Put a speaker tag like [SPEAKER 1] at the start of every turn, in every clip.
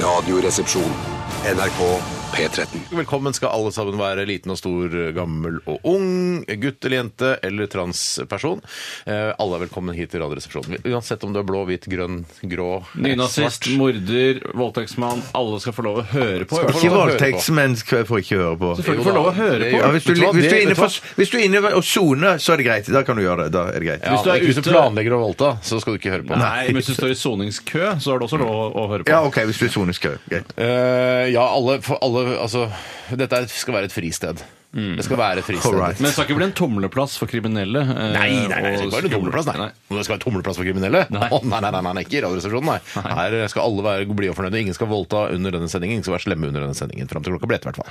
[SPEAKER 1] Radioresepsjon. NRK P13.
[SPEAKER 2] Velkommen skal alle sammen være liten og stor, gammel og ung, gutt eller jente eller transperson. Eh, alle er velkommen hit til Radioresepsjonen. Uansett om du er blå, hvit, grønn, grå,
[SPEAKER 3] Nynazist, morder, voldtektsmann. Alle skal få lov å høre på.
[SPEAKER 2] Skal få
[SPEAKER 4] Ikke
[SPEAKER 2] lov å høre
[SPEAKER 4] voldtektsmennesker får ikke høre på.
[SPEAKER 3] Selvfølgelig få lov å høre på.
[SPEAKER 4] Ja, hvis, du,
[SPEAKER 2] Vet du hva,
[SPEAKER 4] hvis,
[SPEAKER 2] det-
[SPEAKER 4] du er inne
[SPEAKER 2] vet du
[SPEAKER 4] for, hvis du er inne og soner, så er det greit. Da kan du gjøre det. Da er det greit.
[SPEAKER 2] Ja,
[SPEAKER 3] Hvis du er
[SPEAKER 2] men hvis du
[SPEAKER 3] ute-
[SPEAKER 2] planlegger å voldta, så skal du ikke høre på.
[SPEAKER 3] Nei, men hvis du står i soningskø, så har du også lov å- å høre på.
[SPEAKER 4] Ja, OK, hvis du er soneskø. Greit.
[SPEAKER 2] Eh, ja, alle, for alle Altså, dette er- skal være et fristed. Det skal være et fristed.
[SPEAKER 4] Alright.
[SPEAKER 3] Mm. Men det skal ikke bli en tomleplass for kriminelle. eh,
[SPEAKER 2] Nei, nei, nei, det skal
[SPEAKER 3] og
[SPEAKER 2] ikke være tomleplass, nei.
[SPEAKER 3] Nei.
[SPEAKER 2] Det skal være tomleplass for kriminelle? Å, Nei,
[SPEAKER 3] Nei.
[SPEAKER 2] nei, nei, nei, nei ikke i Radioresepsjonen, nei. Her skal alle være blide og fornøyde. Ingen skal voldta under denne sendingen. Ingen skal være slemme under denne sendingen. Fram til klokka ble ett, i hvert fall.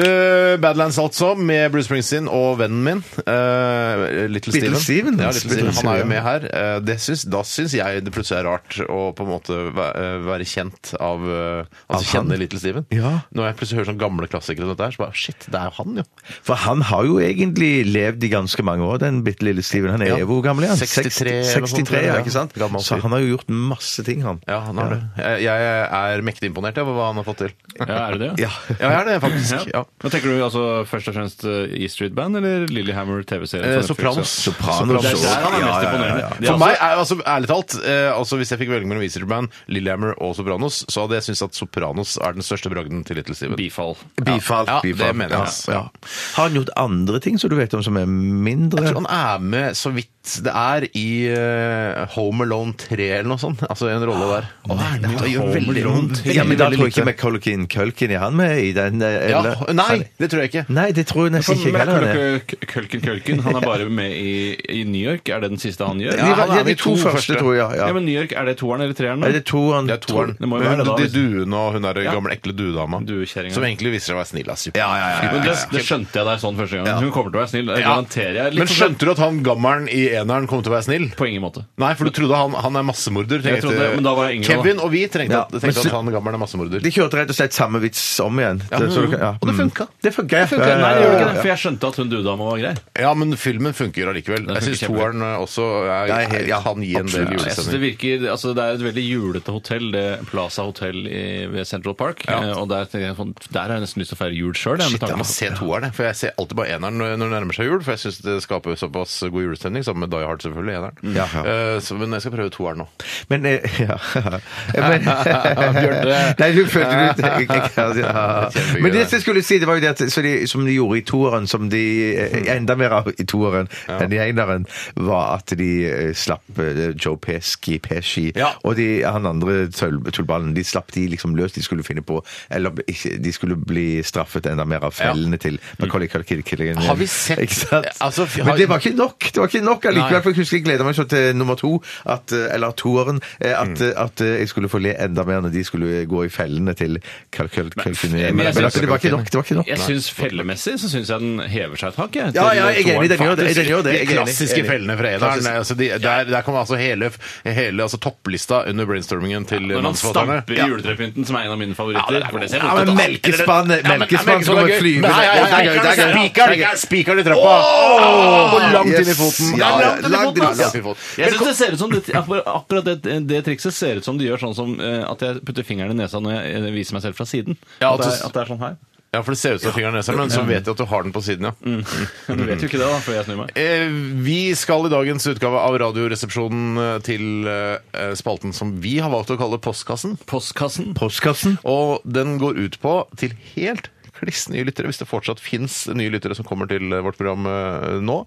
[SPEAKER 2] Uh, Badlands altså, med Bruce Springsteen og vennen min, uh, Little,
[SPEAKER 4] Little
[SPEAKER 2] Steven.
[SPEAKER 4] Steven.
[SPEAKER 2] Ja, Little Steven. Han er jo
[SPEAKER 4] Little
[SPEAKER 2] med her. Uh, det syns, da syns jeg det plutselig er rart å på en måte være, være kjent av uh, Altså
[SPEAKER 4] Av han?
[SPEAKER 2] kjenne Little Steven.
[SPEAKER 4] Ja.
[SPEAKER 2] Når jeg plutselig hører sånne gamle klassikere som dette her, så bare Shit, det er jo han, jo.
[SPEAKER 4] For han har jo egentlig levd i ganske mange år, den bitte lille Steven. Han er
[SPEAKER 2] Ja.
[SPEAKER 4] Hvor gammel er han?
[SPEAKER 2] 63 eller
[SPEAKER 4] 63
[SPEAKER 2] sånt,
[SPEAKER 4] ja,
[SPEAKER 2] ja.
[SPEAKER 4] ikke sant?
[SPEAKER 2] Gammel
[SPEAKER 4] Så
[SPEAKER 2] fyr.
[SPEAKER 4] han har jo gjort masse ting, han.
[SPEAKER 2] Ja, han har det. Jeg, jeg er mektig imponert over hva han har fått til.
[SPEAKER 3] Ja, er det det?
[SPEAKER 4] Ja.
[SPEAKER 2] Ja, jeg er det, faktisk. Ja.
[SPEAKER 3] Ja. Hva tenker du altså først og fremst eh, E Street Band eller Lillehammer TV-serien?
[SPEAKER 2] Eh,
[SPEAKER 3] på
[SPEAKER 2] Sopranos.
[SPEAKER 3] Netflix, ja?
[SPEAKER 4] Sopranos.
[SPEAKER 3] Det er der han er mest
[SPEAKER 4] Ja, ja, ja,
[SPEAKER 3] imponerende.
[SPEAKER 4] ja.
[SPEAKER 3] De er
[SPEAKER 2] For
[SPEAKER 3] altså-
[SPEAKER 2] meg, er, altså, ærlig talt, eh, altså, hvis jeg fikk velge mellom Weezer Band, Lillehammer og Sopranos, så hadde jeg syntes at Sopranos er den største bragden til Little Steven.
[SPEAKER 3] altså Bifall.
[SPEAKER 4] Bifalt.
[SPEAKER 2] Ja,
[SPEAKER 4] bifalt.
[SPEAKER 2] det mener jeg, ass.
[SPEAKER 4] Ja. Har han gjort andre ting som du vet om som er mindre?
[SPEAKER 2] Jeg tror han er med så vidt det er i eh, Home Alone 3 eller noe sånt. Altså en rolle der. Oh,
[SPEAKER 4] nei,
[SPEAKER 2] det gjør
[SPEAKER 4] Home
[SPEAKER 2] veldig
[SPEAKER 4] Alone
[SPEAKER 2] vondt.
[SPEAKER 4] 3. Mm. Ja, men da tror jeg
[SPEAKER 2] lite.
[SPEAKER 4] ikke McCulkin Culkin er han med i den? eh,
[SPEAKER 2] ja,
[SPEAKER 4] Eller?
[SPEAKER 2] Nei, det tror jeg ikke.
[SPEAKER 4] Nei, det tror jeg nesten ikke jeg heller. han er.
[SPEAKER 3] eh, Kølken Kølken, han er bare med i, i New York. Er det den siste han gjør?
[SPEAKER 4] De, var,
[SPEAKER 2] han er
[SPEAKER 4] de,
[SPEAKER 2] med i
[SPEAKER 4] de to,
[SPEAKER 2] to første.
[SPEAKER 4] første, tror jeg.
[SPEAKER 3] Ja,
[SPEAKER 4] Ja.
[SPEAKER 3] men New York, Er det toeren eller treeren? da?
[SPEAKER 4] Er det toeren?
[SPEAKER 2] Det er toeren.
[SPEAKER 3] Det må jo
[SPEAKER 2] Men
[SPEAKER 3] være det da,
[SPEAKER 2] de
[SPEAKER 3] hvis-
[SPEAKER 2] duene og hun der
[SPEAKER 3] Ja.
[SPEAKER 2] gamle, ekle duedama.
[SPEAKER 3] Duekjerringa.
[SPEAKER 2] Som egentlig viser seg å være snill. Ass.
[SPEAKER 4] Ja, ja, ja, ja,
[SPEAKER 3] Men
[SPEAKER 4] ja.
[SPEAKER 3] det, det skjønte jeg deg sånn første gang. Hun kommer til å være snill. Det
[SPEAKER 2] Ja.
[SPEAKER 3] garanterer jeg. Litt sånn-
[SPEAKER 2] Men skjønte du at han gammelen i eneren kom til å være snill?
[SPEAKER 3] på ingen måte.
[SPEAKER 2] Nei, for du trodde han, han er massemorder. tenkte-
[SPEAKER 3] Jeg trodde det, men da var jeg yngre, da.
[SPEAKER 2] Kevin og vi tenkte,
[SPEAKER 4] Ja,
[SPEAKER 2] at, tenkte
[SPEAKER 4] men så-
[SPEAKER 2] at han gammelen er massemorder.
[SPEAKER 4] De kjørte rett og slett samme vits om igjen.
[SPEAKER 2] Ja,
[SPEAKER 4] Det- så du kan-
[SPEAKER 2] og det
[SPEAKER 4] mm.
[SPEAKER 2] funka.
[SPEAKER 4] Det funka,
[SPEAKER 3] Nei,
[SPEAKER 4] ja. Ja, ja,
[SPEAKER 3] det gjorde ikke
[SPEAKER 4] ja,
[SPEAKER 3] det,
[SPEAKER 4] ja.
[SPEAKER 3] Eh, for jeg skjønte at hun dudama var grei.
[SPEAKER 2] Ja, men filmen funker allikevel.
[SPEAKER 3] Den
[SPEAKER 2] Jeg syns
[SPEAKER 3] funker
[SPEAKER 2] toeren eh, også er,
[SPEAKER 4] Det er helt- ja,
[SPEAKER 2] kan gi en
[SPEAKER 4] absolutt.
[SPEAKER 2] del
[SPEAKER 4] Ja,
[SPEAKER 3] Jeg synes Det
[SPEAKER 2] julestemning.
[SPEAKER 3] virker, altså det er et veldig julete hotell, det Plaza Hotel i, ved Central Park.
[SPEAKER 2] Ja.
[SPEAKER 3] Eh, Og der, tenker jeg sånn, der har jeg nesten lyst til å feire jul sjøl.
[SPEAKER 2] Shit, jeg må se toeren, jeg, for jeg ser alltid bare eneren når når det nærmer seg jul. For jeg syns det skaper såpass god julestemning, sammen med Die Hard, selvfølgelig. eneren.
[SPEAKER 4] Ja, ja.
[SPEAKER 2] Eh, så, men jeg skal prøve toeren nå.
[SPEAKER 4] Men eh, ja. Men-
[SPEAKER 2] Bjørn, det-
[SPEAKER 4] Nei, du følte du jeg- jeg- jeg- ja.
[SPEAKER 2] Kjempegøy,
[SPEAKER 4] Men det
[SPEAKER 2] det.
[SPEAKER 4] som jeg skulle si, det var jo det at, så de, som de gjorde i toeren, som de eh,
[SPEAKER 2] Mm.
[SPEAKER 4] enda mer av i toeren enn i eneren, var at de eh, slapp eh, Joe Pesci, Pesci
[SPEAKER 2] Ja.
[SPEAKER 4] og de, han andre tull- tullballen, de slapp de liksom løs. De skulle finne på Eller ikke- de skulle bli straffet enda mer av fellene til Macaulay Culkin.
[SPEAKER 2] Mm. Har vi sett-
[SPEAKER 4] Ikke sant?
[SPEAKER 2] altså, f-
[SPEAKER 4] Men det var ikke nok! Det var ikke nok allikevel.
[SPEAKER 2] Nei.
[SPEAKER 4] for jeg husker jeg gleda meg sånn til nummer to, at, eh, eller toeren, eh, at, eh, at eh, jeg skulle få le enda mer når de skulle eh, gå i fellene til Kalkulkin. Men,
[SPEAKER 3] men jeg
[SPEAKER 4] altså,
[SPEAKER 3] synes-
[SPEAKER 4] det var ikke nok. det var ikke nok.
[SPEAKER 3] Jeg syns Fellemessig så syns jeg den hever seg et hakk. jeg,
[SPEAKER 4] Ja,
[SPEAKER 3] til
[SPEAKER 4] ja, jeg er enig. Den gjør det. Den gjør det.
[SPEAKER 2] De
[SPEAKER 4] Jeg er enig.
[SPEAKER 2] klassiske
[SPEAKER 4] Enig.
[SPEAKER 2] fellene fra eneren.
[SPEAKER 4] Klassisk.
[SPEAKER 2] Altså de, der, der kommer altså hele, hele altså topplista under brainstormingen til
[SPEAKER 3] Når han
[SPEAKER 2] mannsforfatterne.
[SPEAKER 3] stamper i julepynten, som er en av mine favoritter. for det ser
[SPEAKER 4] Ja,
[SPEAKER 3] vondt ut,
[SPEAKER 4] men
[SPEAKER 3] da.
[SPEAKER 4] melkespannet melkespann
[SPEAKER 2] Melkespann
[SPEAKER 4] kommer flyvende.
[SPEAKER 2] Nei, nei, nei,
[SPEAKER 4] Det er gøy, det er gøy.
[SPEAKER 2] Spikeren
[SPEAKER 4] Det er gøy.
[SPEAKER 2] spikeren i trappa.
[SPEAKER 4] Åh!
[SPEAKER 2] Og langt inn i
[SPEAKER 4] Yes.
[SPEAKER 2] foten. Nei,
[SPEAKER 4] Ja, ja,
[SPEAKER 2] langt inn i
[SPEAKER 4] langt
[SPEAKER 2] foten,
[SPEAKER 4] inn i-
[SPEAKER 2] ass.
[SPEAKER 4] ja.
[SPEAKER 2] Langt inn i foten.
[SPEAKER 3] Jeg synes det ser ut som det, akkurat- Akkurat det, det trikset ser ut som de gjør sånn som eh, at jeg putter fingeren i nesa når jeg eh, viser meg selv fra siden.
[SPEAKER 2] Ja,
[SPEAKER 3] at, det
[SPEAKER 2] at
[SPEAKER 3] er,
[SPEAKER 2] du-
[SPEAKER 3] at det er sånn her.
[SPEAKER 2] Ja, for det ser ut som fingeren er nesa, men
[SPEAKER 4] Mm.
[SPEAKER 2] så vet jeg at du har den på siden, ja.
[SPEAKER 3] Men du vet jo ikke det, da, før jeg snur meg.
[SPEAKER 2] Eh, Vi skal i dagens utgave av Radioresepsjonen eh, til eh, spalten som vi har valgt å kalle Postkassen.
[SPEAKER 3] Postkassen.
[SPEAKER 4] Postkassen.
[SPEAKER 2] Og den går ut på til helt kliss nye lyttere, hvis det fortsatt fins nye lyttere som kommer til vårt program eh, nå.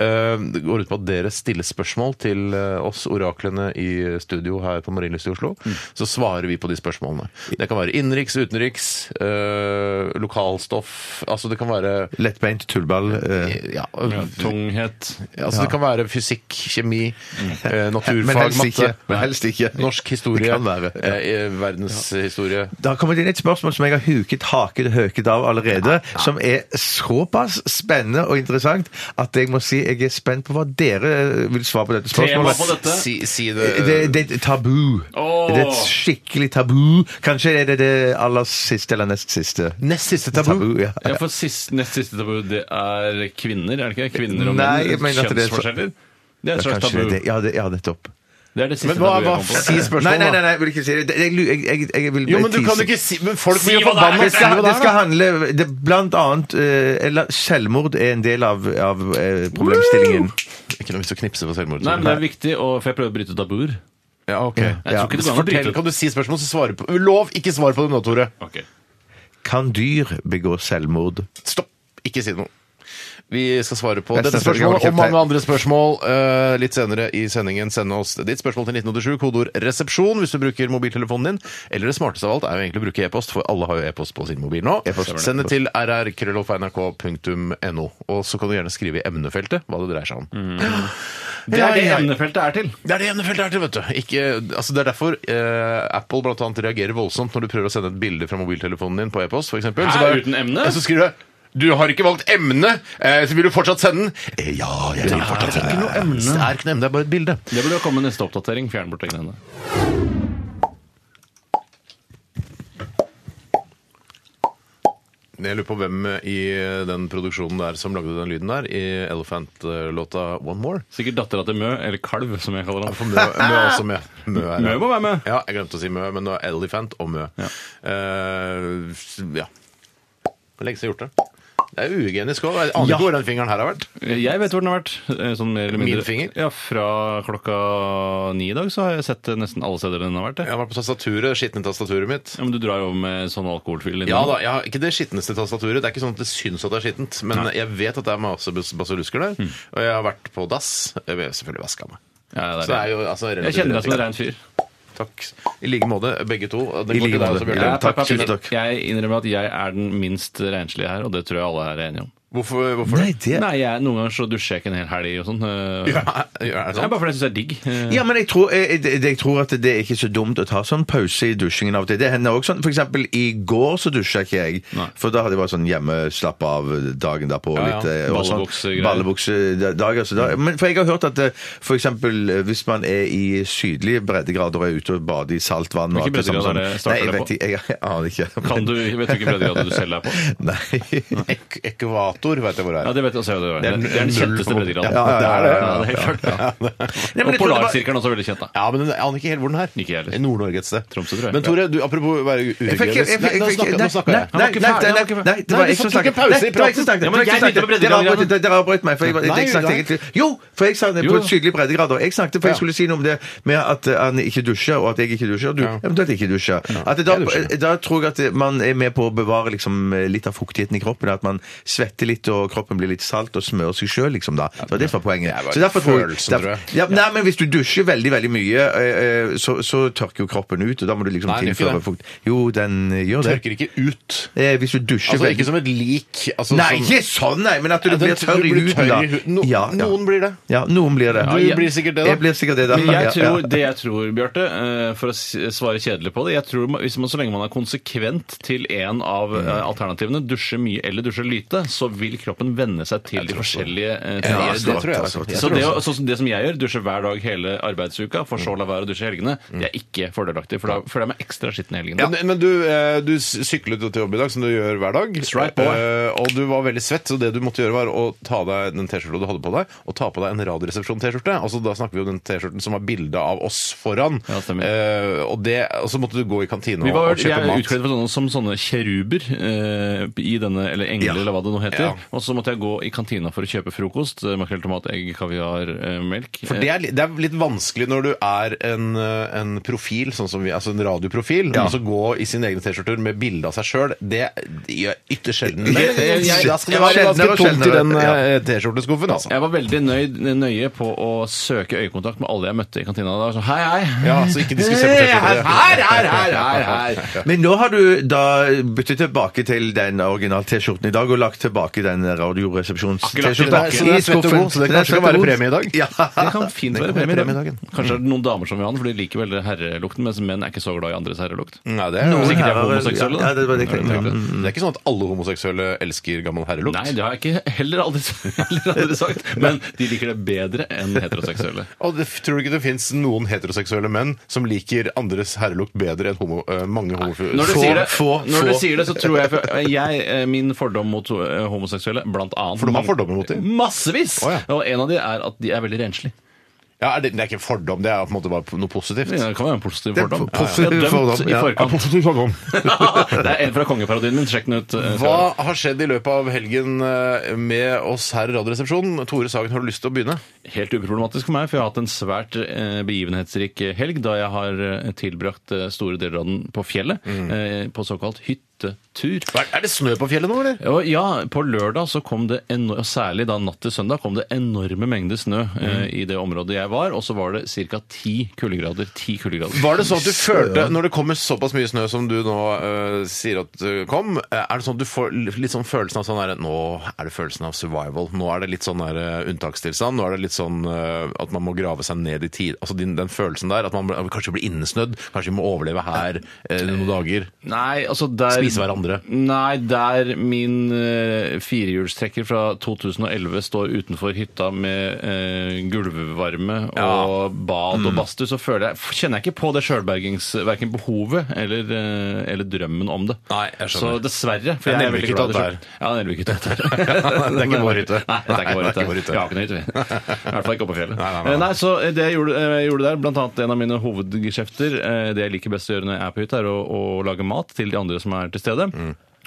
[SPEAKER 2] Eh, Det går ut på at dere stiller spørsmål til eh, oss oraklene i studio her på Marienlyst i Oslo.
[SPEAKER 4] Mm.
[SPEAKER 2] Så svarer vi på de spørsmålene. Det kan være innenriks, utenriks, eh, lokalstoff Altså det kan være
[SPEAKER 4] Lettbeint tullball. eh,
[SPEAKER 2] ja,
[SPEAKER 3] Tunghet.
[SPEAKER 2] altså Det kan være fysikk, kjemi, eh,
[SPEAKER 4] Mm. Men
[SPEAKER 2] naturfag,
[SPEAKER 4] helst
[SPEAKER 2] matte.
[SPEAKER 4] ikke. Men helst ikke.
[SPEAKER 2] Norsk historie.
[SPEAKER 4] Det kan være, ja.
[SPEAKER 2] eh, Verdenshistorie.
[SPEAKER 4] Det har kommet inn et spørsmål som jeg har huket haket høket av allerede, som er såpass spennende og interessant at jeg må si jeg er spent på hva dere eh, vil svare på dette
[SPEAKER 3] Tema
[SPEAKER 4] spørsmålet.
[SPEAKER 3] på dette.
[SPEAKER 2] Si, si
[SPEAKER 4] Det, det er et tabu.
[SPEAKER 3] Åh.
[SPEAKER 4] Det er et skikkelig tabu. Kanskje er det det aller siste eller nest siste.
[SPEAKER 2] Nest siste
[SPEAKER 4] Tabu, ja.
[SPEAKER 3] Ja, for sist, Nest siste tabu, det er kvinner, er det ikke? det? Kvinner og
[SPEAKER 4] Nei, jeg
[SPEAKER 3] menn.
[SPEAKER 4] mener at det er-
[SPEAKER 3] Kjønnsforskjeller. Det er et slags
[SPEAKER 4] Kanskje
[SPEAKER 3] tabu.
[SPEAKER 4] det, ja, det, ja, nettopp.
[SPEAKER 3] Det er det siste
[SPEAKER 2] Men hva,
[SPEAKER 3] du
[SPEAKER 2] hva
[SPEAKER 3] gjør på.
[SPEAKER 2] si
[SPEAKER 4] Nei,
[SPEAKER 2] spørsmålet,
[SPEAKER 4] nei, nei,
[SPEAKER 2] da?
[SPEAKER 4] nei, jeg vil ikke si det. Jeg, jeg, jeg, jeg vil
[SPEAKER 2] Jo,
[SPEAKER 4] bare
[SPEAKER 2] men du
[SPEAKER 4] tease.
[SPEAKER 2] kan jo ikke si Men folk
[SPEAKER 3] Si
[SPEAKER 2] blir jo
[SPEAKER 3] hva det er,
[SPEAKER 2] forbanna.
[SPEAKER 4] det skal,
[SPEAKER 2] Si hva
[SPEAKER 4] det skal
[SPEAKER 2] da.
[SPEAKER 4] handle det, Blant annet eh, eller, Selvmord er en del av, av eh, problemstillingen.
[SPEAKER 2] Ikke noe vits å knipse for selvmord.
[SPEAKER 3] Nei, men det er viktig, og, for jeg prøver å bryte tabuer.
[SPEAKER 2] ja, ok.
[SPEAKER 3] Jeg tror ikke det går an å
[SPEAKER 2] Fortell,
[SPEAKER 3] bryte
[SPEAKER 2] kan du si spørsmål, så svare på Lov, ikke svar på det nå, Tore.
[SPEAKER 3] Ok.
[SPEAKER 4] Kan dyr begå selvmord?
[SPEAKER 2] Stopp! Ikke si noe. Vi skal svare på
[SPEAKER 4] Neste
[SPEAKER 2] dette
[SPEAKER 4] spørsmål,
[SPEAKER 2] spørsmålet og
[SPEAKER 4] kjeft
[SPEAKER 2] mange
[SPEAKER 4] deg.
[SPEAKER 2] andre spørsmål eh, litt senere i sendingen. Send oss ditt spørsmål til 1987, kodeord 'resepsjon' hvis du bruker mobiltelefonen din. Eller det smarteste av alt er jo egentlig å bruke e-post, for alle har jo e-post på sin mobil nå.
[SPEAKER 4] E-post.
[SPEAKER 2] Send det til rrkrølloff.nrk.no. Og så kan du gjerne skrive i emnefeltet hva det dreier seg om.
[SPEAKER 3] Det
[SPEAKER 2] Ja,
[SPEAKER 3] er det
[SPEAKER 2] ja, ja.
[SPEAKER 3] emnefeltet er til.
[SPEAKER 2] Det er det emnefeltet er til, vet du. Ikke, altså det er derfor eh, Apple blant annet reagerer voldsomt når du prøver å sende et bilde fra mobiltelefonen din på e-post, f.eks.
[SPEAKER 3] Hæ, uten emne?
[SPEAKER 2] Så skriver du du har ikke valgt emne, eh, så vil du fortsatt sende den? Eh, ja, jeg vil fortsatt sende den. Det er ikke noe emne, det er bare et bilde.
[SPEAKER 3] Det burde jo komme neste oppdatering. Fjern bort det greiene.
[SPEAKER 2] Jeg lurer på hvem i den produksjonen der som lagde den lyden der, i Elephant-låta One More.
[SPEAKER 3] Sikkert dattera til Mø, eller Kalv, som jeg kaller
[SPEAKER 2] For
[SPEAKER 3] han.
[SPEAKER 2] Mø, mø er også med. Mø, er-
[SPEAKER 3] Mø må være med.
[SPEAKER 2] Ja, jeg glemte å si Mø, men det var Elephant og Mø.
[SPEAKER 3] Ja.
[SPEAKER 2] Eh, ja. Hvor lenge siden jeg har gjort det? Det er uhygienisk òg. Aner
[SPEAKER 3] Ja.
[SPEAKER 2] ikke hvor den fingeren her har vært.
[SPEAKER 3] Jeg vet hvor den har vært. eh, Sånn mer eller mindre.
[SPEAKER 2] Min finger?
[SPEAKER 3] Ja, Fra klokka ni i dag så har jeg sett eh, nesten alle steder den har vært.
[SPEAKER 2] Jeg
[SPEAKER 3] jeg.
[SPEAKER 2] var på tastaturet, det skitne tastaturet mitt.
[SPEAKER 3] Ja, men du drar jo med sånn alkoholfyll.
[SPEAKER 2] Ja da, jeg har ikke det skitneste tastaturet. Det er ikke sånn at det syns at det er skittent, men jeg vet at det er masse bas- basilusker der. Og jeg har vært på dass. Jeg har selvfølgelig vaska meg.
[SPEAKER 3] Ja,
[SPEAKER 2] Så
[SPEAKER 3] det er
[SPEAKER 2] det er
[SPEAKER 3] det.
[SPEAKER 2] jo altså,
[SPEAKER 3] Jeg
[SPEAKER 2] relativt-
[SPEAKER 3] kjenner deg som en rein fyr.
[SPEAKER 2] Takk. I like måte, begge to. Den går
[SPEAKER 4] I
[SPEAKER 2] til
[SPEAKER 4] like
[SPEAKER 2] deg
[SPEAKER 4] måte.
[SPEAKER 2] også, Bjørte.
[SPEAKER 4] Ja, takk,
[SPEAKER 3] Pappa,
[SPEAKER 4] tusen takk.
[SPEAKER 3] Jeg innrømmer at jeg er den minst renslige her, og det tror jeg alle her er enige om.
[SPEAKER 2] Hvorfor, hvorfor
[SPEAKER 4] Nei, det
[SPEAKER 3] Nei, jeg, Noen ganger så dusjer jeg ikke en hel helg og sånn. eh,
[SPEAKER 2] Ja, er det
[SPEAKER 3] Det er
[SPEAKER 2] sant?
[SPEAKER 3] bare fordi jeg syns det er digg. eh.
[SPEAKER 4] Ja, men jeg tror, jeg, jeg, jeg tror at det er ikke så dumt å ta sånn pause i dusjingen av og til. Det hender også sånn. For eksempel i går så dusja ikke jeg.
[SPEAKER 3] Nei.
[SPEAKER 4] For da hadde jeg bare sånn hjemme, slapp av dagen derpå.
[SPEAKER 2] Ja, ja.
[SPEAKER 4] litt, eh, og sånn.
[SPEAKER 3] Ballebukse-greier. Mm.
[SPEAKER 4] Ballebuksedager. Så da, men for jeg har hørt at eh, for eksempel eh, hvis man er i sydlige breddegrader og er ute og bader i saltvann og
[SPEAKER 3] Hvilke
[SPEAKER 4] alt det samme
[SPEAKER 3] breddegrader
[SPEAKER 4] sånn.
[SPEAKER 3] er det- starter
[SPEAKER 4] Nei, jeg
[SPEAKER 3] det
[SPEAKER 4] vet ikke. Jeg, jeg aner ikke.
[SPEAKER 3] Kan du, vet du ikke breddegrader du selv er på?
[SPEAKER 4] Nei.
[SPEAKER 2] Ek ekvator vet jeg hvor det
[SPEAKER 3] Ja,
[SPEAKER 2] er.
[SPEAKER 3] det vet jeg også. Det,
[SPEAKER 2] er
[SPEAKER 3] er. det er den
[SPEAKER 2] null
[SPEAKER 3] kjenteste
[SPEAKER 2] for-
[SPEAKER 3] breddegraden.
[SPEAKER 4] Ja, ja, ja, ja, ja, ja.
[SPEAKER 3] det er helt klart.
[SPEAKER 4] Nei, men
[SPEAKER 3] Og
[SPEAKER 4] jeg trodde det var-
[SPEAKER 3] Polarsirkelen er også veldig kjent, da.
[SPEAKER 2] Ja, men jeg aner ikke helt hvor den er.
[SPEAKER 3] Ikke jeg heller.
[SPEAKER 2] I Nord-Norge et sted.
[SPEAKER 3] Tromsø, tror jeg.
[SPEAKER 2] Men Tore, du, apropos å være
[SPEAKER 4] Jeg fikk- jeg
[SPEAKER 2] uhygienisk
[SPEAKER 4] fikk- jeg
[SPEAKER 2] Nå
[SPEAKER 4] fikk-
[SPEAKER 2] snakker
[SPEAKER 4] nei,
[SPEAKER 2] nå snakker jeg.
[SPEAKER 4] nei,
[SPEAKER 3] Han var ikke ferdig,
[SPEAKER 4] nei, nei,
[SPEAKER 3] han var ikke
[SPEAKER 4] nei, det var
[SPEAKER 2] ferdig.
[SPEAKER 4] jeg
[SPEAKER 2] Nei, du
[SPEAKER 4] som
[SPEAKER 2] tok en
[SPEAKER 4] snakket.
[SPEAKER 2] pause i
[SPEAKER 4] Nei, det var jeg som
[SPEAKER 2] praten.
[SPEAKER 4] snakket.
[SPEAKER 3] Ja, men
[SPEAKER 4] Det var
[SPEAKER 3] jeg begynte på
[SPEAKER 4] jeg som snakket. Dere
[SPEAKER 3] breddegraden.
[SPEAKER 4] avbrøt- Dere avbrøt meg. for jeg var-
[SPEAKER 2] Nei,
[SPEAKER 4] jeg snakket
[SPEAKER 2] nei.
[SPEAKER 4] egentlig- Jo, for jeg snakket
[SPEAKER 3] Jo.
[SPEAKER 4] på sydlige breddegrader. Jeg snakket, for jeg
[SPEAKER 2] Ja.
[SPEAKER 4] skulle si noe om det med at eh, han ikke dusjer, og at jeg ikke dusjer, og du
[SPEAKER 2] Ja.
[SPEAKER 4] eventuelt ikke dusjer. At det da,
[SPEAKER 2] Jeg dusjer.
[SPEAKER 4] da tror jeg at eh, man er med på å bevare liksom, eh, litt av fuktigheten i kroppen. At man svetter litt, og kroppen blir litt salt, og smører seg sjøl, liksom. da. Det var det som var poenget.
[SPEAKER 2] Det er bare
[SPEAKER 4] Så derfor tror jeg-
[SPEAKER 2] følelsen, tror jeg.
[SPEAKER 4] Ja, Nei, men hvis du dusjer veldig, veldig mye, eh, eh, så, så tørker jo kroppen ut, og da må du liksom
[SPEAKER 2] Nei, den gjør ikke
[SPEAKER 4] tilføre
[SPEAKER 2] det.
[SPEAKER 4] fukt. Jo, den eh, gjør det.
[SPEAKER 2] Tørker ikke ut.
[SPEAKER 4] Eh, hvis du dusjer
[SPEAKER 2] Altså
[SPEAKER 4] veldig-
[SPEAKER 2] ikke som et lik. Altså,
[SPEAKER 4] Nei,
[SPEAKER 2] som-
[SPEAKER 4] ikke sånn, nei, men at du
[SPEAKER 2] Ja,
[SPEAKER 4] blir
[SPEAKER 2] den-
[SPEAKER 4] tørr
[SPEAKER 2] du
[SPEAKER 4] i
[SPEAKER 2] blir
[SPEAKER 4] huden,
[SPEAKER 2] tørr
[SPEAKER 4] da.
[SPEAKER 2] i huden. No-
[SPEAKER 4] Ja, ja.
[SPEAKER 2] noen blir det.
[SPEAKER 4] Ja, noen blir det.
[SPEAKER 2] Du
[SPEAKER 3] Ja, jeg-
[SPEAKER 2] blir sikkert det, da.
[SPEAKER 4] Jeg blir sikkert det, da.
[SPEAKER 3] Men jeg
[SPEAKER 4] Ja,
[SPEAKER 3] tror,
[SPEAKER 4] ja.
[SPEAKER 3] det jeg tror, Bjarte, eh, for å s- svare kjedelig på det jeg tror man- hvis man, Så lenge man er konsekvent til en av
[SPEAKER 2] Mm.
[SPEAKER 3] eh, alternativene, dusje mye eller dusje lite, så vil kroppen venne seg til de forskjellige eh,
[SPEAKER 2] Ja,
[SPEAKER 4] Ja,
[SPEAKER 2] det
[SPEAKER 4] svart,
[SPEAKER 2] tror jeg.
[SPEAKER 4] ja,
[SPEAKER 2] faktisk.
[SPEAKER 4] svart.
[SPEAKER 2] Jeg
[SPEAKER 3] Så
[SPEAKER 2] tror
[SPEAKER 3] det,
[SPEAKER 2] også-
[SPEAKER 3] å- sånn som det som jeg gjør, dusje hver dag hele arbeidsuka, for så å la være å dusje i helgene,
[SPEAKER 2] Mm.
[SPEAKER 3] det er ikke fordelaktig, for da føler jeg meg ekstra skitten i helgene.
[SPEAKER 2] Men, men du, eh, du syklet jo til jobb i dag, som du gjør hver dag.
[SPEAKER 3] right, boy.
[SPEAKER 2] Eh, og du var veldig svett, så det du måtte gjøre var å ta av deg den T-skjorta du hadde på deg, og ta på deg en Radioresepsjon-T-skjorte. Altså, da snakker vi om den T-skjorten som var bilde av oss foran.
[SPEAKER 3] Ja, stemmer.
[SPEAKER 2] Eh, og, det, og så måtte du gå i kantina
[SPEAKER 3] Vi
[SPEAKER 2] og,
[SPEAKER 3] var
[SPEAKER 2] og kjøpe mat.
[SPEAKER 3] utkledd for sånne, som sånne kjeruber eh, i denne, eller engler,
[SPEAKER 4] Ja.
[SPEAKER 3] eller hva det nå heter.
[SPEAKER 2] Ja.
[SPEAKER 3] Og så måtte jeg gå i kantina for å kjøpe frokost. eh, Makrell, tomat, egg, kaviar, eh, melk.
[SPEAKER 2] For det er, li- det er litt vanskelig når du er en, eh, en profil, sånn som vi, altså en radioprofil,
[SPEAKER 4] Ja.
[SPEAKER 2] og så gå i sine egne T-skjorter med bilde av seg sjøl. Det gjør ytterst sjelden.
[SPEAKER 4] Jeg- jeg- jeg- jeg-
[SPEAKER 2] Da skal det
[SPEAKER 4] jeg-
[SPEAKER 2] være ganske
[SPEAKER 4] sjeldnere og
[SPEAKER 2] tomt i den
[SPEAKER 4] sjeldnere,
[SPEAKER 2] eh, T-skjorteskuffen, altså.
[SPEAKER 3] Jeg var veldig nøye, nøye på å søke øyekontakt med alle jeg møtte i kantina. Da. Så, hei, hei.
[SPEAKER 2] Ja, så ikke de skulle se på T-skjorter.
[SPEAKER 3] Her, her, her, her, her.
[SPEAKER 4] Men nå har du da byttet tilbake til den original T-skjorten i dag, og lagt tilbake den Radioresepsjons-T-skjorta
[SPEAKER 2] tilbake. Så den er svett og god, så det
[SPEAKER 4] Den er
[SPEAKER 2] kanskje kan
[SPEAKER 4] svett og
[SPEAKER 2] være
[SPEAKER 4] god.
[SPEAKER 2] premie i dag.
[SPEAKER 4] Ja.
[SPEAKER 3] Det kan fint
[SPEAKER 2] Det
[SPEAKER 3] være
[SPEAKER 2] kan være
[SPEAKER 3] premie i
[SPEAKER 2] premie i Mm.
[SPEAKER 3] dag. Kanskje er det noen damer som vil ha den, for de liker vel herrelukten, mens menn er ikke så glad i andres herrelukt.
[SPEAKER 2] Nei, det, er,
[SPEAKER 3] Hvis
[SPEAKER 2] jo-
[SPEAKER 3] ikke de er
[SPEAKER 4] herrer-
[SPEAKER 3] homoseksuelle, da.
[SPEAKER 4] ja, det var det jeg tenkte.
[SPEAKER 3] Ja, det.
[SPEAKER 2] det er ikke sånn at alle homoseksuelle elsker gammel herrelukt.
[SPEAKER 3] Nei, det har jeg ikke heller aldri, heller aldri sagt. Men de liker det bedre enn heteroseksuelle.
[SPEAKER 2] Og det, tror du ikke det fins noen heteroseksuelle menn som liker andres herrelukt bedre enn homo, eh, mange homofile?
[SPEAKER 3] Når du,
[SPEAKER 2] Få-
[SPEAKER 3] sier det,
[SPEAKER 4] få,
[SPEAKER 3] når du
[SPEAKER 4] få.
[SPEAKER 3] sier det, så tror jeg, for jeg eh, Min fordom mot eh, homoseksuelle, blant annet
[SPEAKER 2] For du har
[SPEAKER 3] mange-
[SPEAKER 2] fordommer mot dem?
[SPEAKER 3] Massevis!
[SPEAKER 2] Å, ja.
[SPEAKER 3] Og en av de er at de er veldig renslige.
[SPEAKER 2] Ja, er det, det er ikke en fordom, det er på en måte bare noe positivt.
[SPEAKER 3] Ja, Det kan være en positiv fordom.
[SPEAKER 4] Det er en positiv
[SPEAKER 3] Ja, ja.
[SPEAKER 4] fordom,
[SPEAKER 3] i
[SPEAKER 4] ja.
[SPEAKER 3] forkant.
[SPEAKER 2] positiv fordom.
[SPEAKER 3] det er en fra kongeparodien min. Sjekk den ut. eh, Skarre.
[SPEAKER 2] Hva har skjedd i løpet av helgen eh, med oss her i Radioresepsjonen? Tore Sagen, har du lyst til å begynne?
[SPEAKER 3] Helt uproblematisk for meg, for jeg har hatt en svært eh, begivenhetsrik helg da jeg har eh, tilbrakt eh, store deler av den på fjellet,
[SPEAKER 4] Mm.
[SPEAKER 3] eh, på såkalt hyttetur.
[SPEAKER 2] Hva Er er det snø på fjellet nå, eller?
[SPEAKER 3] Og ja, på lørdag så kom det, eno- og særlig da natt til søndag, kom det enorme mengder snø eh,
[SPEAKER 4] Mm.
[SPEAKER 3] i det området jeg var, og så var det ca. ti kuldegrader. Ti kuldegrader.
[SPEAKER 2] Var det sånn at du følte, når det kommer såpass mye snø som du nå eh, sier at det kom, eh, er det sånn at du får li- litt sånn følelsen av sånn der, nå er det følelsen av survival, nå er det litt sånn der eh, unntakstilstand, nå er det litt sånn eh, at man må grave seg ned i tid, altså den, den følelsen der, at man bl- kanskje blir innesnødd, kanskje vi må overleve her eh, noen dager,
[SPEAKER 3] Nei, altså der
[SPEAKER 2] spise hverandre.
[SPEAKER 3] Nei, der min eh, firehjulstrekker fra 2011 står utenfor hytta med eh, gulvvarme og bad
[SPEAKER 2] Mm.
[SPEAKER 3] og badstue, så føler jeg, kjenner jeg ikke på det sjølbergings... Verken behovet eller, eh, eller drømmen om det.
[SPEAKER 2] Nei, jeg skjønner.
[SPEAKER 3] Så dessverre.
[SPEAKER 2] Det
[SPEAKER 3] For
[SPEAKER 2] er
[SPEAKER 3] jeg er veldig glad i det
[SPEAKER 2] Nelvikhytta
[SPEAKER 3] selv. Ja, Nelvikhytta er der.
[SPEAKER 2] det er ikke vår hytte.
[SPEAKER 3] Nei, det er ikke
[SPEAKER 2] Nei, det er
[SPEAKER 3] vår hytte.
[SPEAKER 2] ikke vår hytte.
[SPEAKER 3] Vi har ikke noe hytte, vi. I hvert fall ikke oppe på fjellet. Eh,
[SPEAKER 2] Nei,
[SPEAKER 3] Nei,
[SPEAKER 2] nei, nei, nei.
[SPEAKER 3] så det jeg gjorde, eh, gjorde der, blant annet en av mine hovedgeskjefter, eh, det jeg liker best å gjøre når jeg er på hytta, er å, å lage mat til de andre som er til stede.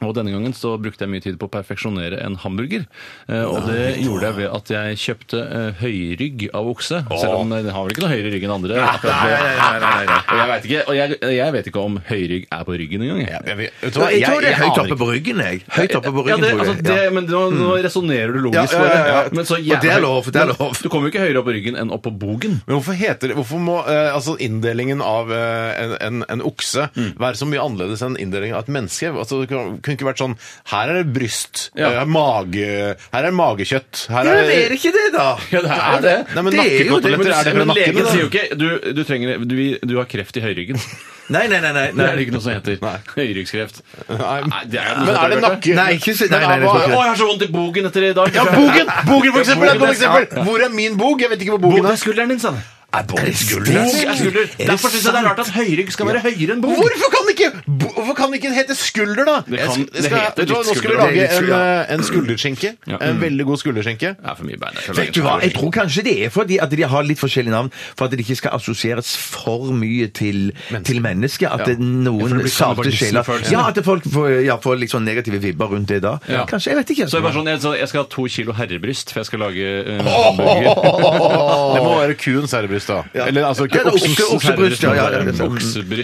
[SPEAKER 3] Og denne gangen så brukte jeg mye tid på å perfeksjonere en hamburger. Eh, Og det gjorde jeg ved at jeg kjøpte eh, høyrygg av okse. Selv om eh, den har vel ikke noe høyere rygg enn andre. akkurat det. Og jeg vet ikke, og jeg, jeg vet ikke om høyrygg er på ryggen engang. jeg.
[SPEAKER 2] Jeg, vet- vet du hva?
[SPEAKER 4] Jeg tror det er
[SPEAKER 2] jeg
[SPEAKER 4] høyt
[SPEAKER 2] aner
[SPEAKER 4] oppe
[SPEAKER 2] ikke.
[SPEAKER 4] på ryggen, jeg. Høyt oppe
[SPEAKER 3] Ja,
[SPEAKER 4] på ryggen,
[SPEAKER 3] det,
[SPEAKER 4] tror jeg.
[SPEAKER 3] altså, det,
[SPEAKER 4] Ja.
[SPEAKER 3] men nå, nå resonnerer du logisk.
[SPEAKER 4] Ja, ja, ja, ja.
[SPEAKER 3] bare. Men så
[SPEAKER 4] Og
[SPEAKER 3] jævlig-
[SPEAKER 4] det er lov, det er lov.
[SPEAKER 3] Du kommer jo ikke høyere opp på ryggen enn opp på bogen.
[SPEAKER 2] Men hvorfor heter det, hvorfor må eh, altså inndelingen av eh, en, en, en okse
[SPEAKER 4] Mm.
[SPEAKER 2] være så mye annerledes enn inndelingen av et menneske? Altså, det kunne kunne ikke vært sånn Her er det bryst,
[SPEAKER 3] Ja.
[SPEAKER 2] her, er mage, her er magekjøtt her
[SPEAKER 4] Ja, men er det ikke det, da?
[SPEAKER 3] Ja, det er det.
[SPEAKER 2] Nei, men
[SPEAKER 4] Det er jo det,
[SPEAKER 2] nakkekoteletter,
[SPEAKER 3] Men,
[SPEAKER 2] er det fra
[SPEAKER 3] men
[SPEAKER 2] nakken?
[SPEAKER 3] legen
[SPEAKER 2] da?
[SPEAKER 3] sier jo ikke du, du, trenger, du, du har kreft i høyryggen.
[SPEAKER 4] Nei, nei, nei. nei,
[SPEAKER 3] Det er
[SPEAKER 4] nei.
[SPEAKER 3] det ikke noe som heter. Høyryggskreft.
[SPEAKER 2] Nei,
[SPEAKER 3] Nei, det
[SPEAKER 2] men er
[SPEAKER 3] er jo noe som
[SPEAKER 2] det
[SPEAKER 3] heter-
[SPEAKER 2] nakke?
[SPEAKER 4] Nei, ikke si- nei,
[SPEAKER 2] Men
[SPEAKER 4] nei,
[SPEAKER 2] hva-
[SPEAKER 4] det
[SPEAKER 3] Å,
[SPEAKER 4] står
[SPEAKER 3] jeg har så vondt i bogen etter i dag.
[SPEAKER 2] Ja, bogen! Bogen, for eksempel! er et
[SPEAKER 3] bogen,
[SPEAKER 2] godt eksempel. Hvor er min bog? Jeg vet ikke hvor bogen
[SPEAKER 3] Bogen er
[SPEAKER 2] er.
[SPEAKER 3] skulderen din, sa han.
[SPEAKER 2] Er bogen
[SPEAKER 3] Bog
[SPEAKER 2] skulder?
[SPEAKER 3] er skulder.
[SPEAKER 4] det
[SPEAKER 3] Derfor syns jeg det er rart at høyrygg skal være høyere enn bog.
[SPEAKER 2] Hvorfor kan det ikke, bo- hvorfor kan det ikke hete skulder, da?
[SPEAKER 3] Det
[SPEAKER 2] Jeg
[SPEAKER 3] kan-
[SPEAKER 2] sk-
[SPEAKER 3] det
[SPEAKER 2] skal-
[SPEAKER 3] heter
[SPEAKER 2] vet du hva,
[SPEAKER 3] litt
[SPEAKER 2] Nå skal vi
[SPEAKER 3] skulder.
[SPEAKER 2] lage
[SPEAKER 4] Det er litt
[SPEAKER 2] en,
[SPEAKER 4] skulder.
[SPEAKER 2] eh, en skulderskinke.
[SPEAKER 3] Ja.
[SPEAKER 2] En veldig god skulderskinke.
[SPEAKER 3] Det er for mye bein.
[SPEAKER 4] Vet du hva, Jeg tror kanskje det er fordi at de har litt forskjellige navn, for at det ikke skal assosieres for mye til, til mennesket. At det er
[SPEAKER 3] Ja, for
[SPEAKER 4] noen
[SPEAKER 3] det blir sånn
[SPEAKER 4] salte sjeler
[SPEAKER 3] barnissefølelse.
[SPEAKER 4] Ja, at folk får, ja, får litt sånn negative vibber rundt det da.
[SPEAKER 3] Ja.
[SPEAKER 4] Kanskje, jeg vet ikke.
[SPEAKER 3] Så jeg, bare sånn, jeg, så jeg skal ha to kilo herrebryst, for jeg skal lage eh, hamburger.
[SPEAKER 2] Det må være kuens herrebryst, da. Eller altså ikke
[SPEAKER 4] Ja, det er
[SPEAKER 2] oksens
[SPEAKER 4] okse- oksebryst, ja, ja, ja,
[SPEAKER 2] herrebryst.
[SPEAKER 4] det er sant.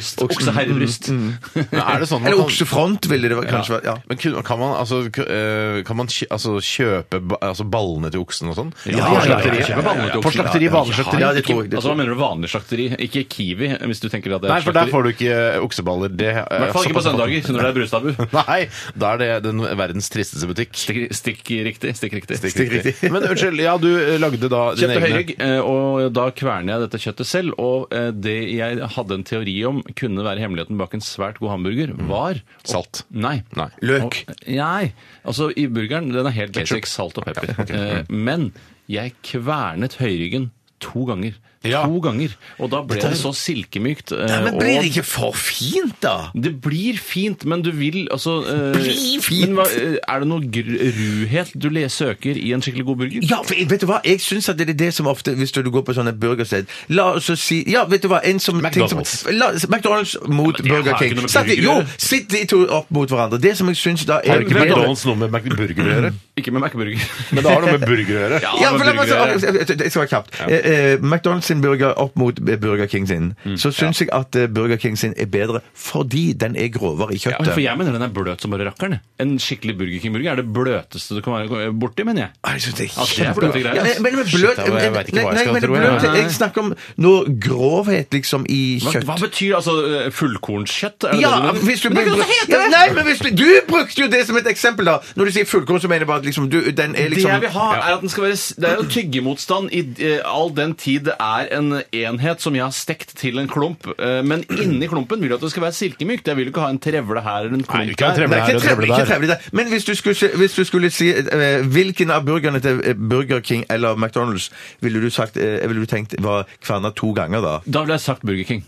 [SPEAKER 3] Oksebryst. Okseherrebryst.
[SPEAKER 2] Men er det sånn man
[SPEAKER 4] Eller
[SPEAKER 2] kan
[SPEAKER 4] oksefront ville det kanskje være. Ja.
[SPEAKER 2] men kun- kan man, altså, k- eh, kan man kj- altså, kjøpe ba- altså, ballene til oksen og sånn?
[SPEAKER 3] Ja,
[SPEAKER 4] ja, ja,
[SPEAKER 2] slakteriet.
[SPEAKER 4] ja,
[SPEAKER 3] ja, ja, ja.
[SPEAKER 2] På slakteri, vanlig slakteri.
[SPEAKER 4] Ja, det tror jeg. Det
[SPEAKER 3] Altså,
[SPEAKER 4] tror
[SPEAKER 3] Hva
[SPEAKER 4] jeg.
[SPEAKER 3] mener du vanlig slakteri? Ikke Kiwi, hvis du sånn. tenker at
[SPEAKER 2] Altså,
[SPEAKER 3] det er
[SPEAKER 2] Nei, for der
[SPEAKER 3] slakteri.
[SPEAKER 2] får du ikke eh, okseballer. Det,
[SPEAKER 3] I hvert fall ikke på søndager, når det er brustabu.
[SPEAKER 2] Nei, da er det den verdens tristeste butikk.
[SPEAKER 3] Stikk, stikk riktig. Stikk riktig.
[SPEAKER 2] Stikk riktig. Men unnskyld, ja, du eh, lagde da dine
[SPEAKER 3] Kjøpte
[SPEAKER 2] egne
[SPEAKER 3] høyrygg, eh, og da kverner jeg dette kjøttet selv. Og eh, det jeg hadde en teori om kunne være hemmeligheten bak en svært god hamburger, var
[SPEAKER 2] Salt.
[SPEAKER 3] Mm. Nei.
[SPEAKER 2] Nei.
[SPEAKER 4] Løk.
[SPEAKER 3] Og, nei. Altså, i burgeren den er helt basic salt og pepper. Eh, Men jeg kvernet høyryggen to ganger.
[SPEAKER 2] Ja.
[SPEAKER 3] To ganger. Og da ble det så silkemykt. eh,
[SPEAKER 4] Nei, men blir
[SPEAKER 3] og-
[SPEAKER 4] det ikke for fint, da?
[SPEAKER 3] Det blir fint, men du vil altså eh,
[SPEAKER 4] Blir fint.
[SPEAKER 3] Men hva, eh, er det noe gr- ruhet du le- søker i en skikkelig god burger?
[SPEAKER 4] Ja, for jeg- vet du hva? Jeg syns at det er det som ofte Hvis du går på sånne burgersted La oss så si Ja, vet du hva? En som
[SPEAKER 2] McDonald's.
[SPEAKER 4] Ting som, la, McDonald's mot
[SPEAKER 3] det har
[SPEAKER 4] Burger
[SPEAKER 3] ikke noe
[SPEAKER 4] King.
[SPEAKER 3] med
[SPEAKER 4] Sett de-
[SPEAKER 3] burger å
[SPEAKER 4] jo,
[SPEAKER 3] gjøre.
[SPEAKER 4] sitt de to opp mot hverandre. Det som jeg syns da
[SPEAKER 2] Har
[SPEAKER 4] er
[SPEAKER 2] det ikke
[SPEAKER 4] bedre-
[SPEAKER 2] McDonald's noe med McBurger å gjøre?
[SPEAKER 3] Ikke med McBurger.
[SPEAKER 2] Men det har noe med burger å gjøre.
[SPEAKER 4] Ja, for la meg
[SPEAKER 3] burger,
[SPEAKER 4] si- Jeg skal være kjapt. Eh, eh, McDonald's sin burger opp mot Burger King sin. Så syns jeg at eh, Burger King sin er bedre fordi den er grovere i
[SPEAKER 3] Oi, for
[SPEAKER 4] kjøttet.
[SPEAKER 3] jeg mener den er bløt som bare rakkeren. En skikkelig Burger King-burger er det bløteste du kan være borti, mener jeg.
[SPEAKER 4] Ah, Jeg synes det er
[SPEAKER 3] Ja, det er bløte
[SPEAKER 4] kjempe-
[SPEAKER 3] greier,
[SPEAKER 4] Ja,
[SPEAKER 3] ass.
[SPEAKER 4] men- men- men
[SPEAKER 2] Shit,
[SPEAKER 4] bløt-
[SPEAKER 2] da, jeg vet ikke hva jeg
[SPEAKER 4] Nei,
[SPEAKER 2] skal
[SPEAKER 4] men
[SPEAKER 2] tro,
[SPEAKER 4] bløt-
[SPEAKER 3] jeg.
[SPEAKER 4] Jeg snakker om noe grovhet, liksom, i
[SPEAKER 3] Hva,
[SPEAKER 4] kjøtt.
[SPEAKER 3] hva betyr altså eh, fullkornskjøtt? Er det det
[SPEAKER 4] Ja,
[SPEAKER 3] mener?
[SPEAKER 4] hvis du
[SPEAKER 3] Men det er ikke noe som heter
[SPEAKER 4] Ja,
[SPEAKER 3] det!
[SPEAKER 4] Nei, men hvis du, du brukte jo det som et eksempel, da. Når du sier fullkorn, så mener jeg bare at liksom, du, den er
[SPEAKER 3] Det
[SPEAKER 4] liksom
[SPEAKER 3] jeg vil ha, er at den skal være s- Det er jo tyggemotstand i eh, all den tid det er en enhet som jeg har stekt til en klump. eh, Men inni klumpen vil jeg at det skal være silkemykt. Jeg vil jo ikke ha en trevle her eller en klump
[SPEAKER 2] vi kan ha en
[SPEAKER 3] der.
[SPEAKER 2] trevle
[SPEAKER 4] Nei,
[SPEAKER 2] her
[SPEAKER 4] ikke
[SPEAKER 2] og trevle
[SPEAKER 4] trevlig, ikke
[SPEAKER 2] der.
[SPEAKER 4] trevlig der. Men hvis du skulle, si- hvis du skulle si eh, hvilken av burgerne til eh, Burger King eller McDonald's ville du, sagt, eh, ville du tenkt var kverna to ganger, da?
[SPEAKER 3] Da ville jeg sagt Burger King.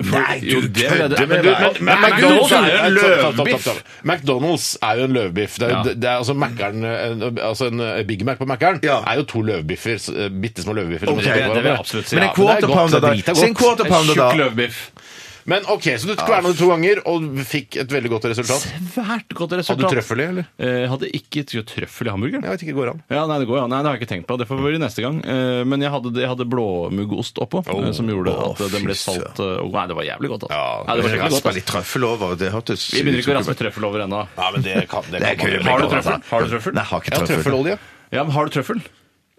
[SPEAKER 3] Nei,
[SPEAKER 5] Jo, det vil jeg- men, du- men, men
[SPEAKER 2] Nei,
[SPEAKER 5] McDonald's er jo en
[SPEAKER 2] McDonald's er- Stopp, stopp,
[SPEAKER 5] løvbiff.
[SPEAKER 2] stopp, stopp. McDonald's er jo en løvbiff. Det er, jo-
[SPEAKER 3] Ja.
[SPEAKER 2] det det er altså Mac'eren, en- altså en eh, Big Mac på Mac'eren
[SPEAKER 4] Ja.
[SPEAKER 2] er jo to løvbiffer. s- eh, Bitte små løvbiffer.
[SPEAKER 4] Ok,
[SPEAKER 2] som er
[SPEAKER 4] det
[SPEAKER 2] på
[SPEAKER 3] vil jeg
[SPEAKER 2] hverandre.
[SPEAKER 3] absolutt si.
[SPEAKER 2] Ja,
[SPEAKER 4] Men
[SPEAKER 2] Men
[SPEAKER 4] en quarter pounder, da. Si en quarter pounder, da.
[SPEAKER 3] Tjukk løvbiff.
[SPEAKER 2] Men ok, så du kverna det to ganger og fikk et veldig godt resultat.
[SPEAKER 3] Svært godt resultat.
[SPEAKER 2] Hadde du trøffel i, eller?
[SPEAKER 3] Eh, hadde ikke tro- trøffel i hamburgeren.
[SPEAKER 2] Jeg vet ikke, går an.
[SPEAKER 3] Ja, nei, det går, ja. Nei, det har jeg ikke tenkt på. Det får være neste gang. Eh, Men jeg hadde, jeg hadde blåmuggost oppå, eh, som gjorde at eh, den ble salt. eh, og- Nei, det var jævlig godt. Altså.
[SPEAKER 2] Ja,
[SPEAKER 3] nei, det var skikkelig godt.
[SPEAKER 4] Raspa
[SPEAKER 3] Altså.
[SPEAKER 4] litt trøffel over. Det hørtes
[SPEAKER 3] Vi begynner ikke å raspe trøffel over ennå.
[SPEAKER 2] Ja, men det kan, det
[SPEAKER 4] Det er
[SPEAKER 2] kan
[SPEAKER 4] ikke-
[SPEAKER 2] man.
[SPEAKER 3] Har du trøffel? Har du trøffel?
[SPEAKER 4] Nei, jeg har ikke
[SPEAKER 2] Jeg har
[SPEAKER 4] trøffel.
[SPEAKER 2] trøffelolje.
[SPEAKER 3] Ja, men har du trøffel?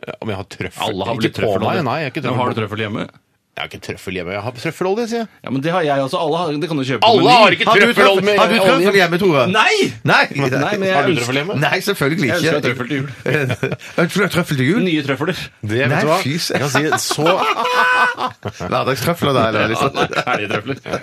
[SPEAKER 2] Ja, Om jeg har trøffel?
[SPEAKER 3] Alle har vel litt
[SPEAKER 2] ikke på
[SPEAKER 3] trøffel.
[SPEAKER 2] meg,
[SPEAKER 3] over.
[SPEAKER 2] nei. Jeg har ikke
[SPEAKER 3] Men
[SPEAKER 2] trøffel,
[SPEAKER 3] har du trøffel hjemme?
[SPEAKER 2] Jeg har ikke trøffel hjemme. Jeg har trøffelolje, sier jeg.
[SPEAKER 3] Ja, men det har jeg også. Alle har, det kan du kjøpe
[SPEAKER 2] Alle
[SPEAKER 3] Meny.
[SPEAKER 2] har ikke
[SPEAKER 4] Har du
[SPEAKER 2] trøffelolje
[SPEAKER 4] trøffel,
[SPEAKER 2] med
[SPEAKER 4] har du trøffel
[SPEAKER 2] olje.
[SPEAKER 4] hjemme, Tore?
[SPEAKER 3] Nei!
[SPEAKER 4] Nei,
[SPEAKER 3] Nei, men jeg
[SPEAKER 2] Har du
[SPEAKER 3] ønsker-
[SPEAKER 2] trøffel hjemme?
[SPEAKER 4] Nei, selvfølgelig
[SPEAKER 3] Jeg
[SPEAKER 4] ikke.
[SPEAKER 3] ønsker meg trøffel til jul.
[SPEAKER 4] Ønsker du deg trøffel til jul?
[SPEAKER 3] Nye trøfler.
[SPEAKER 2] Det, vet
[SPEAKER 4] Nei,
[SPEAKER 2] du hva?
[SPEAKER 4] fy søren.
[SPEAKER 2] Jeg kan si det så
[SPEAKER 4] Hverdagstrøfler, da? Eller, liksom.
[SPEAKER 3] Helgetrøfler. Det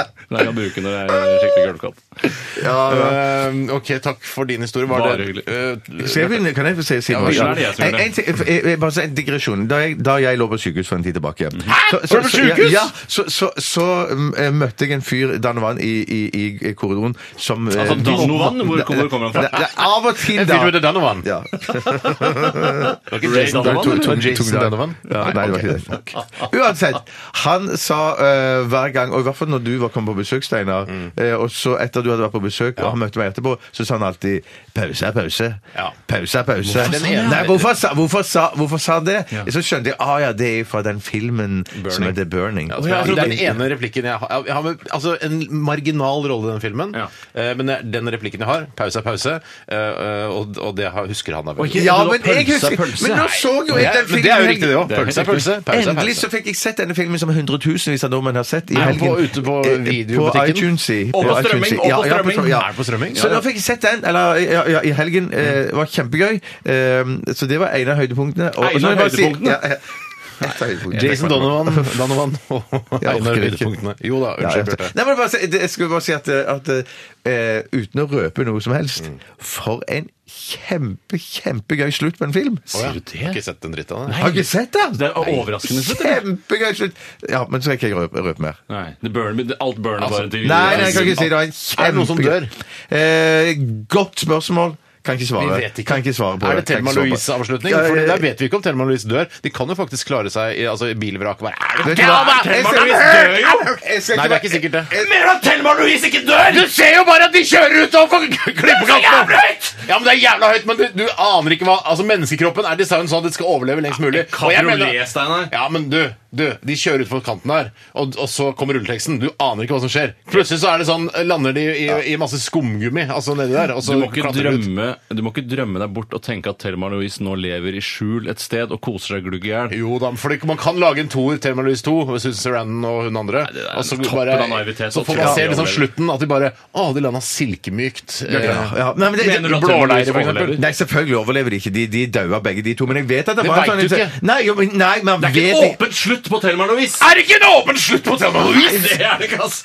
[SPEAKER 3] er jeg kan bruke når jeg er skikkelig gulvkatt.
[SPEAKER 4] ja,
[SPEAKER 2] Eh, Ok, takk for din historie. Var
[SPEAKER 3] Bare
[SPEAKER 2] det
[SPEAKER 3] hyggelig.
[SPEAKER 2] Eh,
[SPEAKER 4] Skal jeg begynne? Kan jeg få si si noe?
[SPEAKER 3] begynn. Er det jeg som gjør det?
[SPEAKER 4] En- en ting- jeg- jeg- Bare så en digresjon. Da jeg, da jeg lå på sykehus for en tid tilbake Hæ?
[SPEAKER 2] Var du på sykehus?
[SPEAKER 4] Ja, så, så, så um, eh, møtte jeg en fyr, Dan Vann, i, i, i korridoren som eh,
[SPEAKER 3] Altså, Donovan, hvor, hvor kommer han
[SPEAKER 4] Det-
[SPEAKER 3] fra?
[SPEAKER 4] det er Av og til,
[SPEAKER 2] En
[SPEAKER 4] da.
[SPEAKER 2] fyr som heter Donovan.
[SPEAKER 4] Ja.
[SPEAKER 2] Det var ikke
[SPEAKER 3] Ray
[SPEAKER 2] Jason
[SPEAKER 3] Donovan,
[SPEAKER 2] Donovan,
[SPEAKER 4] eller?
[SPEAKER 2] eller?
[SPEAKER 4] Jason
[SPEAKER 2] Jason Donovan?
[SPEAKER 4] Ja, nei, det var ikke det. Uansett. Han sa eh, hver gang, og i hvert fall når du var kommet på besøk, Steinar,
[SPEAKER 2] Mm.
[SPEAKER 4] eh, og så etter du hadde vært på besøk, og han møtte meg etterpå, så sa han alltid 'pause er pause'.
[SPEAKER 2] Ja.
[SPEAKER 4] Pause er pause.
[SPEAKER 2] Hvorfor sa han det?
[SPEAKER 4] Nei, hvorfor sa, hvorfor sa, hvorfor sa han det? Så skjønte jeg ah, ja, det er fra den filmen som heter 'Burning'.
[SPEAKER 2] Å, ja, altså, den ene replikken jeg har, jeg har med, altså En marginal rolle i den filmen,
[SPEAKER 3] Ja.
[SPEAKER 2] eh, men det er den replikken jeg har, pause er pause, eh, eh, og, og det har- husker han. da vel.
[SPEAKER 3] ikke-
[SPEAKER 4] Ja,
[SPEAKER 3] Det var
[SPEAKER 4] men jeg
[SPEAKER 3] pølse,
[SPEAKER 4] husker
[SPEAKER 3] pølse.
[SPEAKER 4] Men nå så jo
[SPEAKER 2] Men
[SPEAKER 4] jeg den
[SPEAKER 2] det- men
[SPEAKER 4] filmen
[SPEAKER 2] det er jo riktig, det òg.
[SPEAKER 3] Det er
[SPEAKER 2] Pause er
[SPEAKER 3] helt
[SPEAKER 2] pause. pause er
[SPEAKER 4] Endelig så
[SPEAKER 2] pause.
[SPEAKER 4] fikk jeg sett denne filmen som hundretusenvis av nordmenn har sett i
[SPEAKER 2] Er den
[SPEAKER 4] helgen.
[SPEAKER 2] på- ute på
[SPEAKER 4] Eh,
[SPEAKER 2] videobutikken?
[SPEAKER 4] På iTunes, i.
[SPEAKER 3] Og på
[SPEAKER 4] iTunes,
[SPEAKER 3] strømming,
[SPEAKER 4] i.
[SPEAKER 3] og på
[SPEAKER 4] Ja, ja,
[SPEAKER 3] strømming.
[SPEAKER 4] strøm- ja.
[SPEAKER 2] Er det på strømming?
[SPEAKER 4] Så nå fikk jeg sett den, eller ja, ja, i helgen. Eh, det var kjempegøy. Eh, så det var en av høydepunktene. og- og
[SPEAKER 3] En
[SPEAKER 4] så
[SPEAKER 3] av
[SPEAKER 4] må jeg bare si-
[SPEAKER 3] høydepunktene?
[SPEAKER 4] Ja, ja. Et av høydepunktene.
[SPEAKER 2] Jason Donovan, Donovan og
[SPEAKER 4] Jeg
[SPEAKER 2] Einar
[SPEAKER 4] orker ikke.
[SPEAKER 2] Høydepunktene. Jo da,
[SPEAKER 4] Ja,
[SPEAKER 2] unnskyld,
[SPEAKER 4] jeg-
[SPEAKER 2] Bjarte.
[SPEAKER 4] Nei, men bare, si- det- jeg skulle bare si at, eh, at eh, uten å røpe noe som helst For en kjempe, kjempegøy slutt på en film!
[SPEAKER 2] Å, ja. Ikke sett den dritt av det.
[SPEAKER 4] Har du ikke sett den?
[SPEAKER 3] Det er overraskende slutt, eller?
[SPEAKER 4] Kjempegøy slutt! Ja, men så skal jeg ikke røpe, røpe mer.
[SPEAKER 3] Nei, det burner, alt burner bare til
[SPEAKER 4] Nei, nei, jeg kan ikke si det. var en kjempe...
[SPEAKER 2] Er det noen som dør?
[SPEAKER 4] Eh, godt spørsmål. Kan ikke svare.
[SPEAKER 2] Vi vet ikke.
[SPEAKER 4] Kan ikke svare på
[SPEAKER 2] Er det
[SPEAKER 4] Kan
[SPEAKER 2] Thelma
[SPEAKER 4] ikke svare på
[SPEAKER 2] Louise-avslutning?
[SPEAKER 4] Ja, ja, eh,
[SPEAKER 2] For
[SPEAKER 4] ja.
[SPEAKER 2] Der vet vi ikke om Thelma Louise dør. De kan jo faktisk klare seg i, altså, i bilvraket. Bare, er det
[SPEAKER 4] Vet du hva?
[SPEAKER 2] Thelma?
[SPEAKER 4] Jeg
[SPEAKER 2] Thelma
[SPEAKER 4] skal-
[SPEAKER 2] Louise dør jo!
[SPEAKER 4] Jeg skal
[SPEAKER 2] Nei, det er ikke
[SPEAKER 4] være-
[SPEAKER 2] sikkert det.
[SPEAKER 4] Jeg-
[SPEAKER 2] at Thelma Louise ikke dør! Du ser jo bare at de kjører ut overfor klippekanten! Ja, men det er jævla høyt, men du, du aner ikke hva Altså, menneskekroppen er designet sånn at det skal overleve lengst mulig. Og jeg mener-
[SPEAKER 3] Kabriolet, Steinar.
[SPEAKER 2] Ja, men du, du, de kjører utfor kanten der, og, og så kommer rulleteksten. Du aner ikke hva som skjer. Plutselig så er det sånn, lander de i, i masse skumgummi, altså nedi der, og
[SPEAKER 3] Du
[SPEAKER 2] så
[SPEAKER 3] må, ikke
[SPEAKER 2] de ut.
[SPEAKER 3] drømme, du må ikke drømme deg bort og tenke at Thelma Louise nå lever i skjul et sted og koser seg glugg i hjel.
[SPEAKER 2] Jo da, for det- man kan lage en toer, Thelma Louise 2, med Susan Sarandon og hun andre.
[SPEAKER 3] det er
[SPEAKER 2] og så,
[SPEAKER 3] toppen av naivitet,
[SPEAKER 2] så
[SPEAKER 3] så
[SPEAKER 2] får
[SPEAKER 3] tror
[SPEAKER 2] man
[SPEAKER 3] jeg
[SPEAKER 2] se
[SPEAKER 3] de
[SPEAKER 2] liksom
[SPEAKER 3] overlever.
[SPEAKER 2] slutten, at de bare Å, de landa silkemykt. Eh,
[SPEAKER 4] Ja, ja. Nei, men det,
[SPEAKER 3] Mener du at
[SPEAKER 4] blå-
[SPEAKER 3] Thelma Louise
[SPEAKER 2] leire, for eksempel.
[SPEAKER 3] overlever?
[SPEAKER 4] Nei, selvfølgelig overlever de ikke. De, de daua begge de to. Men jeg vet at det,
[SPEAKER 2] Det
[SPEAKER 4] var
[SPEAKER 2] vet
[SPEAKER 4] en
[SPEAKER 2] du
[SPEAKER 4] sånn
[SPEAKER 2] ikke.
[SPEAKER 4] Nei, jo, men- nei, man
[SPEAKER 3] Det er
[SPEAKER 4] vet
[SPEAKER 3] ikke et åpent slutt på Thelma Louise!
[SPEAKER 2] Er det ikke en åpen slutt på Thelma Louise?!
[SPEAKER 3] Det er det ikke, ass!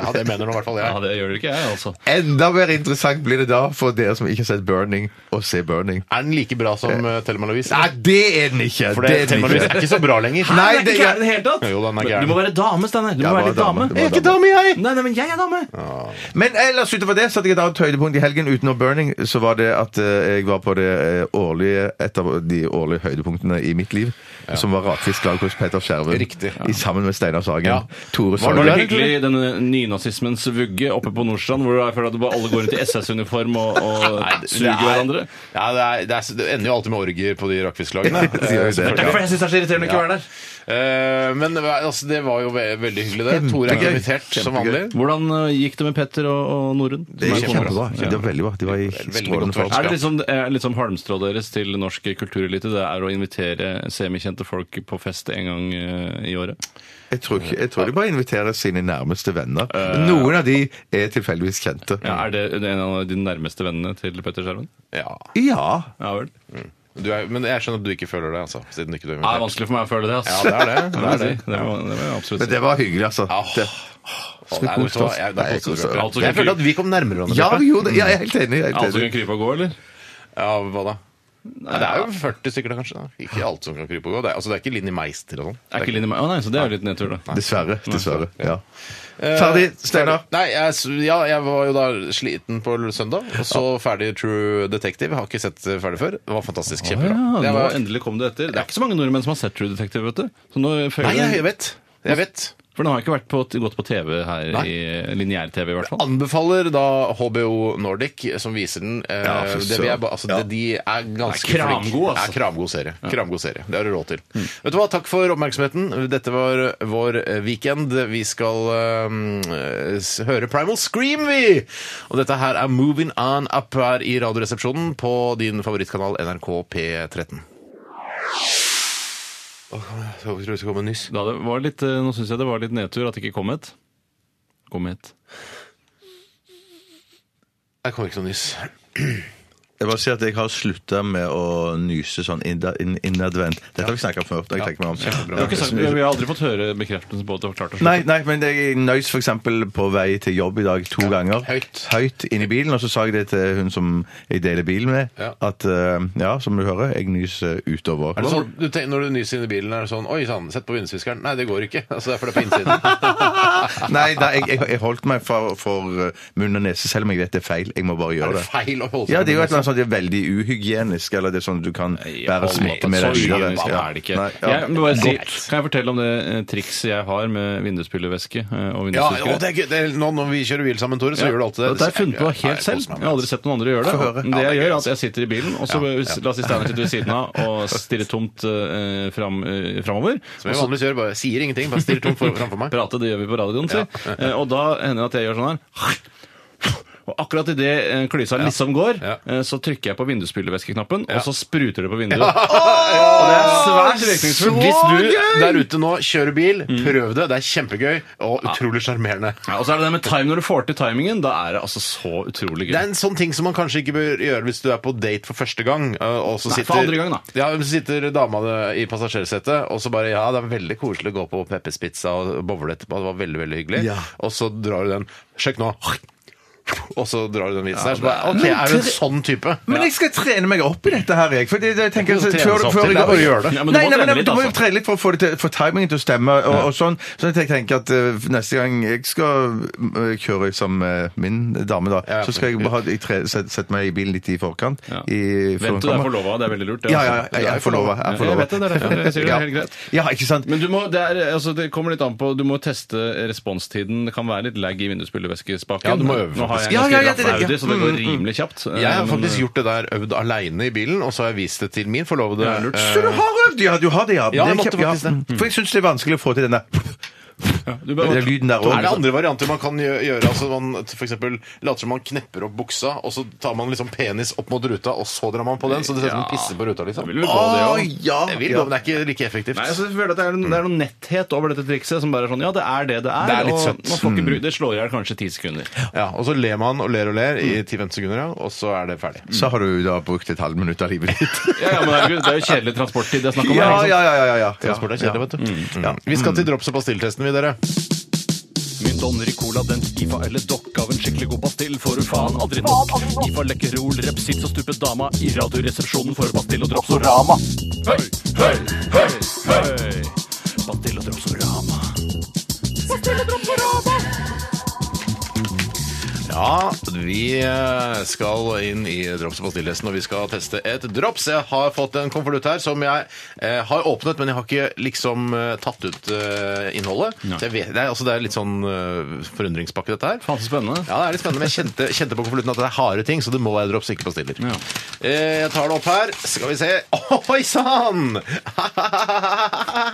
[SPEAKER 2] Ja, det mener nå i hvert fall
[SPEAKER 3] Ja,
[SPEAKER 2] jeg.
[SPEAKER 3] det gjør det ikke jeg, altså.
[SPEAKER 4] Enda mer interessant blir det da for dere som ikke har sett Burning, å se Burning.
[SPEAKER 2] Er den like bra som eh, Thelma Louise?
[SPEAKER 4] Nei, det er den ikke.
[SPEAKER 2] for det, Thelma Louise er ikke så bra lenger.
[SPEAKER 4] Nei,
[SPEAKER 3] Den er
[SPEAKER 4] det-
[SPEAKER 3] ikke gæren i det hele tatt!
[SPEAKER 2] Jo, den er
[SPEAKER 3] Du må
[SPEAKER 2] gæren.
[SPEAKER 3] være dame, Steinar. Du må
[SPEAKER 4] Ja,
[SPEAKER 3] være
[SPEAKER 4] bare
[SPEAKER 3] litt dame.
[SPEAKER 4] dame. Jeg er ikke
[SPEAKER 3] dame, jeg! Nei, nei, men jeg er dame!
[SPEAKER 4] Men eh, ellers utover det så hadde jeg et annet høydepunkt i helgen utenom burning. Så var det at eh, jeg var på det eh, årlige, et av de årlige høydepunktene i mitt liv. Som var Rakfisklag hos Peter Skjerven.
[SPEAKER 2] Riktig, ja.
[SPEAKER 4] I sammen med Steinar Sagen.
[SPEAKER 2] Ja. Var
[SPEAKER 4] Tore Sagen.
[SPEAKER 2] du
[SPEAKER 3] Det
[SPEAKER 2] der?
[SPEAKER 3] er hyggelig, denne nynazismens vugge oppe på Nordstrand, hvor jeg føler at bare alle går rundt i SS-uniform og, og
[SPEAKER 2] Det
[SPEAKER 3] suger
[SPEAKER 2] er-
[SPEAKER 3] hverandre.
[SPEAKER 2] Ja, det, er, det, er, det ender jo alltid med orgier på de rakfisklagene.
[SPEAKER 4] Det gjør jo det.
[SPEAKER 2] Selvfølgelig.
[SPEAKER 3] Derfor jeg syns det er så irriterende å ikke
[SPEAKER 2] Ja.
[SPEAKER 3] være der.
[SPEAKER 2] Eh, men altså, det var jo ve veldig hyggelig, det. Tore er
[SPEAKER 4] Kjempegøy.
[SPEAKER 2] invitert som vanlig.
[SPEAKER 3] Hvordan eh, gikk det med Petter og, og Norunn?
[SPEAKER 4] Det er
[SPEAKER 3] Som er
[SPEAKER 4] kjempebra.
[SPEAKER 3] kommet.
[SPEAKER 4] Det var veldig bra. De var i
[SPEAKER 2] Veldig godt
[SPEAKER 4] strålende
[SPEAKER 2] vært.
[SPEAKER 4] form.
[SPEAKER 3] Er det liksom, er liksom halmstrået deres til norsk kulturelite det er å invitere semikjente folk på fest en gang eh, i året?
[SPEAKER 4] Jeg tror, ikke, jeg tror de bare inviterer sine nærmeste venner. Noen av de er tilfeldigvis kjente.
[SPEAKER 3] Ja, er det en av de nærmeste vennene til Petter Skjerven?
[SPEAKER 2] Ja.
[SPEAKER 4] Ja.
[SPEAKER 3] Ja vel. Det
[SPEAKER 2] Du er, men jeg skjønner at du ikke føler det, altså. Siden ikke du er
[SPEAKER 3] er
[SPEAKER 2] invitert.
[SPEAKER 3] vanskelig for meg å føle det, ass.
[SPEAKER 2] Ja, det er det.
[SPEAKER 3] Det
[SPEAKER 2] det,
[SPEAKER 3] må
[SPEAKER 2] er det.
[SPEAKER 3] jeg si. Det må- det må jeg absolutt
[SPEAKER 4] Men
[SPEAKER 3] si.
[SPEAKER 4] det var hyggelig, altså.
[SPEAKER 2] Åh.
[SPEAKER 4] Det.
[SPEAKER 2] Å, nei, vet du hva? Jeg, da
[SPEAKER 4] Nei, jeg
[SPEAKER 2] koser du
[SPEAKER 4] koser
[SPEAKER 2] deg.
[SPEAKER 4] meg.
[SPEAKER 3] Altså,
[SPEAKER 2] jeg føler at vi kom nærmere hverandre.
[SPEAKER 4] Ja, vi gjorde det. Ja, jeg er helt enig. Jeg er
[SPEAKER 3] Alle
[SPEAKER 4] helt
[SPEAKER 3] som
[SPEAKER 4] enig.
[SPEAKER 3] kunne krype og gå, eller?
[SPEAKER 2] Ja, hva da? Nei, det er jo 40 stykker da, kanskje. Da. Ikke alt som kan krype og gå. Det er, altså, det er ikke Linni Meister og sånn.
[SPEAKER 3] Er ikke Linni Meier Å nei, så det er jo litt nedtur, da.
[SPEAKER 4] Dessverre. dessverre, ja. Eh, Ferdig, Steinar.
[SPEAKER 2] Nei, jeg, s- ja, jeg var jo da sliten på l- søndag, og så ferdig True Detective. Jeg har ikke sett eh, ferdig før. Det var fantastisk
[SPEAKER 3] Ja,
[SPEAKER 2] kjempebra. Det
[SPEAKER 3] nå
[SPEAKER 2] var-
[SPEAKER 3] endelig kom det etter. Det er ikke så mange nordmenn som har sett True Detective, vet du. Så nå føler
[SPEAKER 2] Nei,
[SPEAKER 3] jeg-
[SPEAKER 2] jeg vet. Jeg vet.
[SPEAKER 3] For den har ikke vært på, gått på TV her,
[SPEAKER 2] Nei.
[SPEAKER 3] i lineær-TV i hvert fall.
[SPEAKER 2] Anbefaler da HBO Nordic, som viser den. Eh,
[SPEAKER 4] Ja, for
[SPEAKER 2] det
[SPEAKER 4] søren.
[SPEAKER 2] vil jeg ba- altså,
[SPEAKER 4] Ja.
[SPEAKER 2] det, de er ganske
[SPEAKER 3] Det er kramgod,
[SPEAKER 2] flinke.
[SPEAKER 3] altså.
[SPEAKER 2] Det er kramgod serie. Kramgod serie. Det har du råd til. Vet du hva, Takk for oppmerksomheten. Dette var vår eh, weekend. Vi skal eh, s- høre Primal Scream, vi! Og dette her er Moving On Up her i Radioresepsjonen på din favorittkanal NRK P13. Åh, Jeg tror det skal komme en nyss.
[SPEAKER 3] Da det var litt, eh, nå syns jeg det var litt nedtur at det ikke kom et. Kom et.
[SPEAKER 2] Det kommer ikke noe nyss.
[SPEAKER 4] Jeg bare sier at jeg har slutta med å nyse sånn inna- inn- innadvendt. Dette har vi snakka om før. når Jeg tenker meg om.
[SPEAKER 3] Vi har, ikke sagt, vi har aldri fått høre bekreftelsen på at det var klart å slutte.
[SPEAKER 4] Nei, nei, men jeg nøys f.eks. på vei til jobb i dag to ganger.
[SPEAKER 2] høyt.
[SPEAKER 4] Høyt inn i bilen. Og så sa jeg det til hun som jeg deler bil med,
[SPEAKER 2] Ja.
[SPEAKER 4] at eh, ja, som du hører, jeg nyser utover.
[SPEAKER 2] Er det sånn, du tenker, når du nyser inn i bilen, er det sånn Oi sann, sett på vindusviskeren. Nei, det går ikke. Altså, det er for det er på innsiden.
[SPEAKER 4] Nei, nei jeg, jeg, jeg holdt meg for, for munn og nese, selv om jeg vet det er feil. Jeg må bare
[SPEAKER 2] Er det
[SPEAKER 4] gjøre det.
[SPEAKER 2] feil å holde seg
[SPEAKER 4] Ja, det
[SPEAKER 2] med
[SPEAKER 4] er jo et eller annet sånt det er veldig uhygienisk, eller det er sånn du kan bære smitte med
[SPEAKER 3] Så
[SPEAKER 4] deg videre.
[SPEAKER 3] uhygienisk
[SPEAKER 4] Ja.
[SPEAKER 3] er det ikke.
[SPEAKER 4] Nei, ja.
[SPEAKER 3] Jeg, må bare si,
[SPEAKER 2] Godt.
[SPEAKER 3] kan jeg fortelle om det eh, trikset jeg har med vinduspillevæske eh, og
[SPEAKER 2] Ja, å,
[SPEAKER 3] vindusviskere?
[SPEAKER 2] det er gøy. Det er, nå når vi kjører bil sammen, Tore, så gjør du alltid det.
[SPEAKER 3] Dette har jeg funnet på helt selv. Jeg har aldri sett noen andre gjøre det.
[SPEAKER 4] høre.
[SPEAKER 3] Men det
[SPEAKER 2] Ja,
[SPEAKER 3] jeg
[SPEAKER 2] det er
[SPEAKER 3] gjør,
[SPEAKER 2] gøy, altså.
[SPEAKER 3] er at jeg sitter i bilen, og så la oss si Steinar sitter ved siden av og stirrer tomt eh, fram, eh, framover.
[SPEAKER 2] Som jeg vanligvis gjør, bare sier ingenting, bare stirrer tomt for- framfor meg.
[SPEAKER 3] prate, det gjør vi på radioen, si. Eh, Og da hender det at jeg gjør sånn her. Og akkurat idet klysa liksom går,
[SPEAKER 2] Ja.
[SPEAKER 3] eh, så trykker jeg på vindusspylevæskeknappen,
[SPEAKER 2] Ja.
[SPEAKER 3] og så spruter det på vinduet. Og det er svært virkningsfullt.
[SPEAKER 2] Hvis du
[SPEAKER 3] Hvis du-
[SPEAKER 2] der ute nå kjører bil, prøv det. Det er kjempegøy og utrolig sjarmerende.
[SPEAKER 3] Ja, og så er det det med time. Når du får til timingen, da er det altså så utrolig gøy.
[SPEAKER 2] Det er en sånn ting som man kanskje ikke bør gjøre hvis du er på date for første gang. øh, Og så
[SPEAKER 3] Nei,
[SPEAKER 2] sitter,
[SPEAKER 3] for andre gang, da.
[SPEAKER 2] Ja, men så sitter dama i passasjersetet, og så bare Ja, det er veldig koselig å gå på Peppers Pizza og bowle etterpå, det var veldig, veldig hyggelig.
[SPEAKER 4] Ja.
[SPEAKER 2] Og så drar du den Sjekk nå. Og så drar du den vitsen der. Så bare OK, er du en sånn type?
[SPEAKER 4] Men jeg skal trene meg opp i dette her, jeg. For det, det, jeg tenker,
[SPEAKER 2] Du må
[SPEAKER 4] så-
[SPEAKER 2] trene
[SPEAKER 4] før,
[SPEAKER 2] seg opp
[SPEAKER 4] før
[SPEAKER 2] til
[SPEAKER 4] jeg
[SPEAKER 2] det,
[SPEAKER 4] går
[SPEAKER 2] bare gjør det.
[SPEAKER 3] Ja,
[SPEAKER 4] Nei,
[SPEAKER 3] men du
[SPEAKER 4] nei,
[SPEAKER 3] må
[SPEAKER 4] nei,
[SPEAKER 3] trene
[SPEAKER 4] men
[SPEAKER 3] litt,
[SPEAKER 4] du må jo
[SPEAKER 3] altså.
[SPEAKER 4] trene litt for å få, det til, få timingen til å stemme. Og, og sånn, sånn at jeg tenker at eh, neste gang jeg skal eh, kjøre som eh, min dame, da,
[SPEAKER 2] Ja,
[SPEAKER 4] så skal jeg bare ha- jeg tre- sette sette meg i bilen litt i forkant.
[SPEAKER 3] Ja.
[SPEAKER 4] i- før hun
[SPEAKER 3] Vent til du er
[SPEAKER 4] kommer.
[SPEAKER 3] forlova, det er veldig lurt. det,
[SPEAKER 4] Ja, ja,
[SPEAKER 3] altså.
[SPEAKER 4] ja, jeg er forlova.
[SPEAKER 3] Ja, Jeg vet det, det er derfor jeg sier det. det er helt greit.
[SPEAKER 4] Ja, ikke sant?
[SPEAKER 3] Men du må, det, er, altså, det kommer litt an på Du må teste responstiden. Det kan være litt lag i vindusspylevæskespaken.
[SPEAKER 2] Ja, du må øve,
[SPEAKER 3] Nå har
[SPEAKER 2] faktisk.
[SPEAKER 3] jeg en
[SPEAKER 4] Ja,
[SPEAKER 3] ganske
[SPEAKER 4] ja, ja,
[SPEAKER 3] rapp
[SPEAKER 4] det- det-
[SPEAKER 3] Audi, så det
[SPEAKER 4] ja.
[SPEAKER 3] går rimelig kjapt.
[SPEAKER 2] Mm, Jeg har
[SPEAKER 3] Men,
[SPEAKER 2] faktisk gjort det der øvd aleine i bilen, og så har jeg vist det til min forlovede.
[SPEAKER 3] Ja, lurt.
[SPEAKER 2] Eh,
[SPEAKER 4] Så du har øvd? Ja, du har det,
[SPEAKER 2] Ja,
[SPEAKER 4] ja.
[SPEAKER 2] jeg
[SPEAKER 4] Det er
[SPEAKER 2] måtte
[SPEAKER 4] kjempe- ja.
[SPEAKER 2] faktisk det.
[SPEAKER 4] Mm. For jeg syns det er vanskelig å få til denne
[SPEAKER 3] du bør-
[SPEAKER 4] den lyden der
[SPEAKER 2] Er det
[SPEAKER 4] òg.
[SPEAKER 2] andre varianter man kan gjø- gjøre? Altså man for eksempel later som man knepper opp buksa, og så tar man liksom penis opp mot ruta, og så drar man på den, så det ser ut som man pisser på ruta, liksom.
[SPEAKER 3] Det vil vel gå, det også.
[SPEAKER 4] ja.
[SPEAKER 2] Det vil gå, men det er ikke like effektivt.
[SPEAKER 3] Nei, altså, jeg føler at det er, noen- det er noen netthet over dette trikset som bare er sånn Ja, det er det det er.
[SPEAKER 2] Det er litt
[SPEAKER 3] og
[SPEAKER 2] søtt. Mm.
[SPEAKER 3] Man får ikke bruke, det slår i hjel kanskje ti sekunder.
[SPEAKER 2] Ja, og så ler man og ler og ler
[SPEAKER 3] Mm.
[SPEAKER 2] i 10-15 sekunder, ja, og så er det ferdig.
[SPEAKER 4] Så har du da brukt et halvt minutt av livet ditt.
[SPEAKER 3] Ja, ja, men herregud, Det er jo kjedelig transporttid det er snakk om. her,
[SPEAKER 4] ja,
[SPEAKER 3] ikke sant?
[SPEAKER 4] ja, ja, ja, ja.
[SPEAKER 2] Transport er kjedelig, vet du.
[SPEAKER 4] Ja.
[SPEAKER 2] Mm. Vi skal til drops- og pastilltesten, vi, dere.
[SPEAKER 6] Mynt, donner i cola, den skifa eller dokk av en skikkelig god pastill får du faen aldri nok. Skifa, lekkerol, repsits og stupet dama i radioresepsjonen får du pastill og dropsorama. Høy, høy, høy, høy. Pastill og dropsorama.
[SPEAKER 2] Ja, vi eh, skal inn i drops- og pastilltesten, og vi skal teste et drops. Jeg har fått en konvolutt her som jeg eh, har åpnet, men jeg har ikke liksom eh, tatt ut eh, innholdet.
[SPEAKER 3] Nei.
[SPEAKER 2] Så jeg vet, det, er, altså, det er litt sånn eh, forundringspakke, dette her.
[SPEAKER 3] Faen, så spennende.
[SPEAKER 2] Ja, det er litt spennende, men jeg kjente, kjente på konvolutten at det er harde ting, så det må være drops, ikke pastiller.
[SPEAKER 3] Ja.
[SPEAKER 2] Eh, jeg tar det opp her. Skal vi se. Oi sann!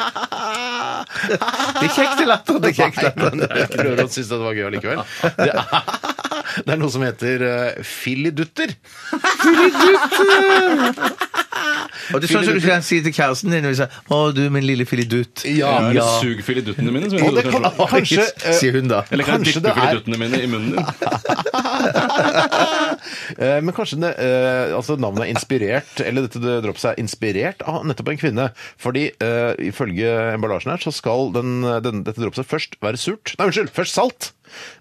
[SPEAKER 2] det er kjekt latter. Det er kjekt latter. Jeg prøver å synes at det var gøy allikevel. Det er, det er noe som heter uh, filidutter.
[SPEAKER 4] Og det er sånn som du kan si til kjæresten din hvis jeg, 'Å, du, min lille filidutt'.
[SPEAKER 2] Ja,
[SPEAKER 3] Ja.
[SPEAKER 4] ja.
[SPEAKER 3] Sug filiduttene mine. Som jeg
[SPEAKER 2] Og
[SPEAKER 3] gjorde
[SPEAKER 2] det kan,
[SPEAKER 3] kanskje.
[SPEAKER 2] kanskje eh,
[SPEAKER 4] sier hun da.
[SPEAKER 3] Eller kan jeg
[SPEAKER 2] kanskje det
[SPEAKER 3] dyppe
[SPEAKER 2] er-
[SPEAKER 3] filiduttene mine i munnen din?
[SPEAKER 2] Eh, Men kanskje det, eh, altså navnet er inspirert, eller dette det dropset er inspirert av nettopp en kvinne. Fordi eh, ifølge emballasjen her, så skal den, den, dette dropset først være surt. Nei, unnskyld, først salt,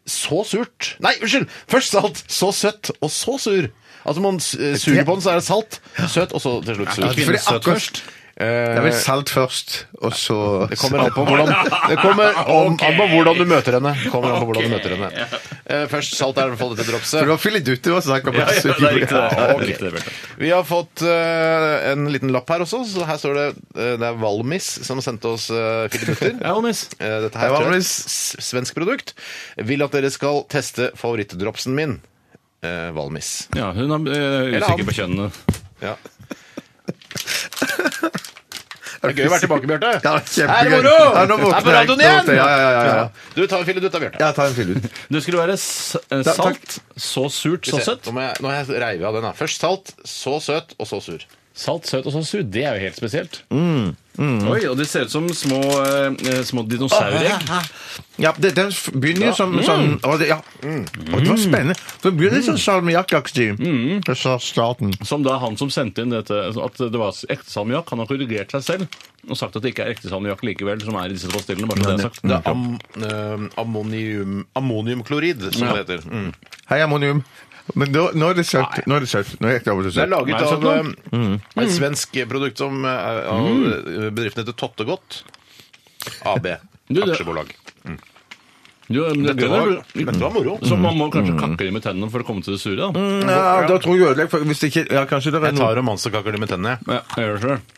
[SPEAKER 2] så surt. Nei, unnskyld, først salt, så søtt, og så sur. Altså Man s- eh, suger på den, så er det salt, søt, og så til slutt
[SPEAKER 4] Ja,
[SPEAKER 2] søt.
[SPEAKER 4] fordi
[SPEAKER 2] Søt
[SPEAKER 4] akkurat-
[SPEAKER 2] først.
[SPEAKER 4] Det er vel
[SPEAKER 2] Eh,
[SPEAKER 4] salt først, og så
[SPEAKER 2] Det kommer an på hvordan Det kommer om, an på hvordan du møter henne. Kommer an på hvordan du møter henne. Eh, Først salt er i hvert fall dette
[SPEAKER 4] For det
[SPEAKER 2] dropset.
[SPEAKER 4] var Filidutte det var snakk om.
[SPEAKER 3] Ja, ja, det er riktig, det.
[SPEAKER 2] Ja, ok.
[SPEAKER 3] Det er riktig, det, Bjarte.
[SPEAKER 2] Vi har fått eh, en liten lapp her også. Så her står det eh, Det er Valmis som sendte oss eh, filibutter.
[SPEAKER 3] Ja, Holmis.
[SPEAKER 2] Eh, Dette
[SPEAKER 4] Hei,
[SPEAKER 2] her tror jeg er et
[SPEAKER 4] Valmis.
[SPEAKER 2] s- svensk produkt. Vil at dere skal teste favorittdropsen min. Eh, Valmis.
[SPEAKER 3] Ja, hun er eh,
[SPEAKER 2] Eller han.
[SPEAKER 3] usikker på kjønnene.
[SPEAKER 2] Ja. Det er gøy å være tilbake, Bjarte.
[SPEAKER 4] Ja,
[SPEAKER 2] er det
[SPEAKER 4] kjempegøy.
[SPEAKER 2] moro!
[SPEAKER 4] Ja, nå
[SPEAKER 2] er på
[SPEAKER 4] våkner jeg.
[SPEAKER 2] radioen igjen!
[SPEAKER 4] Ja, ja, ja, ja, ja.
[SPEAKER 2] Du, ta en filibutt da, Bjarte.
[SPEAKER 4] Ja, ta en fillut.
[SPEAKER 3] Det skulle være s eh,
[SPEAKER 4] Ta- takk.
[SPEAKER 3] salt, så surt, så
[SPEAKER 2] Se,
[SPEAKER 3] søtt.
[SPEAKER 2] Nå må jeg, nå har jeg reivet av den. her. Først salt, så søt, og så sur.
[SPEAKER 3] Salt, søt og så sur. Det er jo helt spesielt. Oi, og de ser ut som små, eh, små dinosauregg.
[SPEAKER 4] Ja, det, den f- begynner jo som sånn
[SPEAKER 2] Mm.
[SPEAKER 4] å, det, ja. Å, det var spennende. Den begynner litt sånn salmiakkaktig.
[SPEAKER 2] Mm.
[SPEAKER 4] Jeg sa starten.
[SPEAKER 3] Som da han som sendte inn dette, altså, at det var ekte salmiakk, han har korrigert seg selv og sagt at det ikke er ekte salmiakk likevel, som er i disse pastillene. bare så det er sagt.
[SPEAKER 2] Det er am, eh, ammonium, ammoniumklorid, som det heter. Mm.
[SPEAKER 4] Hei, ammonium. Men nå, nå er det søtt. Nå er det søtt. Nå er det ekte ammonium
[SPEAKER 2] Det er
[SPEAKER 4] søtt.
[SPEAKER 2] laget
[SPEAKER 3] Er det
[SPEAKER 2] av
[SPEAKER 3] sånn
[SPEAKER 2] eh, et svensk produkt som eh, er av eh, bedriften heter Tottegodt AB.
[SPEAKER 3] Du, det-
[SPEAKER 2] Aksjebolag.
[SPEAKER 3] Jo, eh, men det
[SPEAKER 2] Dette
[SPEAKER 3] er
[SPEAKER 2] var,
[SPEAKER 3] gøy, det er-
[SPEAKER 2] dette var moro.
[SPEAKER 3] Så man må kanskje kakke dem med tennene for å komme til det sure? da.
[SPEAKER 4] Ja, da tror jeg ødelegg, for hvis det ikke Ja, kanskje det er
[SPEAKER 2] Jeg
[SPEAKER 4] noe
[SPEAKER 2] tar romansekaker med tennene. jeg.
[SPEAKER 3] Ja, jeg gjør det selv.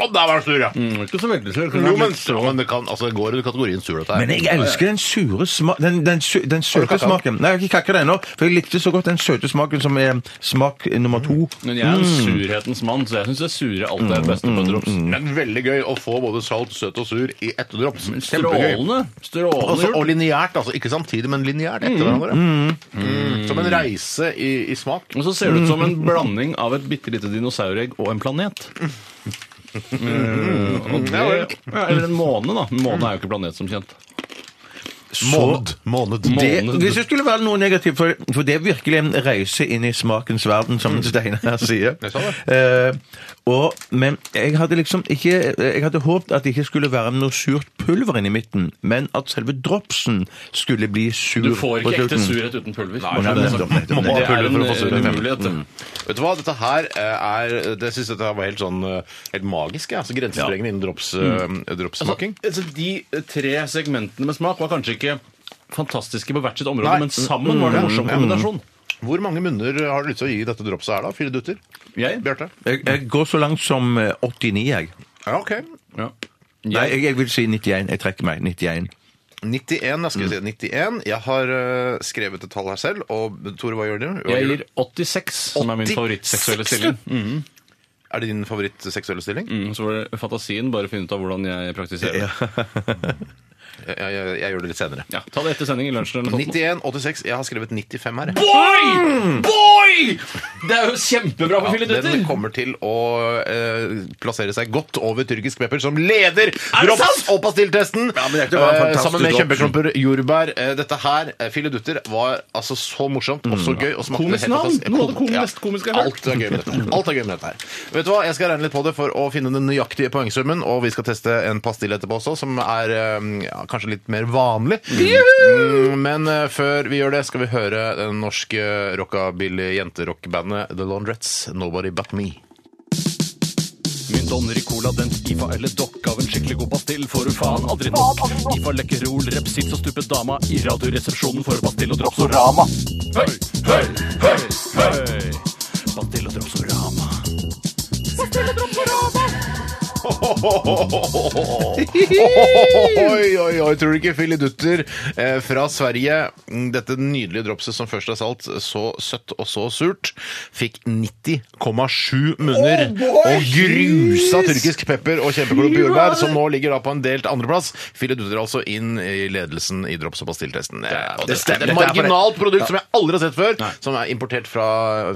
[SPEAKER 2] Å, der var den sur, ja!
[SPEAKER 3] Mm, ikke så veldig sur.
[SPEAKER 2] Jo, men, ja, men det kan, altså, det går i kategorien sur, dette her.
[SPEAKER 4] Men jeg elsker den sure sma den, den, sø den søte
[SPEAKER 2] kakka?
[SPEAKER 4] smaken. Nei, jeg har ikke kakka det ennå, for jeg likte så godt den søte smaken som er smak nummer to.
[SPEAKER 3] Men jeg er en surhetens mann, så jeg syns det sure alltid er det beste på drops.
[SPEAKER 2] Men veldig gøy å få både salt, søt og sur i ett drops. Kjempegøy.
[SPEAKER 3] Strålende. Strålende
[SPEAKER 2] Også, og
[SPEAKER 3] gjort.
[SPEAKER 2] lineært, altså. Ikke samtidig, men lineært etter hverandre. Mm. Som en reise i, i smak.
[SPEAKER 3] Og så ser det ut som en blanding av et bitte lite dinosauregg og en planet. Mm, og det, ja, eller en måne, da. Måne er jo ikke planet, som kjent.
[SPEAKER 2] Måned. Måned.
[SPEAKER 4] Det,
[SPEAKER 3] Måned.
[SPEAKER 4] hvis det skulle være noe negativt, for, for det er virkelig en reise inn i smakens verden, som
[SPEAKER 3] Mm.
[SPEAKER 4] Steinar her sier.
[SPEAKER 2] Jeg sa det.
[SPEAKER 4] Eh, og, men jeg hadde liksom ikke Jeg hadde håpet at det ikke skulle være noe surt pulver inni midten, men at selve dropsen skulle bli sur.
[SPEAKER 3] Du får
[SPEAKER 4] på
[SPEAKER 3] ikke ekte
[SPEAKER 4] slutten.
[SPEAKER 3] surhet uten pulver.
[SPEAKER 4] Nei,
[SPEAKER 3] Bare for det
[SPEAKER 4] nettopp,
[SPEAKER 3] sagt.
[SPEAKER 4] nettopp,
[SPEAKER 3] Det
[SPEAKER 2] nettopp.
[SPEAKER 3] er en eh,
[SPEAKER 2] Pulver
[SPEAKER 3] mm.
[SPEAKER 2] for å få surhet,
[SPEAKER 3] en
[SPEAKER 2] ja.
[SPEAKER 3] umulighet. det.
[SPEAKER 2] Vet du hva, dette her eh, er Det syns dette her var helt sånn eh, Helt magisk, ja. Altså grensesprengende innen drops, eh, dropssmaking.
[SPEAKER 3] Altså, de tre segmentene med smak var kanskje ikke fantastiske på hvert sitt område,
[SPEAKER 2] Nei.
[SPEAKER 3] men sammen var det en morsom kombinasjon.
[SPEAKER 2] Hvor mange munner har du lyst til å gi dette dropset her, da? Fire dutter?
[SPEAKER 3] Jeg?
[SPEAKER 2] Bjarte?
[SPEAKER 4] Jeg, jeg går så langt som eh, 89, jeg.
[SPEAKER 2] Ja, OK.
[SPEAKER 3] Ja.
[SPEAKER 4] Nei, jeg, jeg vil si 91. Jeg trekker meg. 91.
[SPEAKER 2] 91, jeg skal vi si. 91. Jeg har eh, skrevet et tall her selv. Og Tore, hva gjør du? Hva
[SPEAKER 3] Jeg
[SPEAKER 2] gjør
[SPEAKER 3] gir
[SPEAKER 2] du?
[SPEAKER 3] 86, som er min
[SPEAKER 2] 86,
[SPEAKER 3] favorittseksuelle stilling.
[SPEAKER 2] Er det din favorittseksuelle stilling?
[SPEAKER 3] Mm, så var det fantasien, bare finne ut av hvordan jeg praktiserer det.
[SPEAKER 2] Jeg, jeg, jeg gjør det litt senere.
[SPEAKER 3] Ja, ta det etter sending i lunsjen eller noe sånt.
[SPEAKER 2] 91, 86. Jeg har skrevet 95 her. jeg.
[SPEAKER 6] Mm.
[SPEAKER 3] Boy! Boy! Det er jo kjempebra på
[SPEAKER 2] Den
[SPEAKER 3] filledutter!
[SPEAKER 2] kommer til å eh, plassere seg godt over tyrkisk pepper, som leder drops-
[SPEAKER 3] sant?
[SPEAKER 2] og pastilltesten!
[SPEAKER 4] Ja, men dette var en
[SPEAKER 2] Eh,
[SPEAKER 4] fantastisk
[SPEAKER 2] sammen med
[SPEAKER 4] drops.
[SPEAKER 2] kjempeklumper jordbær. Eh, dette her, eh, filledutter, var altså så morsomt og
[SPEAKER 4] Mm.
[SPEAKER 2] så gøy. Og smakte
[SPEAKER 3] Komisk
[SPEAKER 2] helt
[SPEAKER 3] navn.
[SPEAKER 2] fantastisk.
[SPEAKER 3] Noe av det
[SPEAKER 2] Kom-
[SPEAKER 3] kom- mest komiske jeg har hørt.
[SPEAKER 2] Alt er gøy med dette. her. Alt er gøy med dette her. Vet du hva, Jeg skal regne litt på det for å finne den nøyaktige poengsummen, og vi skal teste en pastill etterpå også, som er eh, ja, kanskje litt mer vanlig. Mm, Men eh, før vi gjør det, skal vi høre den norske rockabilly-jenterockbandet The Laundrettes, 'Nobody But Me'.
[SPEAKER 6] Mynt, i cola, den IFA eller dokk av en skikkelig god pastill, får du faen aldri nok. IFA lekkerol, repsits og stupet dama, i radioresepsjonen får du pastill og dropsorama. Høy, høy, høy, høy! Pastill og dropsorama.
[SPEAKER 2] Oi, oi, oi, tror du ikke filidutter eh, fra Sverige, mm, dette nydelige dropset som først er salt, så søtt og så surt, fikk 90,7 munner og grusa tyrkisk pepper og kjempeklump jordbær, som nå ligger da på en delt andreplass. Filidutter altså inn i ledelsen i drops- Eh, og pastilltesten. Det, er- det, er et marginalt produkt som jeg aldri har sett før, som er importert fra,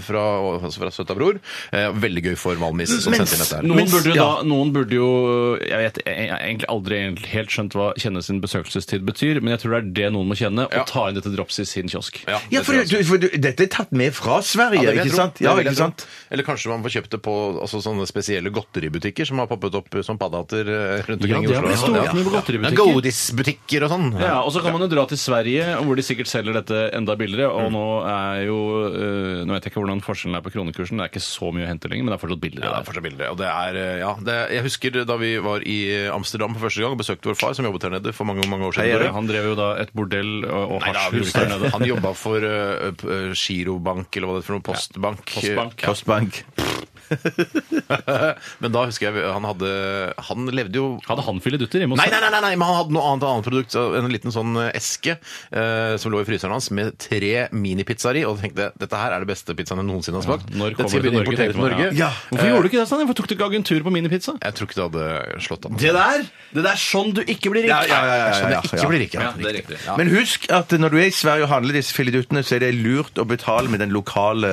[SPEAKER 2] fra, altså fra Søta Bror. Eh, veldig gøy for Valmis som sendte inn dette her.
[SPEAKER 3] Noen burde, jo da, noen burde burde jo Jeg vet jeg har egentlig aldri egentlig helt skjønt hva kjenne sin besøkelsestid betyr, men jeg tror det er det noen må kjenne, å ta inn dette drops i sin kiosk.
[SPEAKER 4] Ja, for, du, for du, dette er tatt med fra Sverige,
[SPEAKER 2] vil jeg
[SPEAKER 4] ikke
[SPEAKER 2] tro.
[SPEAKER 4] sant?
[SPEAKER 2] Det
[SPEAKER 4] Ja,
[SPEAKER 2] vil jeg
[SPEAKER 4] ikke
[SPEAKER 2] tro.
[SPEAKER 4] sant?
[SPEAKER 2] Eller kanskje man får kjøpt det på altså, sånne spesielle godteributikker som har poppet opp som paddehatter eh, rundt
[SPEAKER 3] Ja,
[SPEAKER 2] omkring
[SPEAKER 3] det
[SPEAKER 2] i
[SPEAKER 3] har blitt
[SPEAKER 2] Oslo.
[SPEAKER 3] stort med godteributikker.
[SPEAKER 2] Godisbutikker og sånn.
[SPEAKER 3] Ja, og så kan man jo dra til Sverige, hvor de sikkert selger dette enda billigere. Og nå er jo eh, Nå vet jeg ikke hvordan forskjellen er på kronekursen, det er ikke så mye å hente lenger, men det er fortsatt billigere.
[SPEAKER 2] Ja, det er fortsatt billigere. Og det er, eh, ja, det, jeg husker da vi var i Amsterdam for første gang og besøkte vår far, som jobbet her nede for mange mange år siden.
[SPEAKER 3] der.
[SPEAKER 2] Tore.
[SPEAKER 3] Han drev jo da et bordell og, og
[SPEAKER 2] Nei, da, vi
[SPEAKER 3] hasjhus
[SPEAKER 2] gjorde
[SPEAKER 3] der
[SPEAKER 2] ikke
[SPEAKER 3] nede.
[SPEAKER 2] det. han jobba for eh, p- eh, girobank, eller hva det er for noe, postbank.
[SPEAKER 3] Postbank. Ja.
[SPEAKER 4] Postbank.
[SPEAKER 2] Men da husker jeg vi- han hadde Han levde jo
[SPEAKER 3] Hadde han filledutter hjemme hos
[SPEAKER 2] Nei, nei, nei, nei, nei, men han hadde noe annet, annet produkt. så En liten sånn eh, eske eh, som lå i fryseren hans med tre minipizzaer i. Og jeg tenkte dette her er det beste pizzaen jeg noensinne har smakt.
[SPEAKER 3] Når
[SPEAKER 2] Dette
[SPEAKER 3] kommer
[SPEAKER 2] skal
[SPEAKER 3] det til
[SPEAKER 2] vi
[SPEAKER 3] Norge?
[SPEAKER 2] importere
[SPEAKER 3] tenkte man,
[SPEAKER 2] til Norge.
[SPEAKER 3] Ja. Hvorfor gjorde du ikke det, Stanley? Hvorfor tok du ikke agentur på Minipizza?
[SPEAKER 2] Jeg tror ikke det hadde slått an.
[SPEAKER 3] Det der det er sånn du ikke blir rik!
[SPEAKER 4] Ja, ja, ja, ja,
[SPEAKER 2] Sånn
[SPEAKER 4] ja,
[SPEAKER 2] jeg
[SPEAKER 4] ja.
[SPEAKER 2] ikke blir rik. ja.
[SPEAKER 3] Ja, det er riktig.
[SPEAKER 4] Men husk at når du er i Sverige og handler disse filiduttene, så er det lurt å betale med den lokale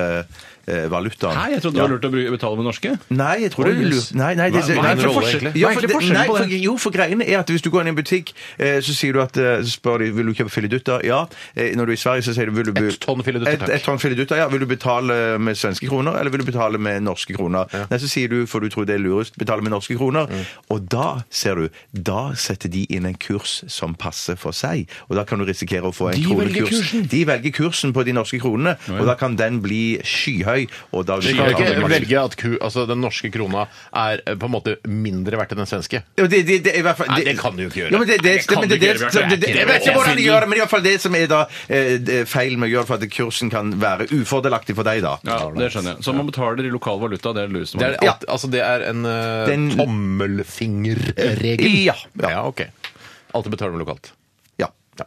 [SPEAKER 4] eh, valutaen.
[SPEAKER 3] Nei, jeg trodde det var lurt å bru- betale med norske.
[SPEAKER 4] Nei, jeg tror det er
[SPEAKER 3] Oi,
[SPEAKER 4] lurt.
[SPEAKER 3] yes.
[SPEAKER 4] Nei, nei, det,
[SPEAKER 2] Hva- hva er
[SPEAKER 4] nei, for
[SPEAKER 2] rolle,
[SPEAKER 4] forskjell-
[SPEAKER 2] egentlig?
[SPEAKER 4] Ja,
[SPEAKER 3] Hva er
[SPEAKER 4] for
[SPEAKER 3] egentlig
[SPEAKER 4] det- nei,
[SPEAKER 3] forskjellen på
[SPEAKER 4] for,
[SPEAKER 3] det?
[SPEAKER 4] jo, for greiene er at hvis du går inn i en butikk, eh, så sier du at, eh, så spør de vil du kjøpe filidutter. Ja. Eh, Når du er i Sverige, så sier du vil du be-
[SPEAKER 2] Et tonn filidutter,
[SPEAKER 4] Et,
[SPEAKER 2] takk.
[SPEAKER 4] et tonn filidutter, ja. Vil du betale med svenske kroner, eller vil du betale med norske kroner? Nei, så sier du, for du tror det er lurest, betale med norske kroner.
[SPEAKER 3] Mm.
[SPEAKER 4] Og da, ser du, da setter de inn en kurs som passer for seg. Og da kan du risikere å få en
[SPEAKER 3] De velger
[SPEAKER 4] kronekurs.
[SPEAKER 3] kursen.
[SPEAKER 4] De velger kursen på de norske kronene, og da kan den bli skyhøy. Og da
[SPEAKER 2] Du kan ikke velge at ku, altså den norske krona er eh, på en måte mindre verdt enn den svenske.
[SPEAKER 4] Jo, det, det, det, er i hvert fall,
[SPEAKER 2] Nei, det kan du jo ikke gjøre.
[SPEAKER 4] Jo, men det, det,
[SPEAKER 2] Det kan
[SPEAKER 4] men
[SPEAKER 2] du
[SPEAKER 4] det, det,
[SPEAKER 2] ikke gjøre, Bjarte.
[SPEAKER 4] det, det,
[SPEAKER 2] Det er
[SPEAKER 4] jeg vet ikke
[SPEAKER 2] ikke
[SPEAKER 4] hvordan de
[SPEAKER 2] lov.
[SPEAKER 4] gjør det, men i hvert fall det som er da eh, det- feil med å gjøre for at kursen kan være ufordelaktig for deg, da.
[SPEAKER 3] Ja, det skjønner jeg. Så man betaler i lokal valuta, det er det lureste
[SPEAKER 2] Det
[SPEAKER 3] man
[SPEAKER 2] er,
[SPEAKER 3] gjør.
[SPEAKER 2] alt, altså, det er en eh,
[SPEAKER 4] Den-
[SPEAKER 2] tommelfingerregel.
[SPEAKER 4] Ja, ja.
[SPEAKER 2] ja, ok. Alltid betaler med lokalt.
[SPEAKER 4] Ja.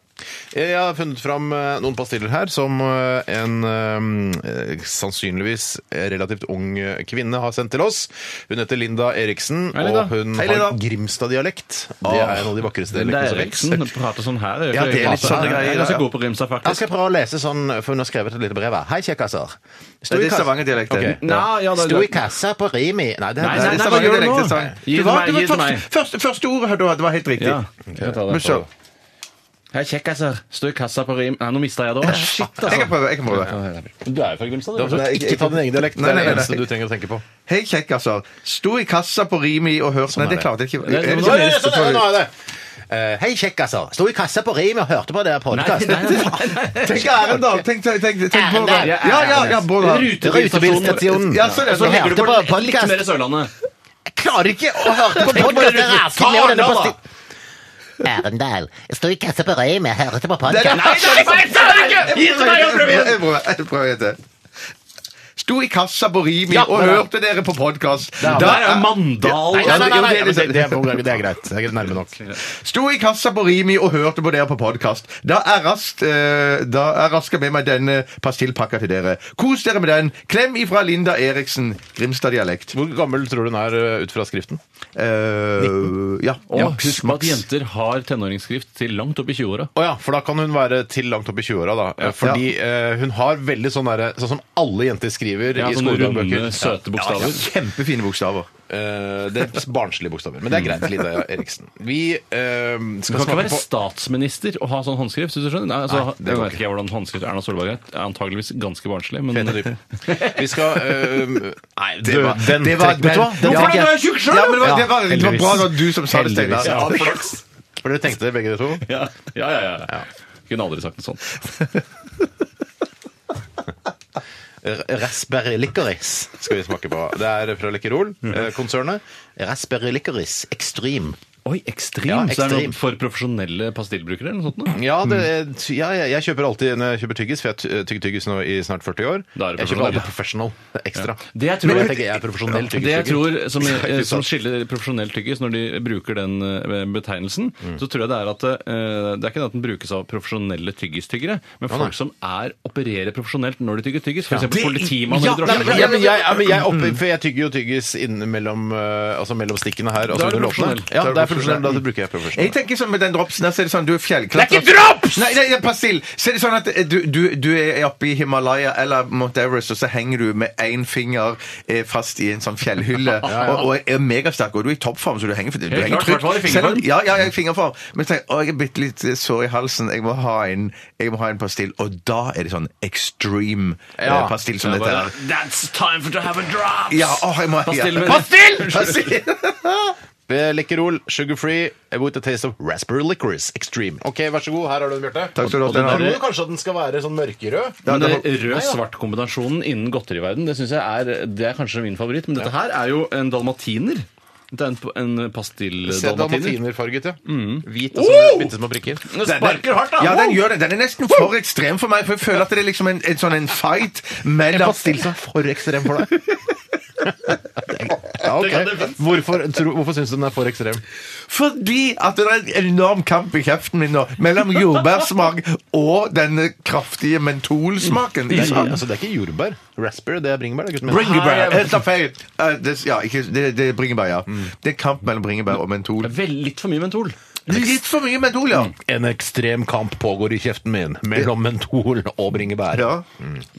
[SPEAKER 2] Jeg har funnet fram eh, noen pastiller her som eh, en eh, sannsynligvis relativt ung eh, kvinne har sendt til oss. Hun heter Linda Eriksen,
[SPEAKER 3] Hei, Linda.
[SPEAKER 2] og hun
[SPEAKER 4] Hei,
[SPEAKER 2] har
[SPEAKER 4] Linda.
[SPEAKER 2] Grimstad-dialekt. Det er en av de vakreste
[SPEAKER 3] Det
[SPEAKER 2] dialektene
[SPEAKER 3] er
[SPEAKER 2] som fins.
[SPEAKER 3] Eriksen prater sånn her.
[SPEAKER 4] Ja, det er litt sånne
[SPEAKER 3] Jeg
[SPEAKER 4] greier,
[SPEAKER 3] er ganske
[SPEAKER 4] ja.
[SPEAKER 3] god på rimsa,
[SPEAKER 2] Jeg
[SPEAKER 3] faktisk.
[SPEAKER 2] skal prøve å lese sånn, for hun har skrevet et lite brev her. Hei, kjekkaser. Sto
[SPEAKER 4] Det er
[SPEAKER 2] i kassa-
[SPEAKER 4] Stavanger-dialekten.
[SPEAKER 2] Ok.
[SPEAKER 4] Nei,
[SPEAKER 3] ja, det er
[SPEAKER 2] Sto i
[SPEAKER 3] greit.
[SPEAKER 2] kassa på Rimi Nei, det
[SPEAKER 3] Nei,
[SPEAKER 2] det
[SPEAKER 3] nei, nei,
[SPEAKER 2] Stavanger-
[SPEAKER 3] hva gjør du nå?
[SPEAKER 4] Direkte sang.
[SPEAKER 3] Gi
[SPEAKER 4] Det
[SPEAKER 3] det
[SPEAKER 4] var,
[SPEAKER 3] meg,
[SPEAKER 4] det
[SPEAKER 3] gi det
[SPEAKER 4] var
[SPEAKER 3] meg.
[SPEAKER 4] første, første, første ordet du hadde, var helt riktig.
[SPEAKER 3] Ja. Skal jeg ta
[SPEAKER 4] Men
[SPEAKER 3] den
[SPEAKER 4] så,
[SPEAKER 3] på? Hei, kjekkaser. altså. Stå i kassa på rim... Nei, nå mista jeg det òg. Shit, altså.
[SPEAKER 4] jeg kan prøve. jeg kan prøve.
[SPEAKER 3] Du er jo fra Grimstad,
[SPEAKER 2] Det er
[SPEAKER 3] du.
[SPEAKER 2] altså Ikke ta din egen dialekt. Det
[SPEAKER 4] Nei,
[SPEAKER 2] er
[SPEAKER 4] nei,
[SPEAKER 2] det
[SPEAKER 4] nei,
[SPEAKER 2] eneste
[SPEAKER 4] nei.
[SPEAKER 2] du trenger å tenke på.
[SPEAKER 4] Hei, kjekk, altså. Sto i kassa på Rimi og hørte Nei, det klarte jeg ikke.
[SPEAKER 3] Nei,
[SPEAKER 4] Er det
[SPEAKER 3] nå- nå-
[SPEAKER 4] ikke neste
[SPEAKER 2] Sånn er det,
[SPEAKER 4] for-
[SPEAKER 2] nå er det. Eh, hei, kjekkaser. Sto i kassa på Rimi og hørte på dere podkast.
[SPEAKER 3] Nei, nei, nei, nei,
[SPEAKER 4] Tenk Arendal! Tenk, tenk, tenk, tenk på det.
[SPEAKER 2] Arendal.
[SPEAKER 4] Ja, ja, ja, Bård har-
[SPEAKER 2] Rutebilstasjonen.
[SPEAKER 4] Ja, så er det-
[SPEAKER 2] Og hørte på
[SPEAKER 3] Litt mer
[SPEAKER 2] podcast.
[SPEAKER 3] i Sørlandet.
[SPEAKER 2] Jeg klarer ikke å høre på podkast! Jeg raser ned denne posti-
[SPEAKER 7] Arendal. Jeg sto i kassa på Røyme, hørte på
[SPEAKER 4] Nei,
[SPEAKER 7] podkast.
[SPEAKER 4] nei, nei, nei,
[SPEAKER 3] ikke! Gi det meg,
[SPEAKER 4] Jeg prøver, jeg prøver, jeg prøver etter. Sto i kassa på Rimi og hørte dere på podkast.
[SPEAKER 3] Der er Mandal.
[SPEAKER 2] Nei, nei, nei, nei,
[SPEAKER 4] Ja, men det-
[SPEAKER 2] det, det, er, det er greit. Det er nærme nok.
[SPEAKER 4] Sto i kassa på Rimi og hørte på dere på podkast. Da er raskt eh, Da er raska med meg denne pastillpakka til dere. Kos dere med den. Klem ifra Linda Eriksen. Grimstad-dialekt.
[SPEAKER 2] Hvor gammel tror du hun er uh, ut fra skriften?
[SPEAKER 4] Eh, ja.
[SPEAKER 3] Og
[SPEAKER 4] maks,
[SPEAKER 3] husk på at
[SPEAKER 4] maks.
[SPEAKER 3] jenter har tenåringsskrift til langt opp i 20-åra.
[SPEAKER 2] Å ja, for da kan hun være til langt opp i 20-åra, da. Fordi eh, hun har veldig sånn derre Sånn som alle jenter skriver
[SPEAKER 3] Ja,
[SPEAKER 2] i
[SPEAKER 3] sånne
[SPEAKER 2] skoledagbøker.
[SPEAKER 3] runde, søte bokstaver.
[SPEAKER 4] Kjempefine bokstaver.
[SPEAKER 2] Eh, det er barnslige bokstaver. Men det er greit, Linda Eriksen. Vi eh,
[SPEAKER 3] Du
[SPEAKER 2] skal
[SPEAKER 3] kan ikke
[SPEAKER 2] smake
[SPEAKER 3] være
[SPEAKER 2] på
[SPEAKER 3] statsminister og ha sånn håndskrift. hvis du skjønner. Nei, altså,
[SPEAKER 2] Nei, det
[SPEAKER 3] jeg
[SPEAKER 2] går
[SPEAKER 3] vet ikke jeg hvordan håndskrift Erna Solberg er. er Antageligvis ganske barnslig. Men
[SPEAKER 2] Fett og dyp. Vi skal eh, Nei,
[SPEAKER 4] Det var
[SPEAKER 2] dø- den
[SPEAKER 4] det var
[SPEAKER 2] tek- Vet du hva? Den
[SPEAKER 4] den-
[SPEAKER 2] tek jeg.
[SPEAKER 4] Ja, men det var, det var, det var
[SPEAKER 2] heldigvis.
[SPEAKER 4] bra at du som sa det, Steinar.
[SPEAKER 2] Heldigvis, ja. For dere tenkte begge dere to?
[SPEAKER 3] ja, ja, ja, ja. Kunne aldri sagt noe sånt.
[SPEAKER 2] R- Raspberry licorice skal vi smake på. Det er fra Lekkerol-konsernet. Raspberry licorice extreme.
[SPEAKER 3] Oi, ekstrem!
[SPEAKER 2] Ja,
[SPEAKER 3] Så det er
[SPEAKER 2] ekstrem.
[SPEAKER 3] noe for profesjonelle pastillbrukere? eller noe sånt? nå?
[SPEAKER 2] Ja, det, ja, jeg, jeg kjøper alltid når jeg kjøper tyggis, for jeg ty- tygger tyggis nå i snart 40 år.
[SPEAKER 3] Da er det
[SPEAKER 2] jeg kjøper alltid professional ekstra.
[SPEAKER 3] Det jeg tror-
[SPEAKER 2] Men jeg, er profesjonell
[SPEAKER 3] Det jeg
[SPEAKER 2] tyggistygger.
[SPEAKER 3] tror som, eh, som skiller profesjonell tyggis når de bruker den eh, betegnelsen, så tror jeg det er at eh, det er ikke det at den brukes av profesjonelle tyggistyggere, men folk som er, opererer profesjonelt når de tygger tyggis. For eksempel politimann
[SPEAKER 2] Ja,
[SPEAKER 3] eller
[SPEAKER 2] nei, men,
[SPEAKER 3] drosjemann.
[SPEAKER 2] ja, men jeg, ja, men jeg, opp, for jeg tygger jo tyggis innimellom eh, altså mellom stikkene her. Altså
[SPEAKER 3] Da er det
[SPEAKER 2] under låtene.
[SPEAKER 3] profesjonell.
[SPEAKER 2] Ja,
[SPEAKER 4] Da er
[SPEAKER 2] det
[SPEAKER 4] det
[SPEAKER 2] er profesjonell, da bruker jeg
[SPEAKER 4] Jeg
[SPEAKER 2] profesjonell.
[SPEAKER 4] tenker sånn med den dropsen her, så er det sånn du er
[SPEAKER 2] Det
[SPEAKER 4] fjellklatrer
[SPEAKER 2] er ikke drops!
[SPEAKER 4] Nei, nei, det er persille! Så er det sånn at eh, du, du, du er oppe i Himalaya eller Mount Everest, og så henger du med én finger eh, fast i en sånn fjellhylle Og, og er megasterk, og du er i toppform, så du henger, du henger
[SPEAKER 3] klart, hvertfall i fingerform.
[SPEAKER 4] Selv om- Ja, ja, jeg er i fingerform. Men tenk, å, jeg er bitte litt eh, sår i halsen, jeg må ha en, jeg må ha en pastill. Og da er det sånn extreme eh,
[SPEAKER 2] Ja.
[SPEAKER 4] pastill som dette her.
[SPEAKER 3] That's time for to have a drop!
[SPEAKER 4] Ja, ah, å, jeg må
[SPEAKER 3] Pastill med-
[SPEAKER 4] Pastill! Pastill!
[SPEAKER 2] Lekkerol, sugarfree, eh, with a taste of raspberry licorice extreme. Ok, vær så god. Her har du den, Bjarte.
[SPEAKER 4] Takk skal du ha,
[SPEAKER 2] Og den
[SPEAKER 4] Steinar.
[SPEAKER 2] tror du kanskje at den skal være sånn mørkerød?
[SPEAKER 4] Ja,
[SPEAKER 3] Men
[SPEAKER 4] det-
[SPEAKER 3] den rød-svart-kombinasjonen innen godteriverden, det synes jeg er, det er kanskje min favoritt. Men dette her er jo en dalmatiner. Det er en, en eh,
[SPEAKER 2] Se,
[SPEAKER 3] pastill-dalmatiner.
[SPEAKER 2] dalmatinerfarget, ja. Hvit og så bitte små prikker.
[SPEAKER 3] Den sparker hardt, da!
[SPEAKER 4] Ja, den gjør det. Den er nesten for ekstrem for meg, for jeg føler at det er liksom en, en sånn en fight mellom
[SPEAKER 2] som er for ekstrem for deg. Ja, ok. Hvorfor, tro- hvorfor syns du den er for ekstrem?
[SPEAKER 4] Fordi at det er en enorm kamp i kjeften min nå mellom jordbærsmak og denne kraftige mentolsmaken.
[SPEAKER 2] Det er,
[SPEAKER 4] Ja.
[SPEAKER 2] altså, det er ikke jordbær. Raspberry, det er bringebær. Det er gutten min.
[SPEAKER 4] Bringebær! Helt av feil. Eh, det, ja, ikke, det, det er bringebær, ja. Det er kamp mellom bringebær og mentol.
[SPEAKER 3] Vel, litt for mye mentol.
[SPEAKER 4] Litt for mye mentol, ja.
[SPEAKER 2] En ekstrem kamp pågår i kjeften min mellom mentol og bringebær.
[SPEAKER 4] ja.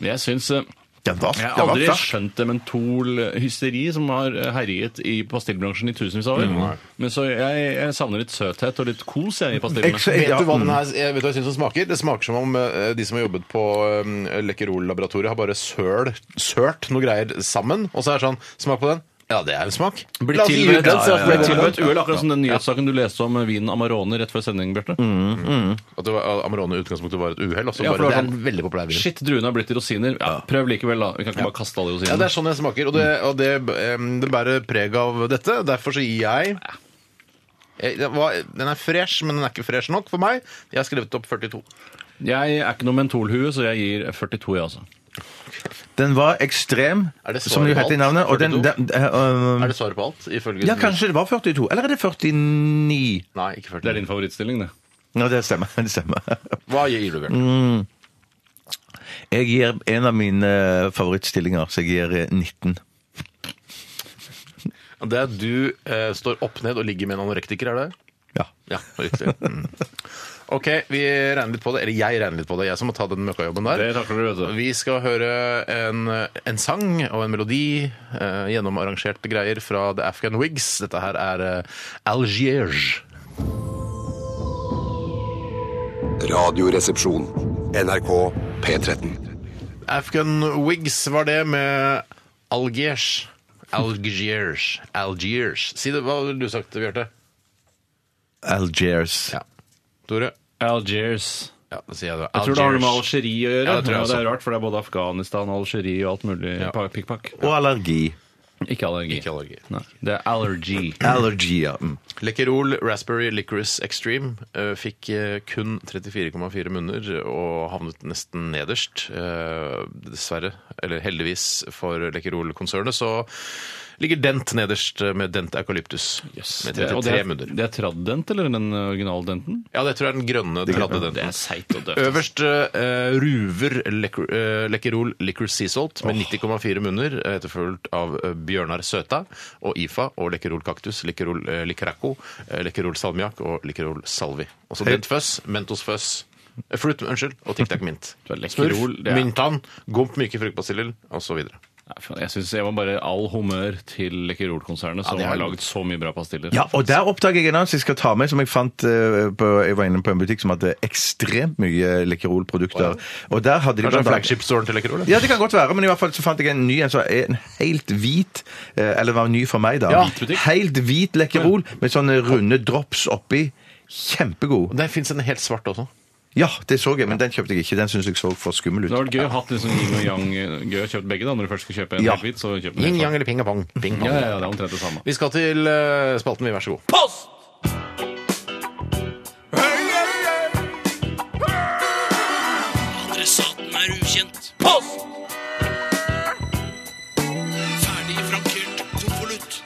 [SPEAKER 3] Jeg syns eh,
[SPEAKER 4] Den var,
[SPEAKER 3] Jeg har
[SPEAKER 4] den var
[SPEAKER 3] aldri
[SPEAKER 4] fersk.
[SPEAKER 3] skjønt det mentolhysteri som har eh, herjet i pastillbransjen i tusenvis av år. Men så jeg, jeg savner litt søthet og litt kos jeg, i
[SPEAKER 4] Jeg-
[SPEAKER 3] pastillene.
[SPEAKER 4] så-
[SPEAKER 2] Vet
[SPEAKER 4] ja,
[SPEAKER 2] du hva den her, jeg vet du hva jeg syns den smaker? Det smaker som om eh, de som har jobbet på eh, Lekkerol-laboratoriet, har bare søl, sølt noe greier sammen, og så er det sånn Smak på den. Ja, det er en smak.
[SPEAKER 3] Blir
[SPEAKER 2] La oss gi ut
[SPEAKER 3] tilberedt
[SPEAKER 2] den, så
[SPEAKER 3] ja,
[SPEAKER 2] får vi-
[SPEAKER 3] et uhell, akkurat som den nyhetssaken du leste om eh, vinen Amarone rett før sending, Bjarte.
[SPEAKER 2] Mm. At det var, Amarone i utgangspunktet var et uhell, og så
[SPEAKER 3] Ja, for
[SPEAKER 2] bare Det
[SPEAKER 3] det var
[SPEAKER 2] er en veldig populær vin.
[SPEAKER 3] Shit, druene har blitt til rosiner. Ja, prøv likevel, da. Vi kan ikke bare kaste alle
[SPEAKER 2] Ja, det
[SPEAKER 3] rosinene.
[SPEAKER 2] er sånn jeg smaker, og det,
[SPEAKER 3] Mm.
[SPEAKER 2] og det, em, det bærer preg av dette. Derfor så gir jeg jeg- det var- Den er fresh, men den er ikke fresh nok for meg. Jeg har skrevet opp 42.
[SPEAKER 3] Jeg er ikke noe mentolhue, så jeg gir 42, jeg, altså.
[SPEAKER 4] Den var ekstrem,
[SPEAKER 2] Er det
[SPEAKER 4] som det jo
[SPEAKER 2] svaret på
[SPEAKER 4] heter i
[SPEAKER 2] alt?
[SPEAKER 4] navnet. Og den,
[SPEAKER 2] 42?
[SPEAKER 4] den, eh, um,
[SPEAKER 2] Er det svaret på alt? Ifølge
[SPEAKER 4] ja, kanskje det var 42. Eller er det 49?
[SPEAKER 2] Nei, ikke 40.
[SPEAKER 3] Det er din favorittstilling, det.
[SPEAKER 4] Ja, det stemmer. det stemmer.
[SPEAKER 2] Hva gir du,
[SPEAKER 4] Mm.
[SPEAKER 2] Bjørn?
[SPEAKER 4] Jeg gir en av mine eh, favorittstillinger, så jeg gir eh, 19.
[SPEAKER 2] Det er at du eh, står opp ned og ligger med en anorektiker, er det?
[SPEAKER 4] Ja.
[SPEAKER 2] Ja, riktig. Mm. OK, vi regner litt på det. Eller jeg regner litt på det. Jeg som må ta den møkkajobben der.
[SPEAKER 3] Det takler du, vet du.
[SPEAKER 2] Vi skal høre en, en sang og en melodi, eh, gjennomarrangerte greier fra The Afghan Wigs. Dette her er eh, Algiers.
[SPEAKER 1] Radioresepsjon. NRK P13.
[SPEAKER 2] Afghan Wigs var det med Algiers. Algiers. Algiers. Si det, hva ville du sagt, Bjarte?
[SPEAKER 4] Algiers.
[SPEAKER 2] Ja. Tore?
[SPEAKER 3] Algiers.
[SPEAKER 2] Ja, da sier jeg det.
[SPEAKER 3] Jeg tror det har noe med Algerie å gjøre.
[SPEAKER 2] Ja, det tror jeg
[SPEAKER 3] det er
[SPEAKER 2] også.
[SPEAKER 3] rart, for det er både Afghanistan, Algerie og alt mulig pa- pikkpakk.
[SPEAKER 4] Og allergi.
[SPEAKER 3] Ikke allergi.
[SPEAKER 2] Ikke allergi.
[SPEAKER 3] Nei, det er allergy.
[SPEAKER 4] Allergier. Mm.
[SPEAKER 2] Lekkerol Raspberry Licorice Extreme eh, fikk eh, kun 34,4 munner og havnet nesten nederst. Eh, dessverre, eller heldigvis for Lekkerol-konsernet, så ligger Dent nederst eh, med Dent Eucalyptus. med
[SPEAKER 3] Det- og det
[SPEAKER 2] 33
[SPEAKER 3] er,
[SPEAKER 2] munner.
[SPEAKER 3] det er traddent, eller den eh, originaldenten?
[SPEAKER 2] Ja, det tror jeg er den grønne tradde
[SPEAKER 3] Det
[SPEAKER 2] denten.
[SPEAKER 3] er seigt og døvt.
[SPEAKER 2] Øverst eh, ruver Lekker- eh, Lekkerol Liquor Sea Salt med 90,4 munner, eh, etterfulgt av eh, Bjørnar Søta og IFA og Lekkerol Kaktus, Lekkerol eh, Likeraco, eh, Lekkerol Salmiak og Lekkerol Salvi. Og så Dent Fuzz, Mentos Fuzz. eh, Fruit, unnskyld, og Tic Tac Mint.
[SPEAKER 3] Du er
[SPEAKER 2] Smurf,
[SPEAKER 3] Lekkerol, det er-
[SPEAKER 2] myntan, gomp myke fruktbasiller, osv.
[SPEAKER 3] Nei, faen, Jeg synes jeg var bare all humør til Lekkerol-konsernet, som
[SPEAKER 2] det er-
[SPEAKER 3] har laget så mye bra pastiller.
[SPEAKER 4] Ja, og der oppdager jeg en annen som jeg skal ta med, som jeg fant eh, på, Jeg var inne på en butikk som hadde ekstremt mye Lekkerol-produkter. Og der hadde de
[SPEAKER 2] Kanskje
[SPEAKER 4] blant annet-
[SPEAKER 2] flagship-storen til Lekkerol?
[SPEAKER 4] Ja, det kan godt være, men i hvert fall så fant jeg en ny en som er en helt hvit eh, Eller var ny for meg, da.
[SPEAKER 3] Ja. Hvit butikk.
[SPEAKER 4] Helt hvit Lekkerol med sånne runde drops oppi. Kjempegod.
[SPEAKER 2] Det fins en helt svart også.
[SPEAKER 4] Ja, det så jeg, men den kjøpte jeg ikke. Den syns jeg så for skummel
[SPEAKER 3] Det
[SPEAKER 4] ut.
[SPEAKER 3] hadde vært gøy å ha hatt liksom yin og yang. Gøy å kjøpe begge da, når du først skal kjøpe en
[SPEAKER 4] Ja.
[SPEAKER 3] helt hvit. så kjøp den
[SPEAKER 2] Yin,
[SPEAKER 3] helt
[SPEAKER 2] yang eller ping og pong. Ping pong.
[SPEAKER 3] svart. Ja, ja, ja, det er omtrent det samme.
[SPEAKER 2] Vi skal til eh, spalten, vi. Vær så god.
[SPEAKER 8] Adressaten er ukjent. Post! Ferdig frankert konvolutt.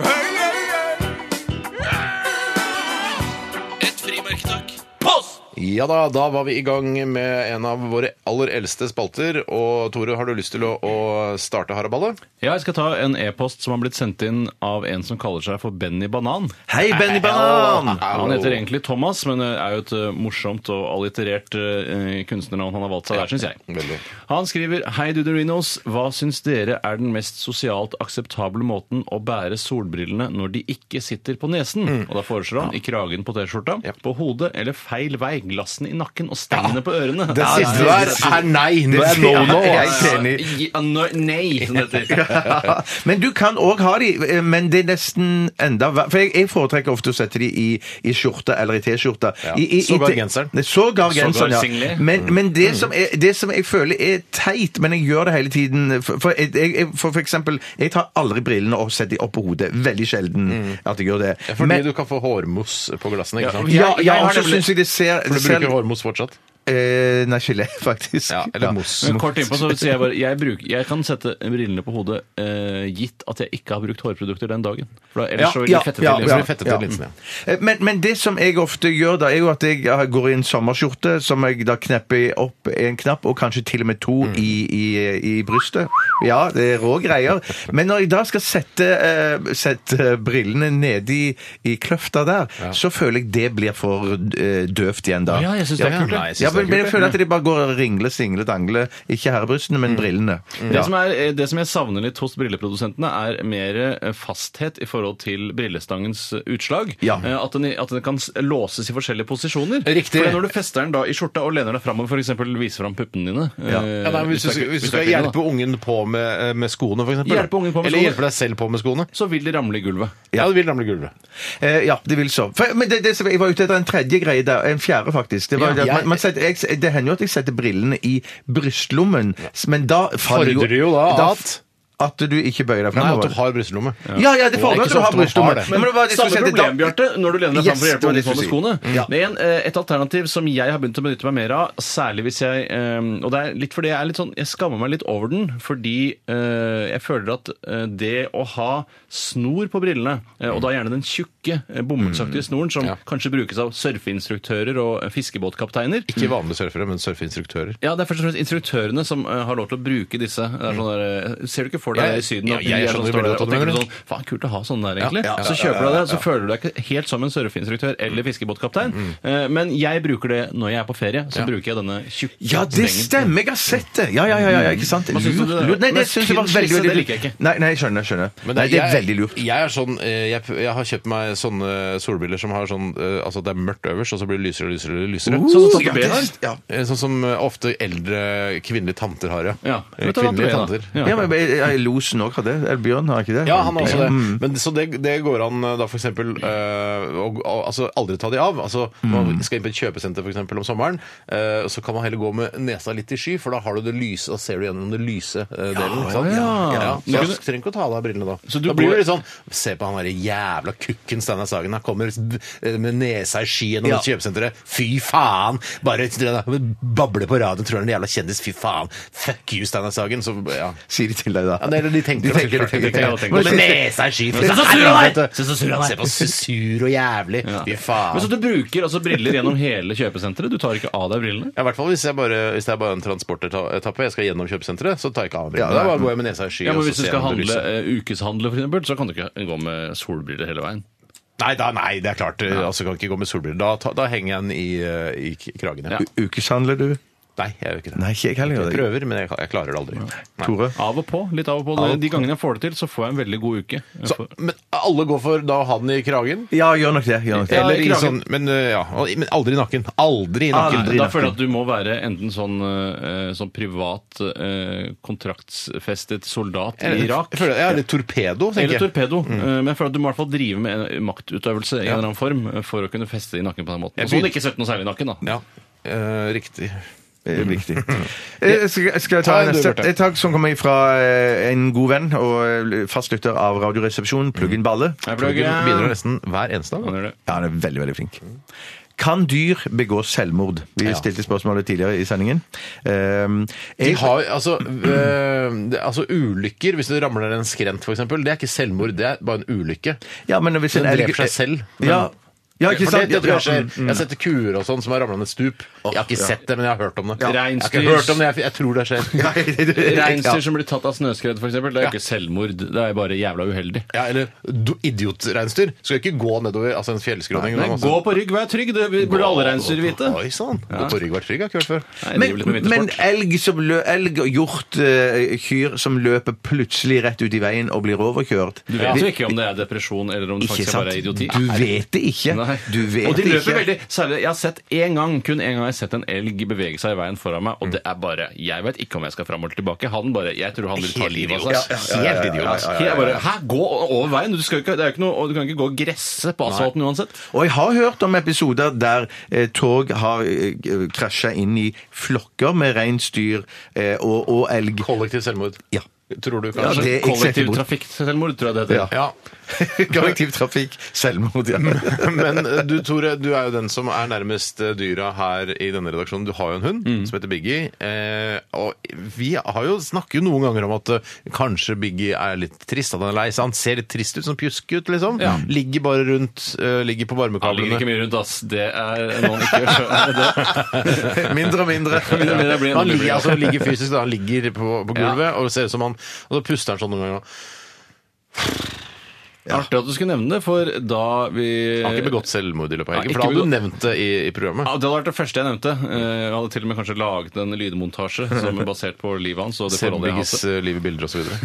[SPEAKER 8] Et frimerke, takk. Post!
[SPEAKER 2] Ja da, da var vi i gang med en av våre aller eldste spalter. Og Tore, har du lyst til å, å starte haraballet?
[SPEAKER 3] Ja, jeg skal ta en e-post som har blitt sendt inn av en som kaller seg for Benny Banan.
[SPEAKER 4] Hei, Benny Banan!
[SPEAKER 3] Han heter egentlig Thomas, men eh, er jo et eh, morsomt og allitterert eh, kunstnernavn han har valgt seg der, syns jeg.
[SPEAKER 2] veldig.
[SPEAKER 3] Han skriver Hei, Duderinos. Hva syns dere er den mest sosialt akseptable måten å bære solbrillene når de ikke sitter på nesen? Og da foreslår han i kragen på T-skjorta, på hodet eller feil vei, glassene i nakken og stengene på ørene.
[SPEAKER 2] Det siste der er nei. Det er no no.
[SPEAKER 4] Jeg er
[SPEAKER 2] ass.
[SPEAKER 4] helt enig.
[SPEAKER 3] Ja, no- Nei, som det heter.
[SPEAKER 4] Men du kan òg ha de, eh, men det er nesten enda verre. For jeg, jeg foretrekker ofte å sette de i, i skjorte eller i T-skjorte.
[SPEAKER 2] Ja.
[SPEAKER 4] I- i- i
[SPEAKER 2] Sågar
[SPEAKER 4] te-
[SPEAKER 2] genseren.
[SPEAKER 4] Nei, Sågar genseren, ja.
[SPEAKER 3] singlet.
[SPEAKER 4] Men,
[SPEAKER 2] Mm.
[SPEAKER 4] men det, som er, det som jeg føler er teit, men jeg gjør det hele tiden For, for, jeg, jeg, jeg- for, for eksempel, jeg tar aldri brillene og setter de opp på hodet. Veldig sjelden at jeg gjør det.
[SPEAKER 2] Mm. Fordi
[SPEAKER 4] Men-
[SPEAKER 2] du kan få hårmos på glassene, ikke sant?
[SPEAKER 4] ja,
[SPEAKER 3] Jeg- jeg
[SPEAKER 4] ja,
[SPEAKER 3] har
[SPEAKER 4] og så
[SPEAKER 3] nemlig-
[SPEAKER 4] syns jeg det ser,
[SPEAKER 2] For
[SPEAKER 4] det
[SPEAKER 2] du
[SPEAKER 4] ser
[SPEAKER 2] bruker hårmos fortsatt?
[SPEAKER 4] eh, Nei, gelé, faktisk.
[SPEAKER 2] Ja, eller mos.
[SPEAKER 3] Men kort innpå så sier jeg bare jeg, bruker, jeg kan sette brillene på hodet eh, gitt at jeg ikke har brukt hårprodukter den dagen. For da, ellers så vil
[SPEAKER 4] ja,
[SPEAKER 3] de fette
[SPEAKER 4] ja,
[SPEAKER 2] Så
[SPEAKER 3] til. liksom.
[SPEAKER 2] blir det fettet til linsen, ja.
[SPEAKER 4] Eh, Men, men det som jeg ofte gjør, da, er jo at jeg eh, går i en sommerskjorte som jeg da knepper opp en knapp, og kanskje til og med to
[SPEAKER 3] Mm.
[SPEAKER 4] i, i, i brystet. Ja, det er rå greier. Men når jeg da skal sette, eh, sette brillene nedi i kløfta der, så føler jeg det blir for eh, døvt igjen da.
[SPEAKER 3] Ja, jeg synes det er kult, det.
[SPEAKER 4] Ja, ja, men, men jeg føler at det bare går ringle, single, dangle. Ikke herrebrystene,
[SPEAKER 3] Mm.
[SPEAKER 4] men brillene.
[SPEAKER 3] Det, som er, eh, det som jeg savner litt hos brilleprodusentene, er mer eh, fasthet i forhold til brillestangens utslag.
[SPEAKER 4] Ja.
[SPEAKER 3] Eh, At, den, at den kan s- låses i forskjellige posisjoner.
[SPEAKER 2] Riktig.
[SPEAKER 3] For når du fester den da i skjorta og lener deg framover, f.eks. viser fram puppene dine
[SPEAKER 4] Ja.
[SPEAKER 3] eh,
[SPEAKER 2] Ja, nei, men hvis, du,
[SPEAKER 3] det er-
[SPEAKER 2] skal- hvis du
[SPEAKER 3] det er
[SPEAKER 2] skal
[SPEAKER 3] kvinne, da,
[SPEAKER 2] hjelpe ungen på med, eh, med skoene, f.eks.
[SPEAKER 3] Hjelpe ungen på med
[SPEAKER 2] Eller
[SPEAKER 3] skoene.
[SPEAKER 2] hjelpe deg selv på med skoene.
[SPEAKER 3] så vil de ramle i gulvet.
[SPEAKER 2] Ja, det vil ramle i gulvet.
[SPEAKER 4] Eh, ja, det vil så. For, men det, det, som- jeg var ute etter en tredje greie der. En fjerde, faktisk. Det, var,
[SPEAKER 2] Ja,
[SPEAKER 4] det at
[SPEAKER 2] jeg-
[SPEAKER 4] man, man setter, jeg, det hender jo at jeg setter brillene i brystlommen, men da faller
[SPEAKER 2] Fordrer jo da at-
[SPEAKER 4] At du ikke bøyer deg
[SPEAKER 2] Nei, at du
[SPEAKER 4] fremover.
[SPEAKER 2] har brystlomme.
[SPEAKER 4] Ja, ja, det
[SPEAKER 2] Det er
[SPEAKER 4] fordrer
[SPEAKER 2] ikke så
[SPEAKER 4] at du
[SPEAKER 2] ofte
[SPEAKER 4] har
[SPEAKER 2] man har
[SPEAKER 4] brystlomme.
[SPEAKER 2] det.
[SPEAKER 4] Men det var det jeg skulle
[SPEAKER 3] Samme
[SPEAKER 4] si, at det da-
[SPEAKER 3] problem, Bjarte, når du lener deg fram
[SPEAKER 4] Yes,
[SPEAKER 3] for å hjelpe ungen
[SPEAKER 4] det var det
[SPEAKER 3] på med
[SPEAKER 4] jeg skulle
[SPEAKER 3] skoene.
[SPEAKER 4] si. Ja.
[SPEAKER 3] Det er en, eh, et alternativ som jeg har begynt å benytte meg mer av, særlig hvis jeg eh, Og det er litt fordi jeg er litt sånn Jeg skammer meg litt over den, fordi eh, jeg føler at eh, det å ha snor på brillene, eh, og da gjerne den tjukke, eh, bomullsaktige
[SPEAKER 4] Mm.
[SPEAKER 3] snoren som kanskje brukes av surfeinstruktører og eh, fiskebåtkapteiner
[SPEAKER 2] Ikke vanlige surfere, men surfeinstruktører.
[SPEAKER 3] ja, Det er først og fremst instruktørene som eh, har lov til å bruke disse. Det er sånn der, eh, ser du ikke for deg
[SPEAKER 2] Mm. Ja,
[SPEAKER 3] det i Syden?
[SPEAKER 2] ja,
[SPEAKER 3] at
[SPEAKER 2] jeg
[SPEAKER 3] de
[SPEAKER 2] skjønner
[SPEAKER 3] er sånn, står
[SPEAKER 2] veldig
[SPEAKER 3] der
[SPEAKER 2] godt
[SPEAKER 3] og
[SPEAKER 2] hva du
[SPEAKER 3] tenker
[SPEAKER 2] mener.
[SPEAKER 3] sånn Faen, kult å ha sånn der, egentlig.
[SPEAKER 2] Ja, Mm. ja,
[SPEAKER 3] så kjøper du det, så føler du deg ikke helt som en surfeinstruktør eller fiskebåtkaptein. Eh, Men jeg bruker det når jeg er på ferie. Så bruker jeg denne tjukke
[SPEAKER 4] Ja, det
[SPEAKER 3] strengen.
[SPEAKER 4] stemmer! Jeg har sett det! Ja, ja, ja, ja, ja ikke sant?
[SPEAKER 3] Hva syns du om det?
[SPEAKER 4] Lurt, lurt. Nei,
[SPEAKER 3] Men
[SPEAKER 4] det syns jeg var
[SPEAKER 3] tynn
[SPEAKER 4] veldig,
[SPEAKER 3] skisse,
[SPEAKER 4] veldig
[SPEAKER 3] det
[SPEAKER 4] lurt.
[SPEAKER 3] liker jeg ikke.
[SPEAKER 4] Nei, nei, jeg skjønner. jeg skjønner.
[SPEAKER 2] Men
[SPEAKER 4] Nei, det er
[SPEAKER 2] jeg-
[SPEAKER 4] veldig lurt.
[SPEAKER 2] Jeg, er sånn, eh, jeg, jeg har kjøpt meg sånne solbriller som har sånn eh, Altså det er mørkt øverst, og så blir det lysere og lysere. og lysere.
[SPEAKER 3] Sånn som
[SPEAKER 4] Uh,
[SPEAKER 3] Tante
[SPEAKER 4] ja,
[SPEAKER 3] B har.
[SPEAKER 4] det- ja.
[SPEAKER 2] Eh, Sånn som eh, ofte eldre kvinnelige tanter har, ja.
[SPEAKER 3] Ja,
[SPEAKER 2] Eh,
[SPEAKER 3] vet du hva
[SPEAKER 2] Kvinnelige
[SPEAKER 3] Tante B
[SPEAKER 2] tanter.
[SPEAKER 3] da?
[SPEAKER 2] Ja.
[SPEAKER 4] Ja, men jeg- jeg- Losen òg har det. Eller Bjørn har ikke det?
[SPEAKER 2] han har også det.
[SPEAKER 4] Mm.
[SPEAKER 2] Men, så det, det går an eh, da f.eks. å å- altså, aldri ta de av. Altså,
[SPEAKER 3] Mm.
[SPEAKER 2] Man skal inn på et kjøpesenter for eksempel, om sommeren, eh, så kan man heller gå med nesa litt i sky, for da har du det lyse, da ser du gjennom den lyse eh, delen. ikke sant?
[SPEAKER 3] ja, ja.
[SPEAKER 2] Så du trenger ikke å ta av deg brillene da.
[SPEAKER 3] Så du
[SPEAKER 2] da blir
[SPEAKER 3] går-
[SPEAKER 2] det litt sånn Se på han derre jævla kukken Steinar Sagen. Han kommer eh, med nesa i sky gjennom
[SPEAKER 4] Ja.
[SPEAKER 2] dette kjøpesenteret. Fy faen! Bare babler på radioen, tror han er en jævla kjendis. Fy faen! Fuck you, Steinar Sagen. Så ja.
[SPEAKER 4] Sier de til deg da.
[SPEAKER 2] Ja, det er det de tenker.
[SPEAKER 4] De tenker,
[SPEAKER 2] da, selvfølgelig.
[SPEAKER 4] de tenker,
[SPEAKER 2] Ja,
[SPEAKER 4] ja.
[SPEAKER 2] tenker. Og med nesa i sky.
[SPEAKER 3] Se så sur han er!
[SPEAKER 2] Se så sur han er! Se på så sur og jævlig. Fy
[SPEAKER 3] Men
[SPEAKER 2] faen.
[SPEAKER 3] Så du bruker altså briller gjennom hele kjøpesenteret? Du tar ikke av deg brillene?
[SPEAKER 2] Ja, i hvert fall hvis, jeg bare, hvis det er bare en transportetappe, jeg skal gjennom kjøpesenteret, så tar jeg ikke av meg
[SPEAKER 4] Ja,
[SPEAKER 2] brillene.
[SPEAKER 4] nei.
[SPEAKER 2] da bare går jeg med nesa i sky.
[SPEAKER 3] Ja,
[SPEAKER 2] og
[SPEAKER 3] men
[SPEAKER 2] så
[SPEAKER 3] Hvis du
[SPEAKER 2] ser jeg
[SPEAKER 3] skal
[SPEAKER 2] om det
[SPEAKER 3] handle
[SPEAKER 2] lyser.
[SPEAKER 3] eh, ukeshandle, for eksempel, så kan du ikke gå med solbriller hele veien.
[SPEAKER 2] Nei, da, nei, det er klart. Altså, kan ikke gå med solbriller. Da, ta- da henger jeg den i, eh, i k- kragen. Ja.
[SPEAKER 4] U- Ukeshandler du?
[SPEAKER 2] Nei, jeg gjør ikke det.
[SPEAKER 4] Nei, ikke jeg heller gjør
[SPEAKER 2] Jeg
[SPEAKER 4] det.
[SPEAKER 2] prøver, men jeg, jeg klarer det aldri. Nei.
[SPEAKER 4] Tore?
[SPEAKER 3] Av og på. litt av og på. De gangene jeg får det til, så får jeg en veldig god uke. Jeg
[SPEAKER 2] Så,
[SPEAKER 3] får-
[SPEAKER 2] men alle går for da å ha den i kragen?
[SPEAKER 4] Ja, gjør nok det. Gjør nok det.
[SPEAKER 3] Ja,
[SPEAKER 2] Eller
[SPEAKER 3] i
[SPEAKER 2] i
[SPEAKER 3] kragen. Ah,
[SPEAKER 2] sånn Men, eh, ja, og- men aldri i nakken. Aldri i nakken.
[SPEAKER 4] Aldri.
[SPEAKER 3] Da føler jeg at du må være enten sånn, eh, sånn privat eh, kontraktsfestet soldat i
[SPEAKER 2] Jeg-
[SPEAKER 3] Irak
[SPEAKER 2] Jeg føler, jeg er litt torpedo, tenker
[SPEAKER 3] eller
[SPEAKER 2] jeg.
[SPEAKER 3] torpedo. Eh, Men jeg føler at du må i hvert fall drive med en maktutøvelse i en eller annen form eh, for å kunne feste i nakken på den måten. Og så må du ikke sette noe særlig i nakken, da.
[SPEAKER 2] Ja, eh, riktig.
[SPEAKER 4] Eh, Viktig. Eh, Skal, skal jeg ta
[SPEAKER 2] Ta en du,
[SPEAKER 4] neste?
[SPEAKER 2] Bjarte.
[SPEAKER 4] Et tak som kommer fra eh, en god venn og eh, fastlytter av
[SPEAKER 2] Mm.
[SPEAKER 4] Radioresepsjonen, Pluggen Balle.
[SPEAKER 3] Jeg
[SPEAKER 2] Du
[SPEAKER 3] plugger-
[SPEAKER 2] bidrar nesten hver eneste dag.
[SPEAKER 3] Han
[SPEAKER 2] da.
[SPEAKER 3] gjør det.
[SPEAKER 4] Ja, han er veldig, veldig flink. Kan dyr begå selvmord? Vi stilte spørsmålet tidligere i sendingen. Um,
[SPEAKER 2] De
[SPEAKER 4] jeg-
[SPEAKER 2] har, altså, eh, det- altså ulykker, hvis du ramler ned en skrent f.eks., det er ikke selvmord, det er bare en ulykke.
[SPEAKER 4] ja, men hvis en
[SPEAKER 2] Den
[SPEAKER 4] elg-
[SPEAKER 2] dreper seg selv, men-
[SPEAKER 4] Ja, Ja, ikke
[SPEAKER 2] For det-
[SPEAKER 4] sant?
[SPEAKER 2] det tror jeg
[SPEAKER 4] Ja,
[SPEAKER 2] skjer.
[SPEAKER 4] mm,
[SPEAKER 2] Jeg har sett kuer og sånn som har ramla ned et stup. Jeg har ikke sett det, men jeg har hørt om det.
[SPEAKER 4] Ja.
[SPEAKER 2] Jeg har ikke hørt om det, jeg, jeg tror det skjer.
[SPEAKER 4] Ja, det- det- det-
[SPEAKER 3] Reinsdyr
[SPEAKER 4] ja.
[SPEAKER 3] som blir tatt av snøskred, f.eks. Det er jo ikke selvmord, det er bare jævla uheldig.
[SPEAKER 2] Ja, eller do- idiotreinsdyr skal jo ikke gå nedover altså en fjellskråning.
[SPEAKER 3] Nei,
[SPEAKER 2] det er masse-
[SPEAKER 3] gå på rygg, vær trygg! Det burde alle reinsdyr vite.
[SPEAKER 2] Oi sann! Gå på rygg, vært trygg, har jeg ikke hørt før.
[SPEAKER 3] Nei, det er
[SPEAKER 4] Men,
[SPEAKER 3] jo litt med
[SPEAKER 4] men
[SPEAKER 3] vintersport.
[SPEAKER 4] elg, som lø, elg og hjort, eh, kyr som løper plutselig rett ut i veien og blir overkjørt
[SPEAKER 3] Du vet jo ikke om det er depresjon eller om det
[SPEAKER 4] Ikke
[SPEAKER 3] faktisk er
[SPEAKER 4] sant?
[SPEAKER 3] bare idioti.
[SPEAKER 4] Du vet det ikke.
[SPEAKER 3] Nei.
[SPEAKER 4] Du vet
[SPEAKER 3] og de
[SPEAKER 4] det
[SPEAKER 3] løper
[SPEAKER 4] ikke.
[SPEAKER 3] veldig særlig, Jeg har sett en gang, kun en gang har jeg sett en elg bevege seg i veien foran meg, og det er bare Jeg vet ikke om jeg skal fram eller tilbake. Han bare Jeg tror han vil ta
[SPEAKER 2] Helt
[SPEAKER 3] livet
[SPEAKER 2] idiot.
[SPEAKER 3] av seg.
[SPEAKER 2] Ja, ja, ja, ja, ja, ja, ja, ja, ja.
[SPEAKER 3] Helt idiot. Altså. Jeg bare Hæ, gå over veien? Du, skal jo ikke, det er jo ikke noe, og du kan ikke gå og gresse på asfalten uansett.
[SPEAKER 4] Og jeg har hørt om episoder der eh, tog har eh, krasja inn i flokker med reinsdyr eh, og, og elg.
[SPEAKER 2] Kollektiv selvmord.
[SPEAKER 4] Ja.
[SPEAKER 2] Tror du
[SPEAKER 4] Ja,
[SPEAKER 2] kanskje?
[SPEAKER 4] det-
[SPEAKER 3] sånn Kollektiv
[SPEAKER 4] eksempel-
[SPEAKER 3] trafikkselvmord, tror jeg det heter.
[SPEAKER 2] Ja.
[SPEAKER 4] Kollektivtrafikk, selvmord. Ja.
[SPEAKER 2] Men eh, du Tore, du er jo den som er nærmest eh, dyra her i denne redaksjonen. Du har jo en hund
[SPEAKER 3] Mm.
[SPEAKER 2] som heter Biggie. Eh, og vi har jo snakker jo noen ganger om at eh, kanskje Biggie er litt trist, at han er lei seg. Han ser litt trist ut, som pjusket, liksom. Ligger bare rundt, eh, ligger på
[SPEAKER 3] Han ligger
[SPEAKER 2] varmekablene.
[SPEAKER 3] ikke mye rundt, ass. Det er noen ikke skjønner det.
[SPEAKER 4] mindre og mindre.
[SPEAKER 3] Mindre og mindre blir-
[SPEAKER 2] Han ligger, altså, han ligger fysisk, da. Han ligger på, på
[SPEAKER 3] Ja.
[SPEAKER 2] gulvet, og det ser ut som han Og så puster han sånn noen ganger.
[SPEAKER 3] Artig at du skulle nevne det, for da vi
[SPEAKER 2] Han har ikke begått selvmord i løpet av
[SPEAKER 3] Eh, Nei,
[SPEAKER 2] helgen,
[SPEAKER 3] ikke
[SPEAKER 2] for da hadde du
[SPEAKER 3] begått-
[SPEAKER 2] nevnt det i, i programmet.
[SPEAKER 3] Ja, Det hadde vært det første jeg nevnte. Eh, Jeg hadde til og med kanskje laget en lydmontasje som er basert på livet hans. og det
[SPEAKER 2] Ser
[SPEAKER 3] forholdet jeg
[SPEAKER 2] Biggies
[SPEAKER 3] hadde.
[SPEAKER 2] eh, liv i bilder og så videre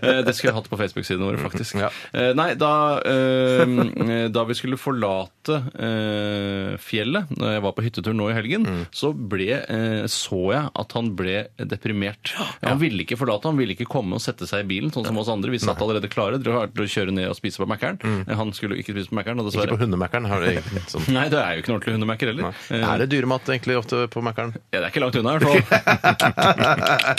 [SPEAKER 3] Eh, Det skulle jeg hatt på Facebook-sidene våre, faktisk.
[SPEAKER 2] Ja.
[SPEAKER 3] Eh, Nei, da, eh, da vi skulle forlate eh, fjellet, da jeg var på hyttetur nå i helgen,
[SPEAKER 2] Mm.
[SPEAKER 3] så ble, eh, så jeg at han ble deprimert. Han ville ikke forlate, han ville ikke komme og sette seg i bilen, sånn som oss andre. Vi satt allerede klare, dere klarte å kjøre ned og spise på Mækkern. Eh, Han skulle ikke spise på Mækkern,
[SPEAKER 2] Mm.
[SPEAKER 3] og
[SPEAKER 2] Ikke på
[SPEAKER 3] dessverre
[SPEAKER 2] hundemækkeren. har det egentlig sånn.
[SPEAKER 3] Nei, det er jo ikke noen ordentlig hundemaker heller. Eh,
[SPEAKER 2] Er det dyremat egentlig ofte på Mækkern?
[SPEAKER 3] Ja, det er ikke langt unna, i hvert fall.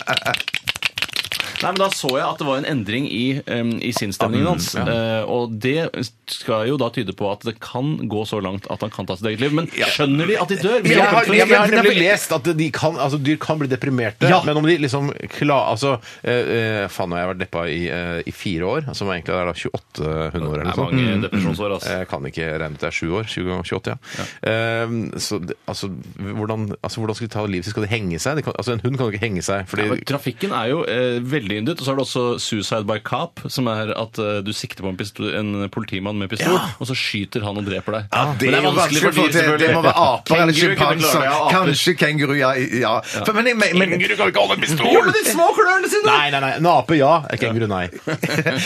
[SPEAKER 3] Nei, men Da så jeg at det var en endring i, em, i sinnsstemningen hans. Eh, og det skal jo da tyde på at det kan gå så langt at han kan ta sitt eget liv. Men skjønner de at de dør?
[SPEAKER 2] Jeg har,
[SPEAKER 3] Blir
[SPEAKER 2] jeg,
[SPEAKER 3] de
[SPEAKER 2] har
[SPEAKER 3] kommet
[SPEAKER 2] nemlig
[SPEAKER 3] frem til-
[SPEAKER 2] lest at de kan, altså, dyr kan bli deprimerte, men om de liksom klar, altså, eh, eh, Faen, nå har jeg vært deppa i, eh, i fire år, som egentlig er da 28 hundeår eller noe
[SPEAKER 3] Det er
[SPEAKER 2] sånt.
[SPEAKER 3] mange depresjonsår, altså.
[SPEAKER 2] Jeg kan ikke regne ut det er sju år. 20 ganger 28, ja. Eh, så det, altså, hvordan, altså, hvordan skal de ta livet sitt? Skal de henge seg? De kan, altså, en hund kan jo ikke henge seg. Fordi,
[SPEAKER 3] Ja, men trafikken er jo eh, veldig yndet. Og så er det også suicide by cop, som er at eh, du sikter på en, pistol, en politimann med pistol, og så skyter han og dreper deg.
[SPEAKER 4] Ja, det,
[SPEAKER 3] men
[SPEAKER 4] er vanskelig å få
[SPEAKER 3] dyr,
[SPEAKER 4] til. Det
[SPEAKER 3] selvfølgelig.
[SPEAKER 4] må være aper eller
[SPEAKER 3] Kenguru kunne klare
[SPEAKER 4] sjimpanser.
[SPEAKER 3] det, ja, aper.
[SPEAKER 4] Kanskje kenguru, ja. ja. For, men, men, men,
[SPEAKER 2] kan ikke holde en pistol!
[SPEAKER 4] de små klørne sine!
[SPEAKER 2] Nei, nei, nei. En ape, ja. En kenguru, nei.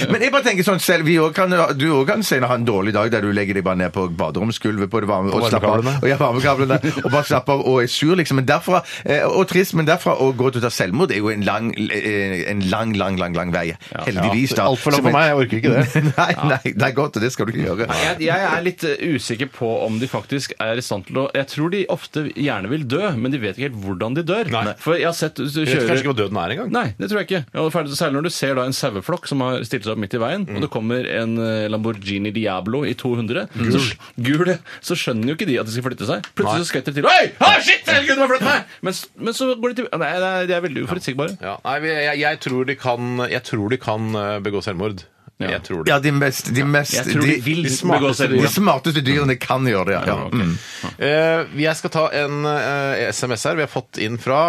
[SPEAKER 4] Men jeg bare tenker sånn selv, vi også kan, du òg kan senere ha en dårlig dag der du legger deg bare ned på baderomsgulvet på det varme, og slapper av.
[SPEAKER 2] varmekablene.
[SPEAKER 4] Og, ja, varmekablene, og bare slapper av og er sur, liksom. Men derfra, eh, og trist, men derfra å gå til å ta selvmord er jo en lang, eh, en lang, lang, lang, lang vei. Heldigvis, da.
[SPEAKER 2] Altfor langt for meg. Jeg orker ikke det.
[SPEAKER 4] Nei, nei, det er godt, og det skal du ikke gjøre.
[SPEAKER 3] Nei, Jeg, jeg er litt eh, usikker på om de faktisk er i stand til å Jeg tror de ofte gjerne vil dø, men de vet ikke helt hvordan de dør.
[SPEAKER 2] Nei.
[SPEAKER 3] For jeg har sett du
[SPEAKER 2] Jeg vet
[SPEAKER 3] kjører
[SPEAKER 2] kanskje ikke hva døden er engang.
[SPEAKER 3] Nei, det tror jeg ikke. Ja, og ferdig- Særlig når du ser da en saueflokk som har stilt seg opp midt i veien,
[SPEAKER 2] Mm.
[SPEAKER 3] og det kommer en eh, Lamborghini Diablo i 200, gul. Så, gul, så skjønner jo ikke de at de skal flytte seg. Plutselig så skvetter de til. Oi! Ah, shit! Herregud, du må flytte meg! Men, s- men så går de til Nei, nei de er veldig uforutsigbare.
[SPEAKER 2] Ja, nei, vi- jeg, jeg, tror de kan, jeg tror de kan eh, begå selvmord.
[SPEAKER 3] Ja.
[SPEAKER 2] Jeg tror det.
[SPEAKER 4] Ja, de mest, de mest
[SPEAKER 3] Jeg tror de vil begå
[SPEAKER 4] de,
[SPEAKER 3] selvmord.
[SPEAKER 4] smarteste dyrene kan gjøre det, ja. ja. Mm.
[SPEAKER 2] Eh, jeg skal ta en eh, SMS her vi har fått inn fra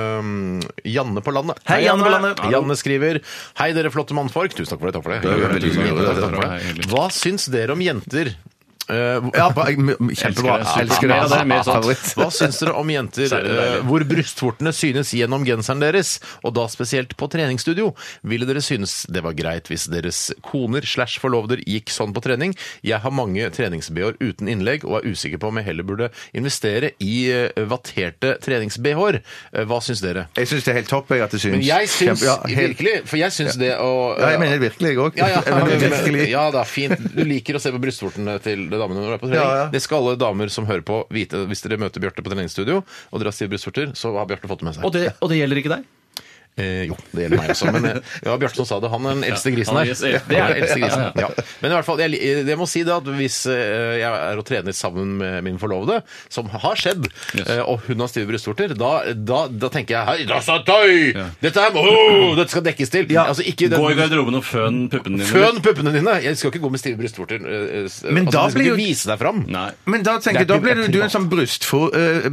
[SPEAKER 2] eh, Janne på landet.
[SPEAKER 4] Hei, Janne på landet.
[SPEAKER 2] Hallo. Janne skriver Hei, dere flotte mannfolk. Tusen takk for det. Takk for det.
[SPEAKER 4] er jo veldig
[SPEAKER 2] Tusen
[SPEAKER 4] hyggelig.
[SPEAKER 2] takk, takk,
[SPEAKER 3] Det er
[SPEAKER 2] takk for det.
[SPEAKER 3] hyggelig.
[SPEAKER 2] Hva syns dere om jenter? Eh, hva-
[SPEAKER 4] Ja, bra, m- m- kjempebra.
[SPEAKER 3] Elsker det. Ja, det er mer sånt.
[SPEAKER 4] Favoritt.
[SPEAKER 2] Hva syns dere om jenter
[SPEAKER 3] Særlig deilig.
[SPEAKER 2] eh, hvor brystvortene synes gjennom genseren deres, og da spesielt på treningsstudio? Ville dere synes det var greit hvis deres koner slash forloveder gikk sånn på trening? Jeg har mange trenings-BH-er uten innlegg og er usikker på om jeg heller burde investere i eh, vatterte trenings-BH-er. Eh, Hva syns dere?
[SPEAKER 4] Jeg syns det er helt topp. Jeg, at det syns.
[SPEAKER 2] Men jeg syns
[SPEAKER 4] Kjempe- ja, helt-
[SPEAKER 2] virkelig For jeg syns det å eh,
[SPEAKER 4] Ja, jeg mener det virkelig, jeg òg.
[SPEAKER 2] ja, ja,
[SPEAKER 4] Jeg mener virkelig.
[SPEAKER 2] ja da, fint. Du liker å se på brystvortene til damene når du er på trening.
[SPEAKER 4] Ja, ja.
[SPEAKER 2] Det skal alle damer som hører på vite. Hvis dere møter Bjarte på treningsstudio, og dere har stive brystvorter, så har Bjarte fått det med seg.
[SPEAKER 3] Og det, og det gjelder ikke deg?
[SPEAKER 2] Eh, jo, det gjelder meg også. Men eh, ja, Bjarte som sa det, han er den eldste grisen
[SPEAKER 3] han
[SPEAKER 2] her. Det
[SPEAKER 3] er eldste-
[SPEAKER 2] er den eldste grisen.
[SPEAKER 3] Ja,
[SPEAKER 2] Ja. Men i hvert fall, jeg, li- eh, jeg må si det at hvis eh, jeg er og trener sammen med min forlovede, som har skjedd,
[SPEAKER 3] Yes.
[SPEAKER 2] eh, og hun har stive brystvorter, da, da, da tenker jeg Hei, da sa tøy! Dette, her, må- dette skal dekkes til! Altså, ikke den-
[SPEAKER 3] Gå i garderoben og føn puppene dine.
[SPEAKER 2] Føn puppene dine! Jeg skal ikke gå med stive brystvorter. eh, eh,
[SPEAKER 4] Men da
[SPEAKER 2] altså, du skal
[SPEAKER 4] blir
[SPEAKER 2] ikke
[SPEAKER 4] jo-
[SPEAKER 2] vise deg fram.
[SPEAKER 3] Nei.
[SPEAKER 4] Men da tenker jeg,
[SPEAKER 2] Det er
[SPEAKER 4] da
[SPEAKER 2] ikke-
[SPEAKER 4] blir
[SPEAKER 2] det er
[SPEAKER 4] du, du en
[SPEAKER 2] privat.
[SPEAKER 4] sånn brystfor, eh,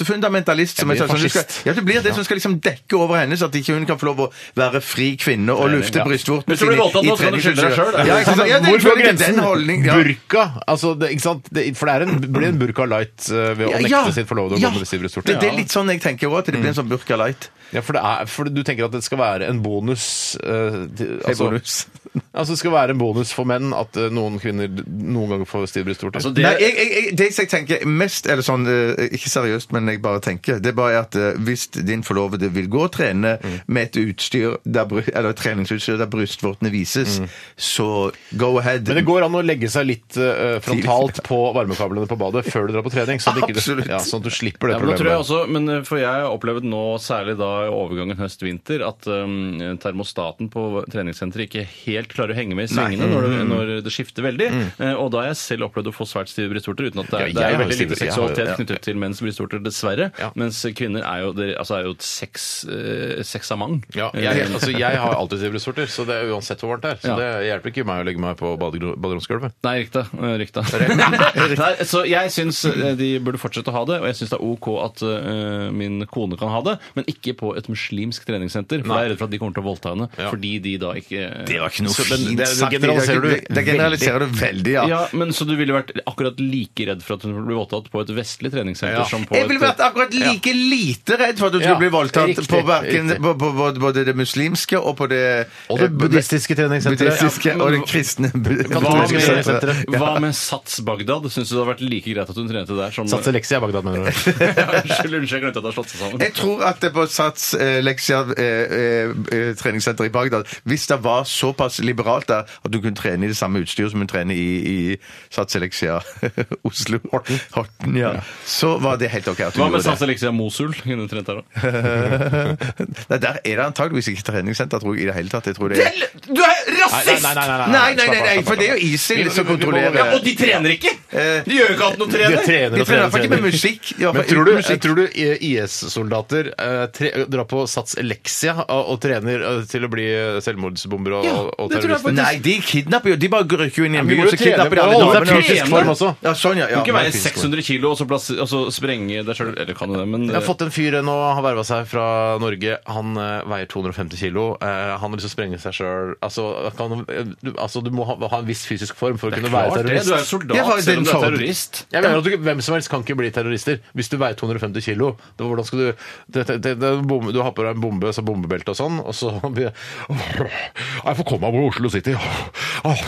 [SPEAKER 4] brystvortefundamentalist. Som
[SPEAKER 2] Jeg blir
[SPEAKER 4] er sånn, som du skal,
[SPEAKER 2] fascist.
[SPEAKER 4] ja, du blir det som skal liksom dekke over henne, så at ikke hun kan få lov å være fri kvinne og lufte
[SPEAKER 3] ja.
[SPEAKER 4] brystvortene
[SPEAKER 3] Hvis du blir
[SPEAKER 4] sine
[SPEAKER 3] voldtatt
[SPEAKER 4] i
[SPEAKER 3] nå, så kan du skylde deg
[SPEAKER 4] 30
[SPEAKER 3] selv, da.
[SPEAKER 4] Ja, ikke sant? Ja, det
[SPEAKER 2] Hvor
[SPEAKER 4] jeg
[SPEAKER 2] går
[SPEAKER 4] føler ikke
[SPEAKER 2] grensen?
[SPEAKER 4] den holdning, ja.
[SPEAKER 2] Burka? Altså, det, ikke sant? Det, for det er en, blir en burka light eh, ved å
[SPEAKER 4] Ja,
[SPEAKER 2] nekte
[SPEAKER 4] ja.
[SPEAKER 2] sitt forlovede å
[SPEAKER 4] Ja.
[SPEAKER 2] gå med stive brystvorter.
[SPEAKER 4] Det, det er litt sånn jeg tenker òg, at det blir en sånn burka light.
[SPEAKER 2] Ja, for, det er, for du tenker at det skal være en bonus eh, til- altså,
[SPEAKER 4] bonus.
[SPEAKER 2] altså det skal være en bonus for menn at eh, noen kvinner d- noen ganger får stive brystvorter.
[SPEAKER 3] Altså,
[SPEAKER 4] Nei,
[SPEAKER 3] det,
[SPEAKER 4] jeg, jeg, jeg, det jeg tenker mest, eller sånn eh, ikke seriøst, men jeg bare tenker, det er bare at eh, hvis din forlovede vil gå og trene med et utstyr, der, bry- eller et treningsutstyr der brystvortene vises, så go ahead.
[SPEAKER 2] men det går an å legge seg litt eh, frontalt på varmekablene på badet før du drar på trening, sånn at, ikke,
[SPEAKER 4] Absolutt.
[SPEAKER 2] du- ja, sånn at du slipper det
[SPEAKER 3] Ja, men, da
[SPEAKER 2] problemet.
[SPEAKER 3] tror jeg også, men eh, for jeg har opplevd nå, særlig da i overgangen høst-vinter, at eh, termostaten på treningssenteret ikke helt klarer å henge med i svingene når,
[SPEAKER 2] Mm.
[SPEAKER 3] det- når det skifter veldig. Eh, og da har jeg selv opplevd å få svært stive brystvorter, uten at det er,
[SPEAKER 2] Ja,
[SPEAKER 3] det
[SPEAKER 2] jeg
[SPEAKER 3] er
[SPEAKER 2] har
[SPEAKER 3] veldig
[SPEAKER 2] stive-
[SPEAKER 3] lite
[SPEAKER 2] jeg har-
[SPEAKER 3] seksualitet
[SPEAKER 2] ja.
[SPEAKER 3] knyttet til menns brystvorter, dessverre.
[SPEAKER 2] Ja.
[SPEAKER 3] Mens kvinner er jo, det, altså, er jo et sex, eh, sexamant.
[SPEAKER 2] Ja,
[SPEAKER 3] Eh,
[SPEAKER 2] jeg, altså, jeg har alltid stive brystvorter, så det er uansett hvor varmt det er. Så
[SPEAKER 3] Ja.
[SPEAKER 2] det hjelper ikke meg å legge meg på badegro- baderomsgulvet.
[SPEAKER 3] Nei, riktig. eh, riktig. Nei, så jeg syns eh, de burde fortsette å ha det, og jeg syns det er OK at eh, min kone kan ha det, men ikke på et muslimsk treningssenter. For da er jeg redd for at de kommer til å voldta henne
[SPEAKER 2] Ja.
[SPEAKER 3] fordi de da ikke
[SPEAKER 4] Det var ikke noe
[SPEAKER 2] Så, men det-
[SPEAKER 4] fint
[SPEAKER 2] det
[SPEAKER 4] sagt.
[SPEAKER 2] generaliserer du
[SPEAKER 4] Det, det generaliserer du veldig, ja.
[SPEAKER 3] Ja, men Så du ville vært akkurat like redd for at hun blir voldtatt på et vestlig treningssenter
[SPEAKER 2] Ja.
[SPEAKER 3] som på
[SPEAKER 4] Jeg ville
[SPEAKER 3] et
[SPEAKER 4] vært akkurat like lite redd for at du
[SPEAKER 2] Ja,
[SPEAKER 4] skulle bli voldtatt
[SPEAKER 2] riktig,
[SPEAKER 4] på, hverken,
[SPEAKER 2] riktig.
[SPEAKER 4] på, på, på både det muslimske og på det eh,
[SPEAKER 2] Og det buddhistiske treningssenteret.
[SPEAKER 4] Buddhistiske,
[SPEAKER 3] Ja, men-
[SPEAKER 4] og det kristne
[SPEAKER 3] eh, hva
[SPEAKER 2] katolske
[SPEAKER 3] med,
[SPEAKER 2] treningssenteret.
[SPEAKER 3] hva med Sats Bagdad? Syns du det hadde vært like greit at hun trente der som
[SPEAKER 2] Satse leksia i Bagdad, mener du?
[SPEAKER 3] Unnskyld, unnskyld, jeg glemte at det har slått seg sammen.
[SPEAKER 4] Jeg tror at det på Sats eh, Leksia eh, eh, treningssenter i Bagdad Hvis det var såpass liberalt der at du kunne trene i det samme utstyret som hun trener i, i Sats Leksia Oslo Horten, ja. så var det helt OK at hun
[SPEAKER 3] Hva med
[SPEAKER 4] gjorde
[SPEAKER 3] Sats
[SPEAKER 4] det.
[SPEAKER 3] Elixia Mosul? Kunne hun trent der også?
[SPEAKER 4] Nei, der er det antageligvis ikke treningssenter tror jeg, i det hele tatt. Jeg tror det er
[SPEAKER 3] Du er rasist!
[SPEAKER 2] Nei, nei, nei, nei, nei, slapp
[SPEAKER 4] Nei, nei, nei,
[SPEAKER 2] av,
[SPEAKER 4] nei,
[SPEAKER 2] slapp
[SPEAKER 4] for
[SPEAKER 2] av,
[SPEAKER 4] det er jo
[SPEAKER 2] slapp av. Vi-
[SPEAKER 4] ISIL
[SPEAKER 2] vi-
[SPEAKER 4] som
[SPEAKER 2] vi må
[SPEAKER 4] kontrollerer Eh,
[SPEAKER 2] være-
[SPEAKER 3] de trener ikke! De gjør jo ikke annet enn å
[SPEAKER 2] De trener
[SPEAKER 4] De
[SPEAKER 2] og trener.
[SPEAKER 4] trener
[SPEAKER 2] og
[SPEAKER 4] faktisk ikke med
[SPEAKER 2] trener.
[SPEAKER 4] musikk. i hvert
[SPEAKER 2] Men
[SPEAKER 4] fall
[SPEAKER 2] tror du,
[SPEAKER 4] uten musikk.
[SPEAKER 2] tror du IS-soldater eh, tre- drar på Sats Elexia og, og trener eh, til å bli eh, selvmordsbombere og, og
[SPEAKER 3] det tror jeg
[SPEAKER 2] terrorister?
[SPEAKER 4] Nei, de kidnapper jo. De bare rykker jo inn i en
[SPEAKER 2] vi
[SPEAKER 4] by,
[SPEAKER 2] må
[SPEAKER 4] og
[SPEAKER 2] jo
[SPEAKER 4] så kidnapper de
[SPEAKER 2] trene
[SPEAKER 4] alle
[SPEAKER 2] på å holde
[SPEAKER 4] damene.
[SPEAKER 2] seg fysisk form også.
[SPEAKER 4] Ja, sånn, ja.
[SPEAKER 3] Du
[SPEAKER 4] ja
[SPEAKER 3] kan ikke veie
[SPEAKER 4] men fysisk form.
[SPEAKER 3] 600 kilo og så, plass, og så sprenge deg sjøl. Eller kan du det, men
[SPEAKER 2] Jeg har fått en fyr eh, nå, han verva seg fra Norge. Han eh, veier 250 kilo. Eh, han har lyst til å sprenge seg sjøl. Altså, kan, eh, du- altså, du må ha, ha en viss fysisk form for å kunne være
[SPEAKER 3] Klart det,
[SPEAKER 2] terrorist.
[SPEAKER 3] Du er jo soldat
[SPEAKER 4] Jeg har jo
[SPEAKER 3] selv om du
[SPEAKER 4] den
[SPEAKER 3] er
[SPEAKER 4] fordelen.
[SPEAKER 3] terrorist.
[SPEAKER 2] Jeg mener at du, Hvem som helst kan ikke bli terrorister hvis du veier 250 kilo. Det var, hvordan skal du det, det, det, det, er en bombe, Du har på deg en bombe, så bombebelte og sånn, og så blir det- Jeg får komme meg over Oslo City. Åh.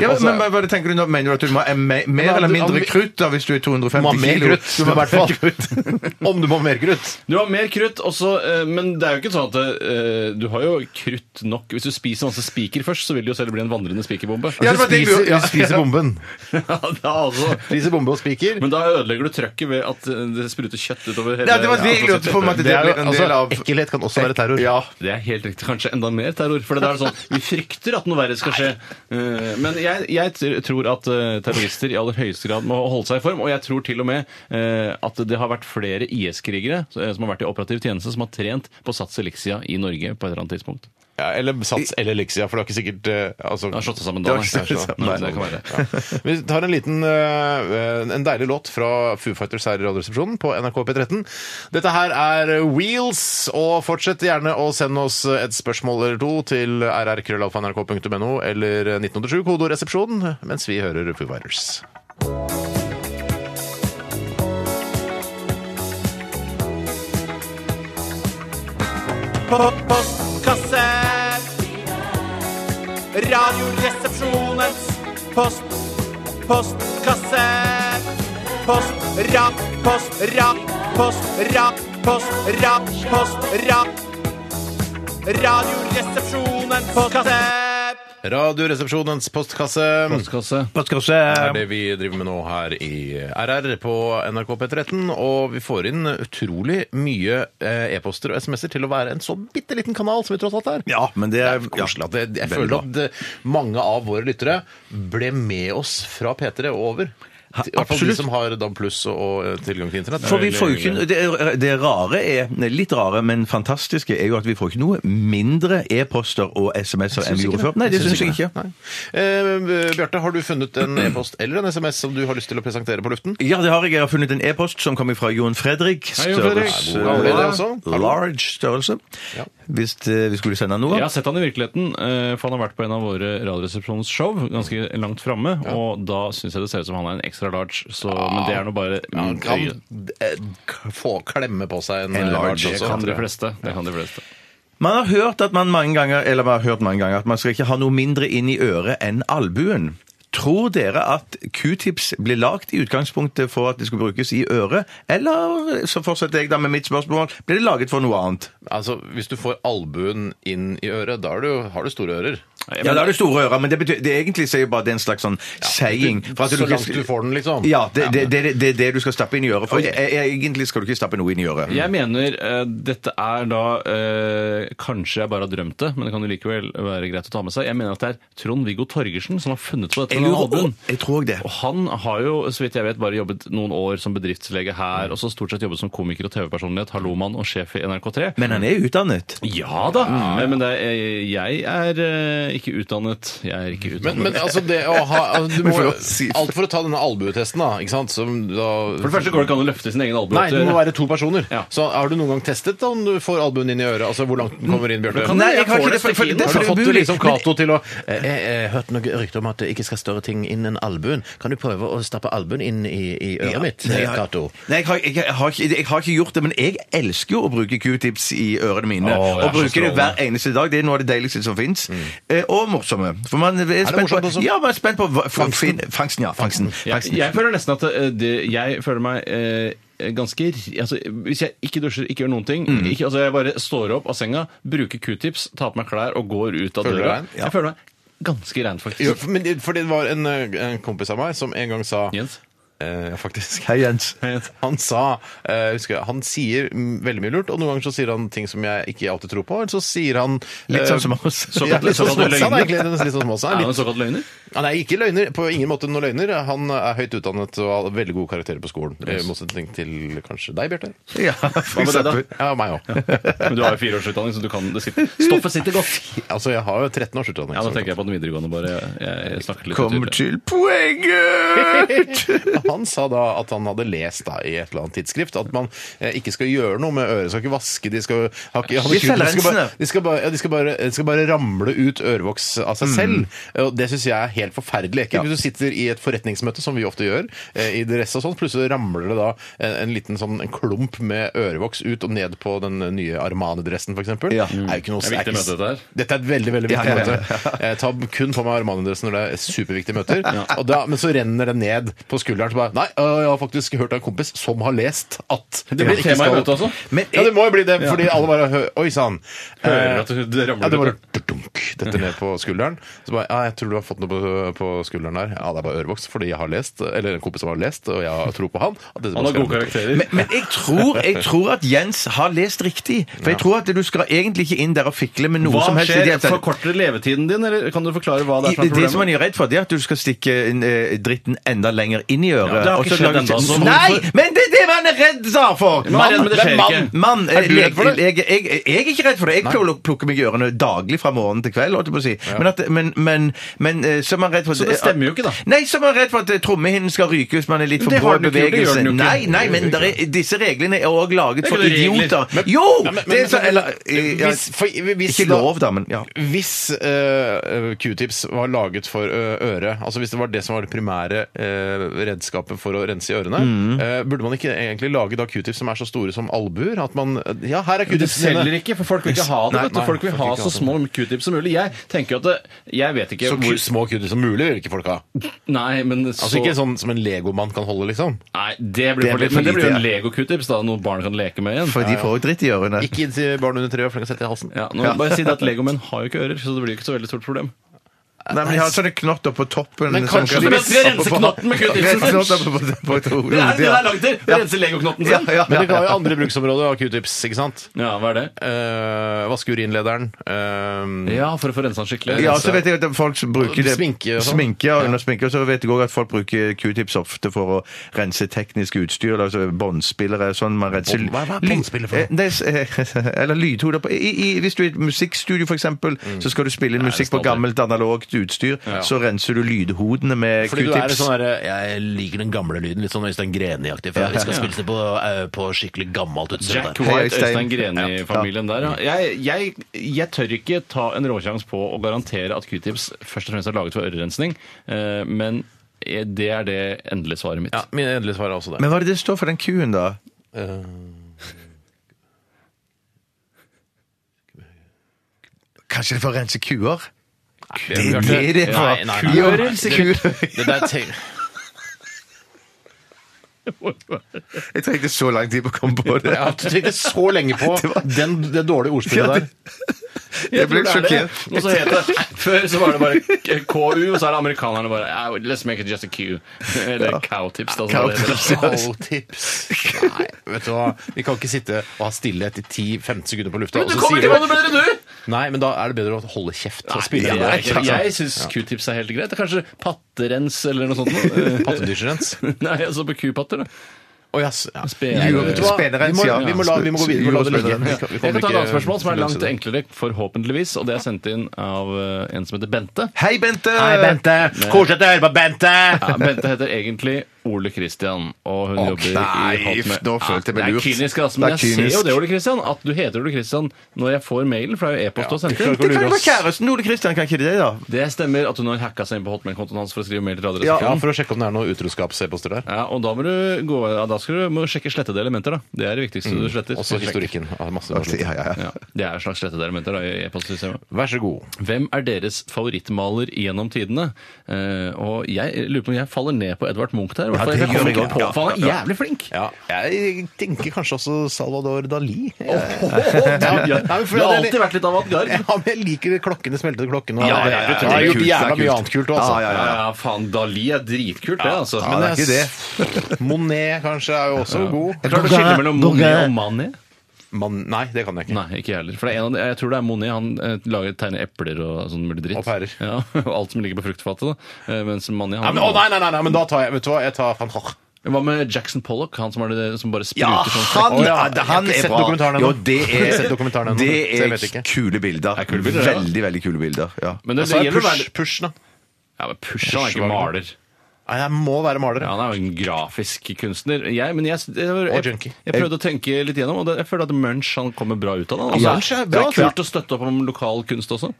[SPEAKER 4] Ja, men,
[SPEAKER 2] Altså,
[SPEAKER 4] men, hva tenker du nå? Mener du at du må ha mer, mer
[SPEAKER 2] Ja,
[SPEAKER 4] eller
[SPEAKER 2] du-
[SPEAKER 4] mindre
[SPEAKER 2] om-
[SPEAKER 4] krutt da, hvis du er 250
[SPEAKER 2] du må ha mer
[SPEAKER 4] kilo?
[SPEAKER 2] krutt, i hvert fall. Altså, Om du må ha mer krutt.
[SPEAKER 3] Du har mer krutt, også, eh, men det er jo ikke sånn at eh, du har jo krutt nok. Hvis du spiser masse spiker først, så vil det jo selv bli en vandrende spikerbombe.
[SPEAKER 4] Ja,
[SPEAKER 2] Du
[SPEAKER 4] det var det vi
[SPEAKER 2] spiser,
[SPEAKER 4] gjorde, ja.
[SPEAKER 2] du spiser bomben.
[SPEAKER 3] Ja, da altså.
[SPEAKER 2] Spiser bombe og spiker.
[SPEAKER 3] Men da ødelegger du trøkket ved at eh, det spruter kjøtt utover hele
[SPEAKER 4] Ja, det var det jeg lurte på. om at Det,
[SPEAKER 2] Det er jo,
[SPEAKER 4] blir en del
[SPEAKER 2] altså,
[SPEAKER 4] av
[SPEAKER 2] ekkelhet kan også være terror.
[SPEAKER 4] Ja.
[SPEAKER 3] Det er helt riktig. Kanskje enda mer terror. For det er sånn, Vi frykter at noe verre skal skje. Eh, Men jeg, jeg tr- tror at eh, terrorister i aller høyeste grad må holde seg i form. Og jeg tror til og med eh, at det har vært flere IS-krigere eh, som har vært i operativ tjeneste, som har trent på Sats Elixia i Norge på et eller annet tidspunkt.
[SPEAKER 2] Ja, eller Sats eller Elixia, for det er ikke sikkert eh, altså,
[SPEAKER 3] Det har slått seg sammen
[SPEAKER 2] Det
[SPEAKER 3] da.
[SPEAKER 2] har ikke
[SPEAKER 3] nei.
[SPEAKER 2] slått seg
[SPEAKER 3] Nei,
[SPEAKER 2] sammen.
[SPEAKER 3] det kan være.
[SPEAKER 2] Ja. Vi tar en liten eh, en deilig låt fra Foo Fighters her i Radioresepsjonen på NRK P13. Dette her er Wheels, og fortsett gjerne å sende oss et spørsmål eller to til rrkrøllalfa.nrk.no eller 1987 kodoresepsjon mens vi hører Foo Fighters. Radioresepsjonens postkasse.
[SPEAKER 3] Postkasse.
[SPEAKER 2] Det er det vi driver med nå her i RR på NRK P13. Og vi får inn utrolig mye eh, e-poster og SMS-er til å være en så bitte liten kanal som vi tross alt er.
[SPEAKER 4] Ja, men det er
[SPEAKER 2] Koselig at det, jeg
[SPEAKER 4] Veldig
[SPEAKER 2] føler
[SPEAKER 4] bra.
[SPEAKER 2] at eh, mange av våre lyttere ble med oss fra P3 og over.
[SPEAKER 4] Ha,
[SPEAKER 2] I hvert fall de
[SPEAKER 4] absolutt.
[SPEAKER 2] som har DAB pluss og, og tilgang til internett.
[SPEAKER 4] For vi får jo
[SPEAKER 2] Veldig hyggelig.
[SPEAKER 4] ikke, det, det rare er, nei, litt rare, men fantastiske, er jo at vi får ikke noe mindre e-poster og SMS-er enn vi gjorde før. Nei, det syns jeg ikke.
[SPEAKER 2] Nei. Eh, Bjarte, har du funnet en e-post eller en SMS som du har lyst til å presentere på luften?
[SPEAKER 4] Ja, det har jeg. Jeg har funnet en e-post som kommer fra Jon Fredrik.
[SPEAKER 3] Hei, Jon Fredrik.
[SPEAKER 4] Størrelse-
[SPEAKER 2] Ja, hvor er det også?
[SPEAKER 4] Large størrelse.
[SPEAKER 2] Ja.
[SPEAKER 4] Hvis eh, vi skulle sende noe.
[SPEAKER 3] Jeg har sett han i virkeligheten, eh, for han har vært på en av våre Radioresepsjonens show ganske langt framme. Og da syns jeg det ser ut som han er en extra large, så, men det er nå bare
[SPEAKER 2] Han
[SPEAKER 3] mm,
[SPEAKER 2] kan
[SPEAKER 3] øye.
[SPEAKER 2] eh, k- få klemme på seg en,
[SPEAKER 4] En
[SPEAKER 2] eh,
[SPEAKER 4] large
[SPEAKER 2] large
[SPEAKER 3] Det
[SPEAKER 2] også.
[SPEAKER 3] kan de fleste. Det kan de fleste.
[SPEAKER 4] Man har hørt at man mange ganger, eller man har hørt mange ganger, at man skal ikke ha noe mindre inn i øret enn albuen. Tror dere at Q-tips ble lagt i utgangspunktet for at det skulle brukes i øret, eller så fortsetter jeg da med mitt spørsmål, ble det laget for noe annet?
[SPEAKER 2] Altså, Hvis du får albuen inn i øret, da er du, har du store ører.
[SPEAKER 3] Jeg
[SPEAKER 4] Ja,
[SPEAKER 3] mener-
[SPEAKER 4] da er det store ører, men det betyr, det egentlig sier bare det er en slags sånn saying. for at
[SPEAKER 2] Så
[SPEAKER 4] ikke-
[SPEAKER 2] langt du får den, liksom.
[SPEAKER 4] Ja, det er det, det, det, det du skal stappe inn i øret, for e- e- egentlig skal du ikke stappe noe inn i øret.
[SPEAKER 3] Jeg mener eh, dette er da eh, Kanskje jeg bare har drømt det, men det kan jo likevel være greit å ta med seg. Jeg mener at det er Trond-Viggo Torgersen som har funnet på dette.
[SPEAKER 4] Jeg
[SPEAKER 3] med
[SPEAKER 4] lurer
[SPEAKER 3] albuen.
[SPEAKER 4] jeg tror også det.
[SPEAKER 3] Og han har jo, så vidt jeg vet, bare jobbet noen år som bedriftslege her, og så stort sett jobbet som komiker og TV-personlighet, hallomann og sjef i NRK3.
[SPEAKER 4] Men han er utdannet.
[SPEAKER 3] ja da! Eh, Men det er, jeg er eh, ikke utdannet. Jeg er ikke utdannet.
[SPEAKER 2] Men, men altså det å ha altså, du må,
[SPEAKER 4] for å si-
[SPEAKER 2] Alt for å ta denne albuetesten, da. ikke sant? Som da
[SPEAKER 3] For det første går det ikke an å løfte sin egen albue.
[SPEAKER 2] Nei, det må være to personer.
[SPEAKER 3] Ja.
[SPEAKER 2] Så har du noen gang testet da, om du får albuen inn i øret? Altså hvor langt den kommer inn, Bjarte?
[SPEAKER 3] kan-
[SPEAKER 4] Nei, jeg
[SPEAKER 3] jeg
[SPEAKER 4] har
[SPEAKER 3] får
[SPEAKER 4] ikke
[SPEAKER 3] det
[SPEAKER 4] det. For, for,
[SPEAKER 3] stikke inn.
[SPEAKER 4] det er
[SPEAKER 2] Har du
[SPEAKER 4] for
[SPEAKER 2] fått
[SPEAKER 4] umulig.
[SPEAKER 2] liksom Cato til å Jeg har hørt noen rykter om at det ikke skal større ting inn enn albuen. Kan du prøve å stappe albuen inn i, øret mitt,
[SPEAKER 4] Nei, jeg- Nei, jeg har, jeg, har ikke, jeg har ikke gjort det, men jeg elsker jo å bruke q-tips i ørene mine.
[SPEAKER 3] Å, det er
[SPEAKER 4] og
[SPEAKER 3] så
[SPEAKER 4] bruker det
[SPEAKER 3] strålende.
[SPEAKER 4] hver eneste dag. Det er noe av det deiligste som fins. Eh, og morsomme. For man er, spent
[SPEAKER 2] morsomt
[SPEAKER 4] på,
[SPEAKER 2] også?
[SPEAKER 4] ja, man er spent på hva- fang- fin- fangsten. Ja, fangsten.
[SPEAKER 3] Jeg,
[SPEAKER 4] fangsten.
[SPEAKER 3] jeg føler nesten at eh, det, jeg føler meg eh, ganske ri- altså, Hvis jeg ikke dusjer, ikke gjør noen ting
[SPEAKER 4] Mm.
[SPEAKER 3] ikke, altså, Jeg bare står opp av senga, bruker q-tips, tar på meg klær og går ut av
[SPEAKER 2] Føler du
[SPEAKER 3] døra.
[SPEAKER 2] deg ren?
[SPEAKER 4] Ja.
[SPEAKER 3] Jeg føler meg ganske ren,
[SPEAKER 2] Jo,
[SPEAKER 3] faktisk.
[SPEAKER 2] for- men det- fordi det var en, eh, en kompis av meg som en gang sa
[SPEAKER 3] Jens?
[SPEAKER 2] Eh, ja, faktisk.
[SPEAKER 4] Hei, Jens.
[SPEAKER 2] Han sa eh, husker jeg, Han sier mm, veldig mye lurt, og noen ganger så sier han ting som jeg ikke alltid tror på. Eller så sier han
[SPEAKER 4] Litt
[SPEAKER 2] eh,
[SPEAKER 4] sånn som oss.
[SPEAKER 2] ja, litt sånn som
[SPEAKER 3] Såkalt
[SPEAKER 2] oss. Han er
[SPEAKER 3] løgner.
[SPEAKER 2] egentlig nesten litt sånn som oss. Han
[SPEAKER 3] Er
[SPEAKER 2] er
[SPEAKER 3] han
[SPEAKER 2] litt-
[SPEAKER 3] en såkalt løgner?
[SPEAKER 2] Han er ikke løgner. På ingen måte noen løgner. Han er høyt utdannet og har veldig gode karakterer på skolen. I motsetning til kanskje deg, Bjarte.
[SPEAKER 4] Ja,
[SPEAKER 3] Hva
[SPEAKER 4] for
[SPEAKER 3] med deg, da?
[SPEAKER 4] eksempel.
[SPEAKER 2] Ja, meg òg.
[SPEAKER 3] Men du har jo fireårsutdanning, så du kan det sitter. Stoffet sitter godt.
[SPEAKER 2] Altså, jeg har jo 13 års utdanning.
[SPEAKER 3] Ja, Da
[SPEAKER 2] så-
[SPEAKER 3] tenker jeg på den videregående, bare. Jeg, jeg snakker litt
[SPEAKER 4] Kom
[SPEAKER 3] tydeligere.
[SPEAKER 4] til poenget!
[SPEAKER 2] Han sa da at han hadde lest da, i et eller annet tidsskrift at man eh, ikke skal gjøre noe med øret. Skal ikke vaske, de skal, ha, ikke- ha
[SPEAKER 4] De
[SPEAKER 2] det kult, de skal bare,
[SPEAKER 4] selvrensende.
[SPEAKER 2] de skal bare, ja, de skal bare, de skal bare ramle ut ørevoks av seg
[SPEAKER 3] Mm.
[SPEAKER 2] selv. Og det syns jeg er helt forferdelig. Ikke? Hvis du sitter i et forretningsmøte, som vi ofte gjør, eh, i dress og sånn, plutselig ramler det da en, en liten sånn en klump med ørevoks ut og ned på den nye Armani-dressen, f.eks.
[SPEAKER 4] Ja.
[SPEAKER 2] Er jo ikke noe
[SPEAKER 3] Det er viktig møte, dette her.
[SPEAKER 2] Dette er et veldig, veldig
[SPEAKER 4] Ja,
[SPEAKER 2] viktig
[SPEAKER 4] ja, ja.
[SPEAKER 2] møte. Jeg tar kun på meg Armani-dressen når det er superviktige møter. og da, men så renner det ned på skulderen. Så bare, Nei, øh, jeg har faktisk hørt av en kompis som har lest at
[SPEAKER 3] Det blir tema i møtet også.
[SPEAKER 4] Men
[SPEAKER 2] Ja, det må jo bli det, fordi alle bare hø Oi sann.
[SPEAKER 3] Hører at det- det ramler
[SPEAKER 2] ja, det
[SPEAKER 3] ut.
[SPEAKER 2] bare dunk, dette ned på skulderen. Så bare Ja, jeg tror du har fått noe på, på skulderen der. Ja, det er bare ørevoks, fordi jeg har lest, eller en kompis som har lest, og jeg tror på han. at dette
[SPEAKER 3] Han
[SPEAKER 2] bare
[SPEAKER 3] har
[SPEAKER 2] skal
[SPEAKER 3] gode
[SPEAKER 2] ramle ut.
[SPEAKER 3] karakterer.
[SPEAKER 4] Men, men jeg, tror, jeg tror at Jens har lest riktig. For jeg tror at du skal egentlig ikke inn der og fikle med noe
[SPEAKER 3] Hva
[SPEAKER 4] som helst. i
[SPEAKER 3] skjer?
[SPEAKER 4] det hele tatt.
[SPEAKER 3] Forkorter det levetiden din, eller kan du forklare hva det er
[SPEAKER 4] I-
[SPEAKER 3] for
[SPEAKER 4] Det som man
[SPEAKER 3] problem?
[SPEAKER 4] er redd for, det er at du skal stikke eh, dritten enda lenger inn i øret.
[SPEAKER 3] Ja, det har ikke
[SPEAKER 4] og så
[SPEAKER 3] skjedd
[SPEAKER 4] lage-
[SPEAKER 3] ennå, så-
[SPEAKER 4] Nei! Men det er det man er redd da, for!
[SPEAKER 3] Man er redd, men det skjer
[SPEAKER 4] mann,
[SPEAKER 3] ikke.
[SPEAKER 4] mann, eh,
[SPEAKER 2] Er du redd for det?
[SPEAKER 4] Jeg, jeg, jeg, jeg er ikke redd for det. Jeg pleier å plukke meg i ørene daglig fra morgen til kveld. holdt jeg på å si. Men, at, men, men, men eh, så er man redd for
[SPEAKER 3] Så det stemmer jo ikke, da.
[SPEAKER 4] Nei, så er man redd for at eh, trommehinnen skal ryke hvis man er litt for
[SPEAKER 3] det
[SPEAKER 4] brå
[SPEAKER 3] har
[SPEAKER 4] i
[SPEAKER 3] den ikke gjort, det gjør
[SPEAKER 4] bevegelse.
[SPEAKER 3] den jo ikke.
[SPEAKER 4] Nei, nei, men der er, disse reglene er òg laget for
[SPEAKER 3] ikke noen regler.
[SPEAKER 4] idioter.
[SPEAKER 2] Men-
[SPEAKER 4] Jo!
[SPEAKER 2] Nei, men-
[SPEAKER 4] det er så,
[SPEAKER 2] men-
[SPEAKER 4] eller, eh, ja,
[SPEAKER 2] Hvis- for- hvis
[SPEAKER 4] ikke
[SPEAKER 2] da-
[SPEAKER 4] lov, da, men ja.
[SPEAKER 2] Hvis eh, Q-tips var laget for eh, øret, altså hvis det var det som var det primære eh, redskapet for å rense i ørene, eh, burde man ikke egentlig lage da Q-tips som er så store som albuer? At man eh, Ja, her er
[SPEAKER 3] Det
[SPEAKER 2] Q-tips
[SPEAKER 3] selger ikke, for folk vil ikke ha det.
[SPEAKER 2] Nei,
[SPEAKER 3] vet du.
[SPEAKER 2] nei,
[SPEAKER 3] folk vil
[SPEAKER 2] folk
[SPEAKER 3] ha
[SPEAKER 2] vil ikke
[SPEAKER 3] så
[SPEAKER 2] ha det.
[SPEAKER 3] små q-tips som mulig. Jeg tenker jo at det, jeg vet ikke
[SPEAKER 2] Så
[SPEAKER 3] hvor
[SPEAKER 2] ku- små Q-tips som mulig vil ikke folk ha.
[SPEAKER 3] Nei, men så
[SPEAKER 2] Altså ikke sånn som en legomann kan holde, liksom.
[SPEAKER 3] Nei, det blir for
[SPEAKER 4] blir
[SPEAKER 3] lite. Men det
[SPEAKER 4] for
[SPEAKER 3] blir jo
[SPEAKER 4] lite,
[SPEAKER 3] en Lego-q-tips, da. Noe barn kan leke med igjen.
[SPEAKER 4] For de får jo dritt i ørene.
[SPEAKER 2] Ikke til barn under tre år, for de kan sette i halsen.
[SPEAKER 3] Ja, nå, bare si det at Legomenn har jo ikke ører, så det blir jo ikke så veldig stort problem.
[SPEAKER 4] Nei, men de har sånne knotter på toppen.
[SPEAKER 3] Men
[SPEAKER 4] som
[SPEAKER 3] kanskje
[SPEAKER 4] kan-
[SPEAKER 3] de skal rense
[SPEAKER 4] oppå-
[SPEAKER 3] knotten med Knut Nilsen.
[SPEAKER 4] Rense knotter på- på- på- på-
[SPEAKER 3] Det er det det er lagd til! Det
[SPEAKER 4] Ja.
[SPEAKER 3] renser legoknotten
[SPEAKER 4] Ja,
[SPEAKER 3] sin.
[SPEAKER 4] ja,
[SPEAKER 2] Men det
[SPEAKER 4] ja.
[SPEAKER 2] ga jo andre bruksområder av q-tips, ikke sant?
[SPEAKER 3] Ja, hva er det?
[SPEAKER 2] Uh, Vaskeurinlederen. eh,
[SPEAKER 3] Ja, for å få rensa den skikkelig.
[SPEAKER 4] Ja, og så vet jeg at folk som bruker det
[SPEAKER 2] Sminke og sånn.
[SPEAKER 4] Sminke, ja, under sminke, og så vet jeg også at folk bruker Q-tips ofte for å rense teknisk utstyr, altså båndspillere og sånn. Man renser
[SPEAKER 2] Bånd- hva- hva er båndspiller for noe?
[SPEAKER 4] Eh, det er s- eh, Eller lydhoder på i, i, Hvis du er i et musikkstudio, for eksempel,
[SPEAKER 2] Mm.
[SPEAKER 4] så skal du spille inn musikk på
[SPEAKER 3] standard.
[SPEAKER 4] gammelt analogt utstyr, så renser du lydhodene med
[SPEAKER 5] Fordi du er
[SPEAKER 4] Q-tips.
[SPEAKER 5] sånn derre Jeg liker den gamle lyden. Litt sånn Øystein Greni-aktig. For vi skal spille det på, eh, på skikkelig gammelt
[SPEAKER 3] Jack
[SPEAKER 5] utstyr.
[SPEAKER 3] White,
[SPEAKER 4] Øystein.
[SPEAKER 3] Øystein Greni-familien der, ja. Jeg, jeg, jeg tør ikke ta en råsjans på å garantere at q-tips først og fremst er laget for ørerensning, eh, men det er det endelige svaret mitt.
[SPEAKER 2] ja, min endelige svar er også det.
[SPEAKER 4] Men hva er det det står for den Q-en, da?
[SPEAKER 3] Eh.
[SPEAKER 4] Kanskje det er for å rense kuer? Det er det det er
[SPEAKER 2] Nei,
[SPEAKER 4] for.
[SPEAKER 2] nei, nei, nei, nei.
[SPEAKER 4] Kuer.
[SPEAKER 2] Det der tenk-
[SPEAKER 4] Jeg trengte så lang tid på å komme på det.
[SPEAKER 2] Jeg har tenkt så lenge på den, det dårlige ordspillet der.
[SPEAKER 4] Jeg ble
[SPEAKER 3] tror det er
[SPEAKER 4] sjokkert.
[SPEAKER 3] det. Og så heter det Før så var det bare K- KU, og så er det amerikanerne bare "Ah, Let's make it just a Q. Eller cowtips, da. som det heter.
[SPEAKER 2] Cowtips. Nei, vet du hva. Vi kan ikke sitte og ha stillhet i 10-15 sekunder på lufta. og
[SPEAKER 3] Du
[SPEAKER 2] så
[SPEAKER 3] kommer
[SPEAKER 2] sier
[SPEAKER 3] til
[SPEAKER 2] du-
[SPEAKER 3] noe bedre, du!
[SPEAKER 2] Nei, men da er det bedre å holde kjeft og spille
[SPEAKER 3] Ja,
[SPEAKER 2] i
[SPEAKER 3] det er
[SPEAKER 2] det.
[SPEAKER 3] ikke- jeg syns q-tips er helt greit. Det er Kanskje patterens eller noe sånt. noe.
[SPEAKER 2] Pattedyrrens.
[SPEAKER 3] Nei, altså på kupatter, da.
[SPEAKER 2] Å, ja, s- ja.
[SPEAKER 3] Spe-
[SPEAKER 2] Nei,
[SPEAKER 3] Jo,
[SPEAKER 2] vet du hva? Vi
[SPEAKER 4] spenerens,
[SPEAKER 2] må,
[SPEAKER 4] ja.
[SPEAKER 2] vi må, la, vi må gå videre. Vi må la det ligge. Vi kan- vi
[SPEAKER 3] Jeg
[SPEAKER 2] kommer
[SPEAKER 3] kan ta et annet
[SPEAKER 2] ikke-
[SPEAKER 3] spørsmål som er
[SPEAKER 2] løse
[SPEAKER 3] langt
[SPEAKER 2] det.
[SPEAKER 3] enklere, forhåpentligvis. Og det er sendt inn av eh, en som heter Bente.
[SPEAKER 4] Hei, Bente!
[SPEAKER 2] Hei, Bente! Koselig å høre på Bente!
[SPEAKER 3] Ja, Bente heter egentlig Ole Christian, og hun jobber
[SPEAKER 4] nei,
[SPEAKER 3] i Hotmail.
[SPEAKER 4] nå følte jeg meg
[SPEAKER 3] Det
[SPEAKER 4] lurt.
[SPEAKER 3] er kynisk, altså, men
[SPEAKER 4] Det er
[SPEAKER 3] jeg ser jo
[SPEAKER 4] kynisk.
[SPEAKER 3] det, Ole Christian, at du heter Ole Christian når jeg får mailen, for det er jo e-post å sende
[SPEAKER 4] Det
[SPEAKER 3] inn.
[SPEAKER 4] kan jo være kjæresten Ole Kristian, kan ikke det det, da?
[SPEAKER 3] Det stemmer at hun har hacka seg inn på Hotmail-kontoen hans for å skrive mail til
[SPEAKER 2] Ja,
[SPEAKER 3] Radioresepsjonen.
[SPEAKER 2] for å sjekke om det er noe utroskapsposter der.
[SPEAKER 3] Ja, og da må du gå ja, da skal du må du sjekke slettede elementer, da. Det er det viktigste du sletter.
[SPEAKER 2] Også historikken. Ja, Masse masse.
[SPEAKER 4] Ja, ja, ja.
[SPEAKER 3] Ja, det er et slags slettede elementer da, i e-postsystemet.
[SPEAKER 2] Vær så god.
[SPEAKER 3] Hvem er deres favorittmaler gjennom tidene? Eh, og jeg lurer på om jeg faller ned på Edvard Munch der. i hvert fall. Jeg
[SPEAKER 4] det
[SPEAKER 3] kommer
[SPEAKER 4] gjør jeg
[SPEAKER 3] ikke
[SPEAKER 4] også.
[SPEAKER 3] på,
[SPEAKER 4] Ja,
[SPEAKER 3] for Han er jævlig flink!
[SPEAKER 2] Ja, jeg tenker kanskje også Salvador Dali. Jeg-
[SPEAKER 3] Ja,
[SPEAKER 2] Nei, men for
[SPEAKER 3] Du har
[SPEAKER 2] det-
[SPEAKER 3] alltid vært litt avantgarde.
[SPEAKER 2] Ja, men jeg liker klokkene smeltede klokkene. og-
[SPEAKER 3] Ja, ja, ja, ja,
[SPEAKER 2] Jeg har
[SPEAKER 3] det er
[SPEAKER 2] gjort
[SPEAKER 4] kult,
[SPEAKER 2] jævla
[SPEAKER 4] det er
[SPEAKER 2] mye
[SPEAKER 4] kult.
[SPEAKER 2] annet kult òg, altså.
[SPEAKER 4] Ja,
[SPEAKER 3] Ja, ja, faen, Dali er dritkult, det, altså.
[SPEAKER 4] Ja,
[SPEAKER 3] Men
[SPEAKER 4] det er
[SPEAKER 3] jeg
[SPEAKER 4] ikke det.
[SPEAKER 2] Monet kanskje er jo også god.
[SPEAKER 3] klarer du å skille mellom Monet og Manet?
[SPEAKER 2] Man, nei, det kan jeg ikke.
[SPEAKER 3] Nei, ikke jeg heller. For det er en av, de- jeg tror det er Monet. Han eh, lager tegner epler og sånn mulig dritt.
[SPEAKER 2] Og pærer.
[SPEAKER 3] Ja, og alt som ligger på fruktfatet. da. Eh, Mens Manet
[SPEAKER 2] Nei,
[SPEAKER 3] han,
[SPEAKER 2] men, å, nei, nei, nei, nei, men da tar jeg Vet du hva, jeg tar van Gogh.
[SPEAKER 3] Hva med Jackson Pollock, han som, er det, som bare spruter
[SPEAKER 4] Ja,
[SPEAKER 3] sånn
[SPEAKER 4] han,
[SPEAKER 2] Å, ja,
[SPEAKER 4] ja,
[SPEAKER 2] jeg
[SPEAKER 4] han
[SPEAKER 2] har ikke
[SPEAKER 4] er
[SPEAKER 2] sett
[SPEAKER 4] bra.
[SPEAKER 2] dokumentaren ennå.
[SPEAKER 4] Jo, det
[SPEAKER 2] Jeg har ikke sett dokumentaren
[SPEAKER 4] er,
[SPEAKER 2] ennå,
[SPEAKER 4] det
[SPEAKER 2] så jeg vet
[SPEAKER 4] er
[SPEAKER 2] ikke.
[SPEAKER 4] kule bilder.
[SPEAKER 3] Er kule bilder, ja.
[SPEAKER 4] Veldig, veldig kule bilder. Ja.
[SPEAKER 3] Men det,
[SPEAKER 2] Så er
[SPEAKER 3] gjelder å
[SPEAKER 2] push,
[SPEAKER 3] være
[SPEAKER 2] push, da.
[SPEAKER 3] Ja, men Push, han er ikke maler.
[SPEAKER 2] Nei, jeg må være maler. Ja.
[SPEAKER 3] Ja, han er jo en grafisk kunstner. Jeg, men jeg, jeg,
[SPEAKER 2] Og
[SPEAKER 3] jeg,
[SPEAKER 2] junkie.
[SPEAKER 3] jeg prøvde å tenke litt gjennom, og det, jeg føler at Munch han kommer bra ut av det.
[SPEAKER 4] Ja,
[SPEAKER 3] Altså,
[SPEAKER 4] Munch er
[SPEAKER 3] det
[SPEAKER 4] bra,
[SPEAKER 3] er kult å støtte opp om lokal kunst også.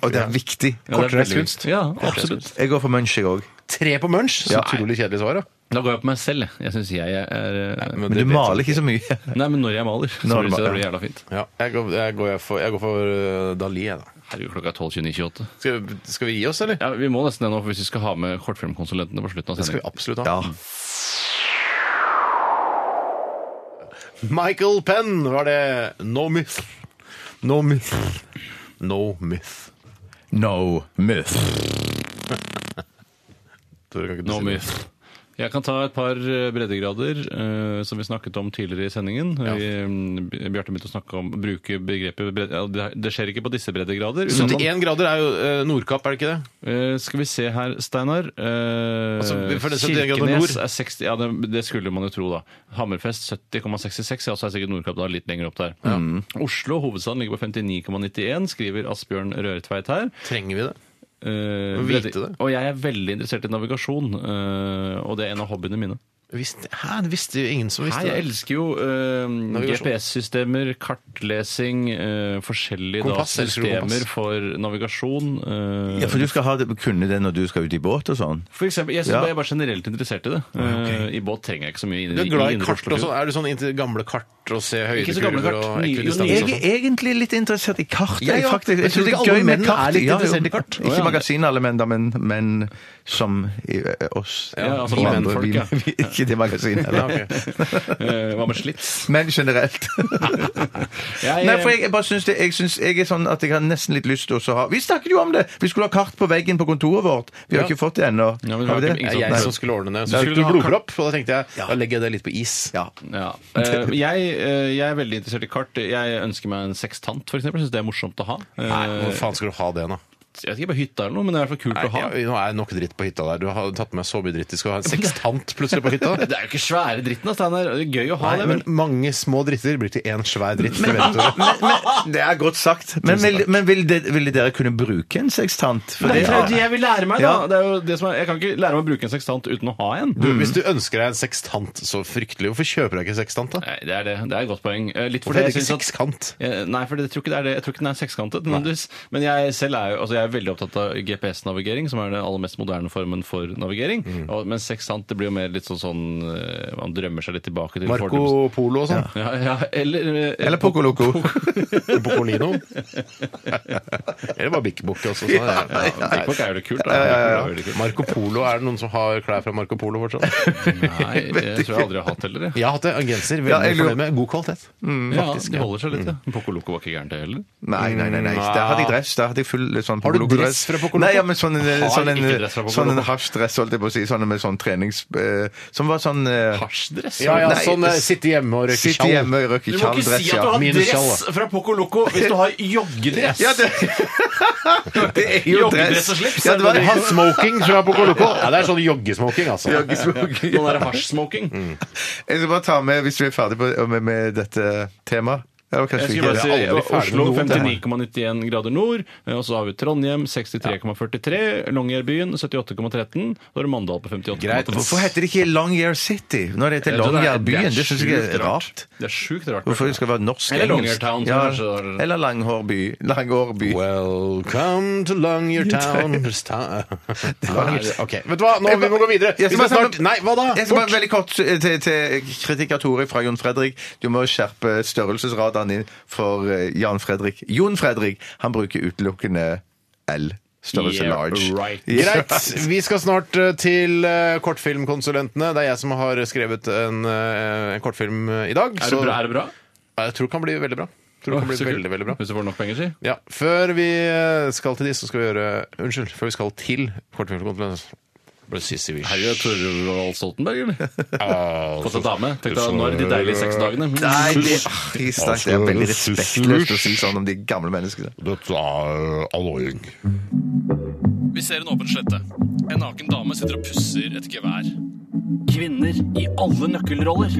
[SPEAKER 4] Og det er viktig.
[SPEAKER 3] Ja, det er
[SPEAKER 2] Kortreist
[SPEAKER 3] veldig-
[SPEAKER 2] kunst.
[SPEAKER 3] Ja, absolutt.
[SPEAKER 4] Jeg går for Munch, jeg òg.
[SPEAKER 2] Tre på Munch. Så utrolig kjedelig svar, da.
[SPEAKER 3] Da går jeg på meg selv. jeg. Jeg syns jeg er eh,
[SPEAKER 2] Men
[SPEAKER 4] Men
[SPEAKER 2] det vet
[SPEAKER 4] du maler ikke så mye.
[SPEAKER 3] Nei, men når jeg maler, så
[SPEAKER 4] Når
[SPEAKER 3] blir
[SPEAKER 4] du
[SPEAKER 3] det så
[SPEAKER 4] maler, ja.
[SPEAKER 3] jævla fint.
[SPEAKER 2] jeg. Ja, jeg, går, jeg, går for, jeg går for uh, Dali, jeg, da.
[SPEAKER 3] Herregud, klokka er 12.29,28.
[SPEAKER 2] Skal, vi- skal vi gi oss, eller?
[SPEAKER 3] Ja, vi må nesten det nå, for hvis vi skal ha med kortfilmkonsulentene på slutten av
[SPEAKER 2] Det skal vi
[SPEAKER 3] sendingen.
[SPEAKER 2] absolutt ha.
[SPEAKER 4] Ja.
[SPEAKER 2] Michael Penn var det. No myth. No myth. No myth.
[SPEAKER 4] No myth.
[SPEAKER 2] Tore, kan ikke du
[SPEAKER 3] No
[SPEAKER 2] si det?
[SPEAKER 3] myth. Jeg kan ta et par eh, breddegrader eh, som vi snakket om tidligere i sendingen. Vi, mm, Bjarte begynte å snakke om bruke begrepet bredde, ja, det, det skjer ikke på disse breddegrader. uten at
[SPEAKER 2] 71
[SPEAKER 3] man-
[SPEAKER 2] grader er jo eh, Nordkapp, er det ikke det?
[SPEAKER 3] Eh, skal vi se her, Steinar. Eh,
[SPEAKER 2] Altså, for det er 71 grader
[SPEAKER 3] Kirkenes
[SPEAKER 2] nord.
[SPEAKER 3] er 60 Ja, det, det skulle man jo tro, da. Hammerfest 70,66. Ja, så er sikkert Nordkapp da litt lenger opp der. Mm. Oslo, hovedstaden, ligger på 59,91, skriver Asbjørn Røretveit her.
[SPEAKER 2] Trenger vi det?
[SPEAKER 3] Eh,
[SPEAKER 2] Vite det.
[SPEAKER 3] veldig- Og jeg er veldig interessert i navigasjon, eh, og det er en av hobbyene mine.
[SPEAKER 2] Visste, hæ, det visste jo ingen som
[SPEAKER 3] Nei,
[SPEAKER 2] visste
[SPEAKER 3] jeg
[SPEAKER 2] det.
[SPEAKER 3] elsker jo eh, GPS-systemer, kartlesing, eh, forskjellige da,
[SPEAKER 2] Kompass, elsker du kompass?
[SPEAKER 3] systemer for navigasjon. eh,
[SPEAKER 4] Ja, for du skal ha det, kunne det når du skal ut i båt og sånn?
[SPEAKER 3] For eksempel, jeg,
[SPEAKER 4] Ja.
[SPEAKER 3] jeg er bare generelt interessert i det. Eh, I båt trenger jeg ikke så mye.
[SPEAKER 2] Ah, Du er glad i kart og sånn? Er du sånn inntil gamle kart og se
[SPEAKER 3] Ikke så gamle
[SPEAKER 2] høydekurver
[SPEAKER 3] kart.
[SPEAKER 2] og
[SPEAKER 3] Ny- jo,
[SPEAKER 2] ekvidistanse?
[SPEAKER 4] Jeg
[SPEAKER 2] og
[SPEAKER 4] er
[SPEAKER 2] sånn?
[SPEAKER 4] egentlig litt interessert i kart.
[SPEAKER 2] Ja, ja.
[SPEAKER 4] faktisk.
[SPEAKER 2] Jeg tror
[SPEAKER 4] synes
[SPEAKER 2] ikke alle menn er litt interessert i kart.
[SPEAKER 4] Ikke magasin alle menn, da, men menn som i, eh, oss.
[SPEAKER 3] Ja, altså
[SPEAKER 4] Vi
[SPEAKER 3] mannfolk,
[SPEAKER 4] andre, vi-
[SPEAKER 3] ja.
[SPEAKER 4] vi- ikke det magasinet.
[SPEAKER 3] Eh, Hva med slits?
[SPEAKER 4] Men generelt.
[SPEAKER 3] Jeg- eh,
[SPEAKER 4] Nei, for jeg, jeg bare syns det jeg, syns, jeg er sånn at jeg har nesten litt lyst til å så ha Vi snakket jo om det! Vi skulle ha kart på veggen på kontoret vårt. Vi har
[SPEAKER 3] Ja.
[SPEAKER 4] ikke fått det ennå.
[SPEAKER 3] Ja, men
[SPEAKER 4] Har vi
[SPEAKER 3] det var
[SPEAKER 4] det?
[SPEAKER 3] ikke-
[SPEAKER 2] Det er
[SPEAKER 3] Nei.
[SPEAKER 2] jeg som skulle ordne det.
[SPEAKER 3] Da
[SPEAKER 2] Så fikk
[SPEAKER 3] skulle
[SPEAKER 2] du
[SPEAKER 3] du ha
[SPEAKER 2] blodpropp, og da tenkte jeg da legger jeg det litt på is.
[SPEAKER 4] Ja.
[SPEAKER 3] Ja. Eh, jeg, eh, jeg er veldig interessert i kart. Jeg ønsker meg en sekstant, f.eks. Syns det er morsomt å ha. Eh,
[SPEAKER 2] Nei, hvor faen skal du ha det, da?
[SPEAKER 3] Jeg vet ikke, bare hytta eller noe, men det er i hvert fall kult
[SPEAKER 2] Nei,
[SPEAKER 3] å ha.
[SPEAKER 2] ja, nå er det nok dritt på hytta der. Du har tatt med så mye dritt. Du skal ha en sekstant plutselig på hytta.
[SPEAKER 3] Det er jo ikke svære dritten, da, Steinar. Det er Gøy å ha
[SPEAKER 2] Nei,
[SPEAKER 3] det.
[SPEAKER 2] men
[SPEAKER 3] vel?
[SPEAKER 2] mange små dritter blir til én svær dritt. det vet du.
[SPEAKER 4] Men, men, det er godt sagt. Men, vil, men vil, det, ville dere kunne bruke en sextant? For
[SPEAKER 3] Det
[SPEAKER 4] det-
[SPEAKER 3] er jo det jeg vil lære meg, da.
[SPEAKER 4] Ja.
[SPEAKER 3] Det er jo det som er, jeg kan ikke lære meg å bruke en sekstant uten å ha en.
[SPEAKER 2] Du, Mm. Hvis du ønsker deg en sekstant så fryktelig, hvorfor kjøper du ikke en sekstant? da?
[SPEAKER 3] Nei, det er det. Det er et godt poeng. Eh, Litt
[SPEAKER 2] Hvorfor er
[SPEAKER 3] fordi
[SPEAKER 2] det ikke
[SPEAKER 3] jeg synes at
[SPEAKER 2] sekskant?
[SPEAKER 3] Eh, Nei, for det, jeg tror ikke det er det. Jeg tror ikke den er sekskantet. nødvendigvis. Men jeg selv er jo, altså jeg er veldig opptatt av GPS-navigering, som er den aller mest moderne formen for navigering.
[SPEAKER 2] Mm.
[SPEAKER 3] Og, men sekssant det blir jo mer litt sånn sånn eh, Man drømmer seg litt tilbake til fordoms-
[SPEAKER 2] Marco Polo og sånn?
[SPEAKER 3] Ja, ja, eller, eh,
[SPEAKER 4] Eller Poco Loco.
[SPEAKER 2] Pocolino? Eller bare Bik Bok også. Sånn. er det.
[SPEAKER 3] ja, TikTok er jo litt kult, da. Det er jo veldig kult.
[SPEAKER 2] Marco Polo, er det noen som har klær fra Marco Polo fortsatt?
[SPEAKER 3] Nei, det tror jeg aldri jeg har hatt heller. jeg.
[SPEAKER 2] Jeg har hatt det. En genser.
[SPEAKER 4] Ja, jeg
[SPEAKER 2] Veldig
[SPEAKER 4] lurer-
[SPEAKER 2] fornøyd med. God kvalitet.
[SPEAKER 3] Ja, det holder seg litt.
[SPEAKER 2] Mm.
[SPEAKER 3] Ja. Poco Loco var ikke gærent, det heller.
[SPEAKER 4] Nei, nei, nei. nei.
[SPEAKER 3] Mm.
[SPEAKER 4] Der hadde jeg dress. Der hadde jeg full sånn
[SPEAKER 2] Har du
[SPEAKER 4] Poco Loco
[SPEAKER 2] dress fra Poco Loco?
[SPEAKER 4] Nei, ja, men sånn en,
[SPEAKER 3] Har
[SPEAKER 4] sånn en,
[SPEAKER 3] ikke dress fra Poco
[SPEAKER 4] sånn en
[SPEAKER 3] Loco.
[SPEAKER 4] hasjdress, holdt jeg på å si. Sånn med sånn trenings... eh, Som var sånn eh,
[SPEAKER 3] Hasjdress?
[SPEAKER 2] Ja, ja,
[SPEAKER 4] Nei,
[SPEAKER 2] sånn eh, sitte hjemme og røyke
[SPEAKER 4] Sitte hjemme og røyke tjalldress, ja.
[SPEAKER 2] Minus tjall, da.
[SPEAKER 3] fra Poco Loco hvis du har joggedress!
[SPEAKER 4] Ja, det, det er jo dress.
[SPEAKER 3] Joggedress og slips,
[SPEAKER 4] Ja,
[SPEAKER 3] er
[SPEAKER 4] det var
[SPEAKER 2] Han har smoking fra Pocoloco. Ja, det er sånn joggesmoking, altså.
[SPEAKER 4] joggesmoking.
[SPEAKER 3] Sånn der hasjsmoking.
[SPEAKER 4] Mm. Jeg skal bare ta med, hvis vi er ferdig på, med, med dette temaet ja, kanskje
[SPEAKER 3] Jeg
[SPEAKER 4] vi
[SPEAKER 3] skulle
[SPEAKER 4] ikke
[SPEAKER 3] bare
[SPEAKER 4] er
[SPEAKER 3] si
[SPEAKER 4] det.
[SPEAKER 2] Jeg er aldri ferdig
[SPEAKER 3] Oslo
[SPEAKER 2] med noe.
[SPEAKER 3] 59,91 grader nord. eh, Og så har vi Trondheim 63,43. Longyearbyen 78,13. Og da er det Mandal på 58,8.
[SPEAKER 4] Hvorfor heter det ikke Longyear City når det heter
[SPEAKER 3] Jeg tror det er-
[SPEAKER 4] Longyearbyen?
[SPEAKER 3] det er
[SPEAKER 4] Det syns jeg
[SPEAKER 3] sjukt
[SPEAKER 4] er rart.
[SPEAKER 3] Det er sjukt rart.
[SPEAKER 4] Hvorfor det skal være norsk?
[SPEAKER 3] Eller
[SPEAKER 4] engelsk?
[SPEAKER 3] Longyear Town, som kanskje-
[SPEAKER 4] Ja, eller Langhårby. Langhårby.
[SPEAKER 2] Welcome to Longyearbyen
[SPEAKER 4] var-
[SPEAKER 2] Ok, vet du hva? Nå, vi må gå videre. Vi
[SPEAKER 4] Jeg skal
[SPEAKER 2] skal
[SPEAKER 4] bare-
[SPEAKER 2] snart Nei, hva da?
[SPEAKER 4] Jeg skal bare veldig kort eh, til, til kritikk av Tore fra Jon Fredrik. Du må skjerpe størrelsesradaren din for eh, Jan Fredrik. Jon Fredrik, han bruker utelukkende L. Størrelse
[SPEAKER 3] Yeah,
[SPEAKER 4] large.
[SPEAKER 3] right.
[SPEAKER 2] Greit. Vi skal snart eh, til eh, kortfilmkonsulentene. Det er jeg som har skrevet en, eh, en kortfilm eh, i dag.
[SPEAKER 3] Er det
[SPEAKER 2] så-
[SPEAKER 3] bra? Er det bra?
[SPEAKER 2] Ja, Jeg tror det kan bli veldig bra. Jeg Tror det kan bli
[SPEAKER 3] Så kult.
[SPEAKER 2] veldig, veldig bra.
[SPEAKER 3] Hvis du får nok penger, si.
[SPEAKER 2] Ja, Før vi eh, skal til de, så skal vi gjøre Unnskyld, før vi skal til kortfilmkonsulentene Ble sissy vi
[SPEAKER 3] Herre Torvald Stoltenberg, eller? Fått
[SPEAKER 4] altså,
[SPEAKER 3] en dame. Tenk deg, nå er det de deilige seks dagene.
[SPEAKER 4] Nei,
[SPEAKER 3] Mm.
[SPEAKER 4] det, ah, de snakker- det er veldig respektløst å si sånn om de gamle menneskene.
[SPEAKER 2] Dette er alvoring.
[SPEAKER 6] Vi ser en åpen slette. En naken dame sitter og pusser et gevær. Kvinner i alle nøkkelroller.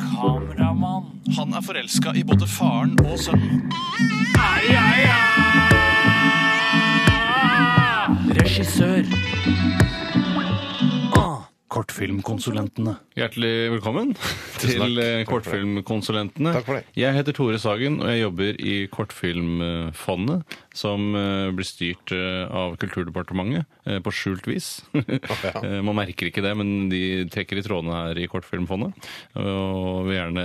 [SPEAKER 6] Kameramann. Han er forelska i både faren og sønnen. Ai, ai, ai! Regissør. Ah, Kortfilmkonsulentene.
[SPEAKER 3] Hjertelig velkommen til eh, Kortfilmkonsulentene.
[SPEAKER 2] Takk for det.
[SPEAKER 3] Jeg heter Tore Sagen, og jeg jobber i Kortfilmfondet, som eh, blir styrt eh, av Kulturdepartementet eh, på skjult vis. Eh, Man merker ikke det, men de trekker i trådene her i Kortfilmfondet, og vil gjerne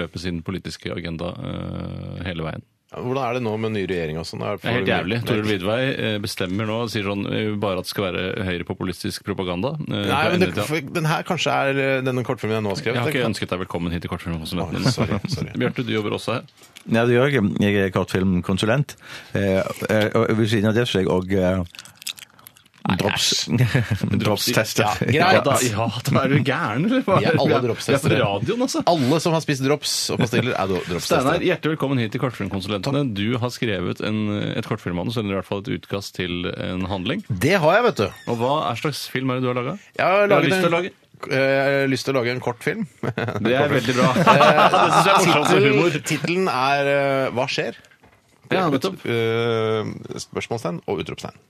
[SPEAKER 3] løpe sin politiske agenda eh, hele veien.
[SPEAKER 2] Hvordan er det nå med ny regjering og sånn? Er
[SPEAKER 3] Det er helt jævlig. Toril Vidvei eh, bestemmer nå og sier sånn eh, bare at det skal være høyrepopulistisk propaganda. eh,
[SPEAKER 2] Nei,
[SPEAKER 3] fra
[SPEAKER 2] men
[SPEAKER 3] ende til
[SPEAKER 2] det,
[SPEAKER 3] annen.
[SPEAKER 2] for den her kanskje er eh, denne kortfilmen jeg nå har skrevet.
[SPEAKER 3] Jeg har ikke
[SPEAKER 2] den
[SPEAKER 3] ønsket deg velkommen hit til Kortfilmkonsulenten.
[SPEAKER 2] Å, sorry, sorry.
[SPEAKER 3] Bjarte, du jobber også her.
[SPEAKER 4] Ja, det gjør jeg. Jeg er kortfilmkonsulent. Eh, eh, og ved siden av det så er jeg òg drops dropstester.
[SPEAKER 2] Ja, greit.
[SPEAKER 3] da, ja, da er du gæren, eller? hva?
[SPEAKER 2] Vi er alle
[SPEAKER 3] Vi
[SPEAKER 2] dropstestere.
[SPEAKER 3] Vi er på radioen, altså.
[SPEAKER 2] kan- Alle som har spist drops og pastiller, er
[SPEAKER 3] Steinar,
[SPEAKER 2] dropstester.
[SPEAKER 3] hjertelig velkommen hit til Kortfilmkonsulentene. Du har skrevet en, et kortfilmmanus, eller i hvert fall et utkast til en handling.
[SPEAKER 2] Det har jeg, vet du.
[SPEAKER 3] Og hva er slags film er det du har laga?
[SPEAKER 2] Jeg har,
[SPEAKER 3] Du har
[SPEAKER 2] laget
[SPEAKER 3] lyst til å
[SPEAKER 2] en-
[SPEAKER 3] lage?
[SPEAKER 2] Eh, jeg har lyst til å lage en kortfilm.
[SPEAKER 3] Det er veldig bra. det syns jeg er morsomt for humor.
[SPEAKER 2] Tittelen er eh, Hva skjer?
[SPEAKER 3] Ja, nettopp.
[SPEAKER 2] Eh, spørsmålstegn og utropstegn.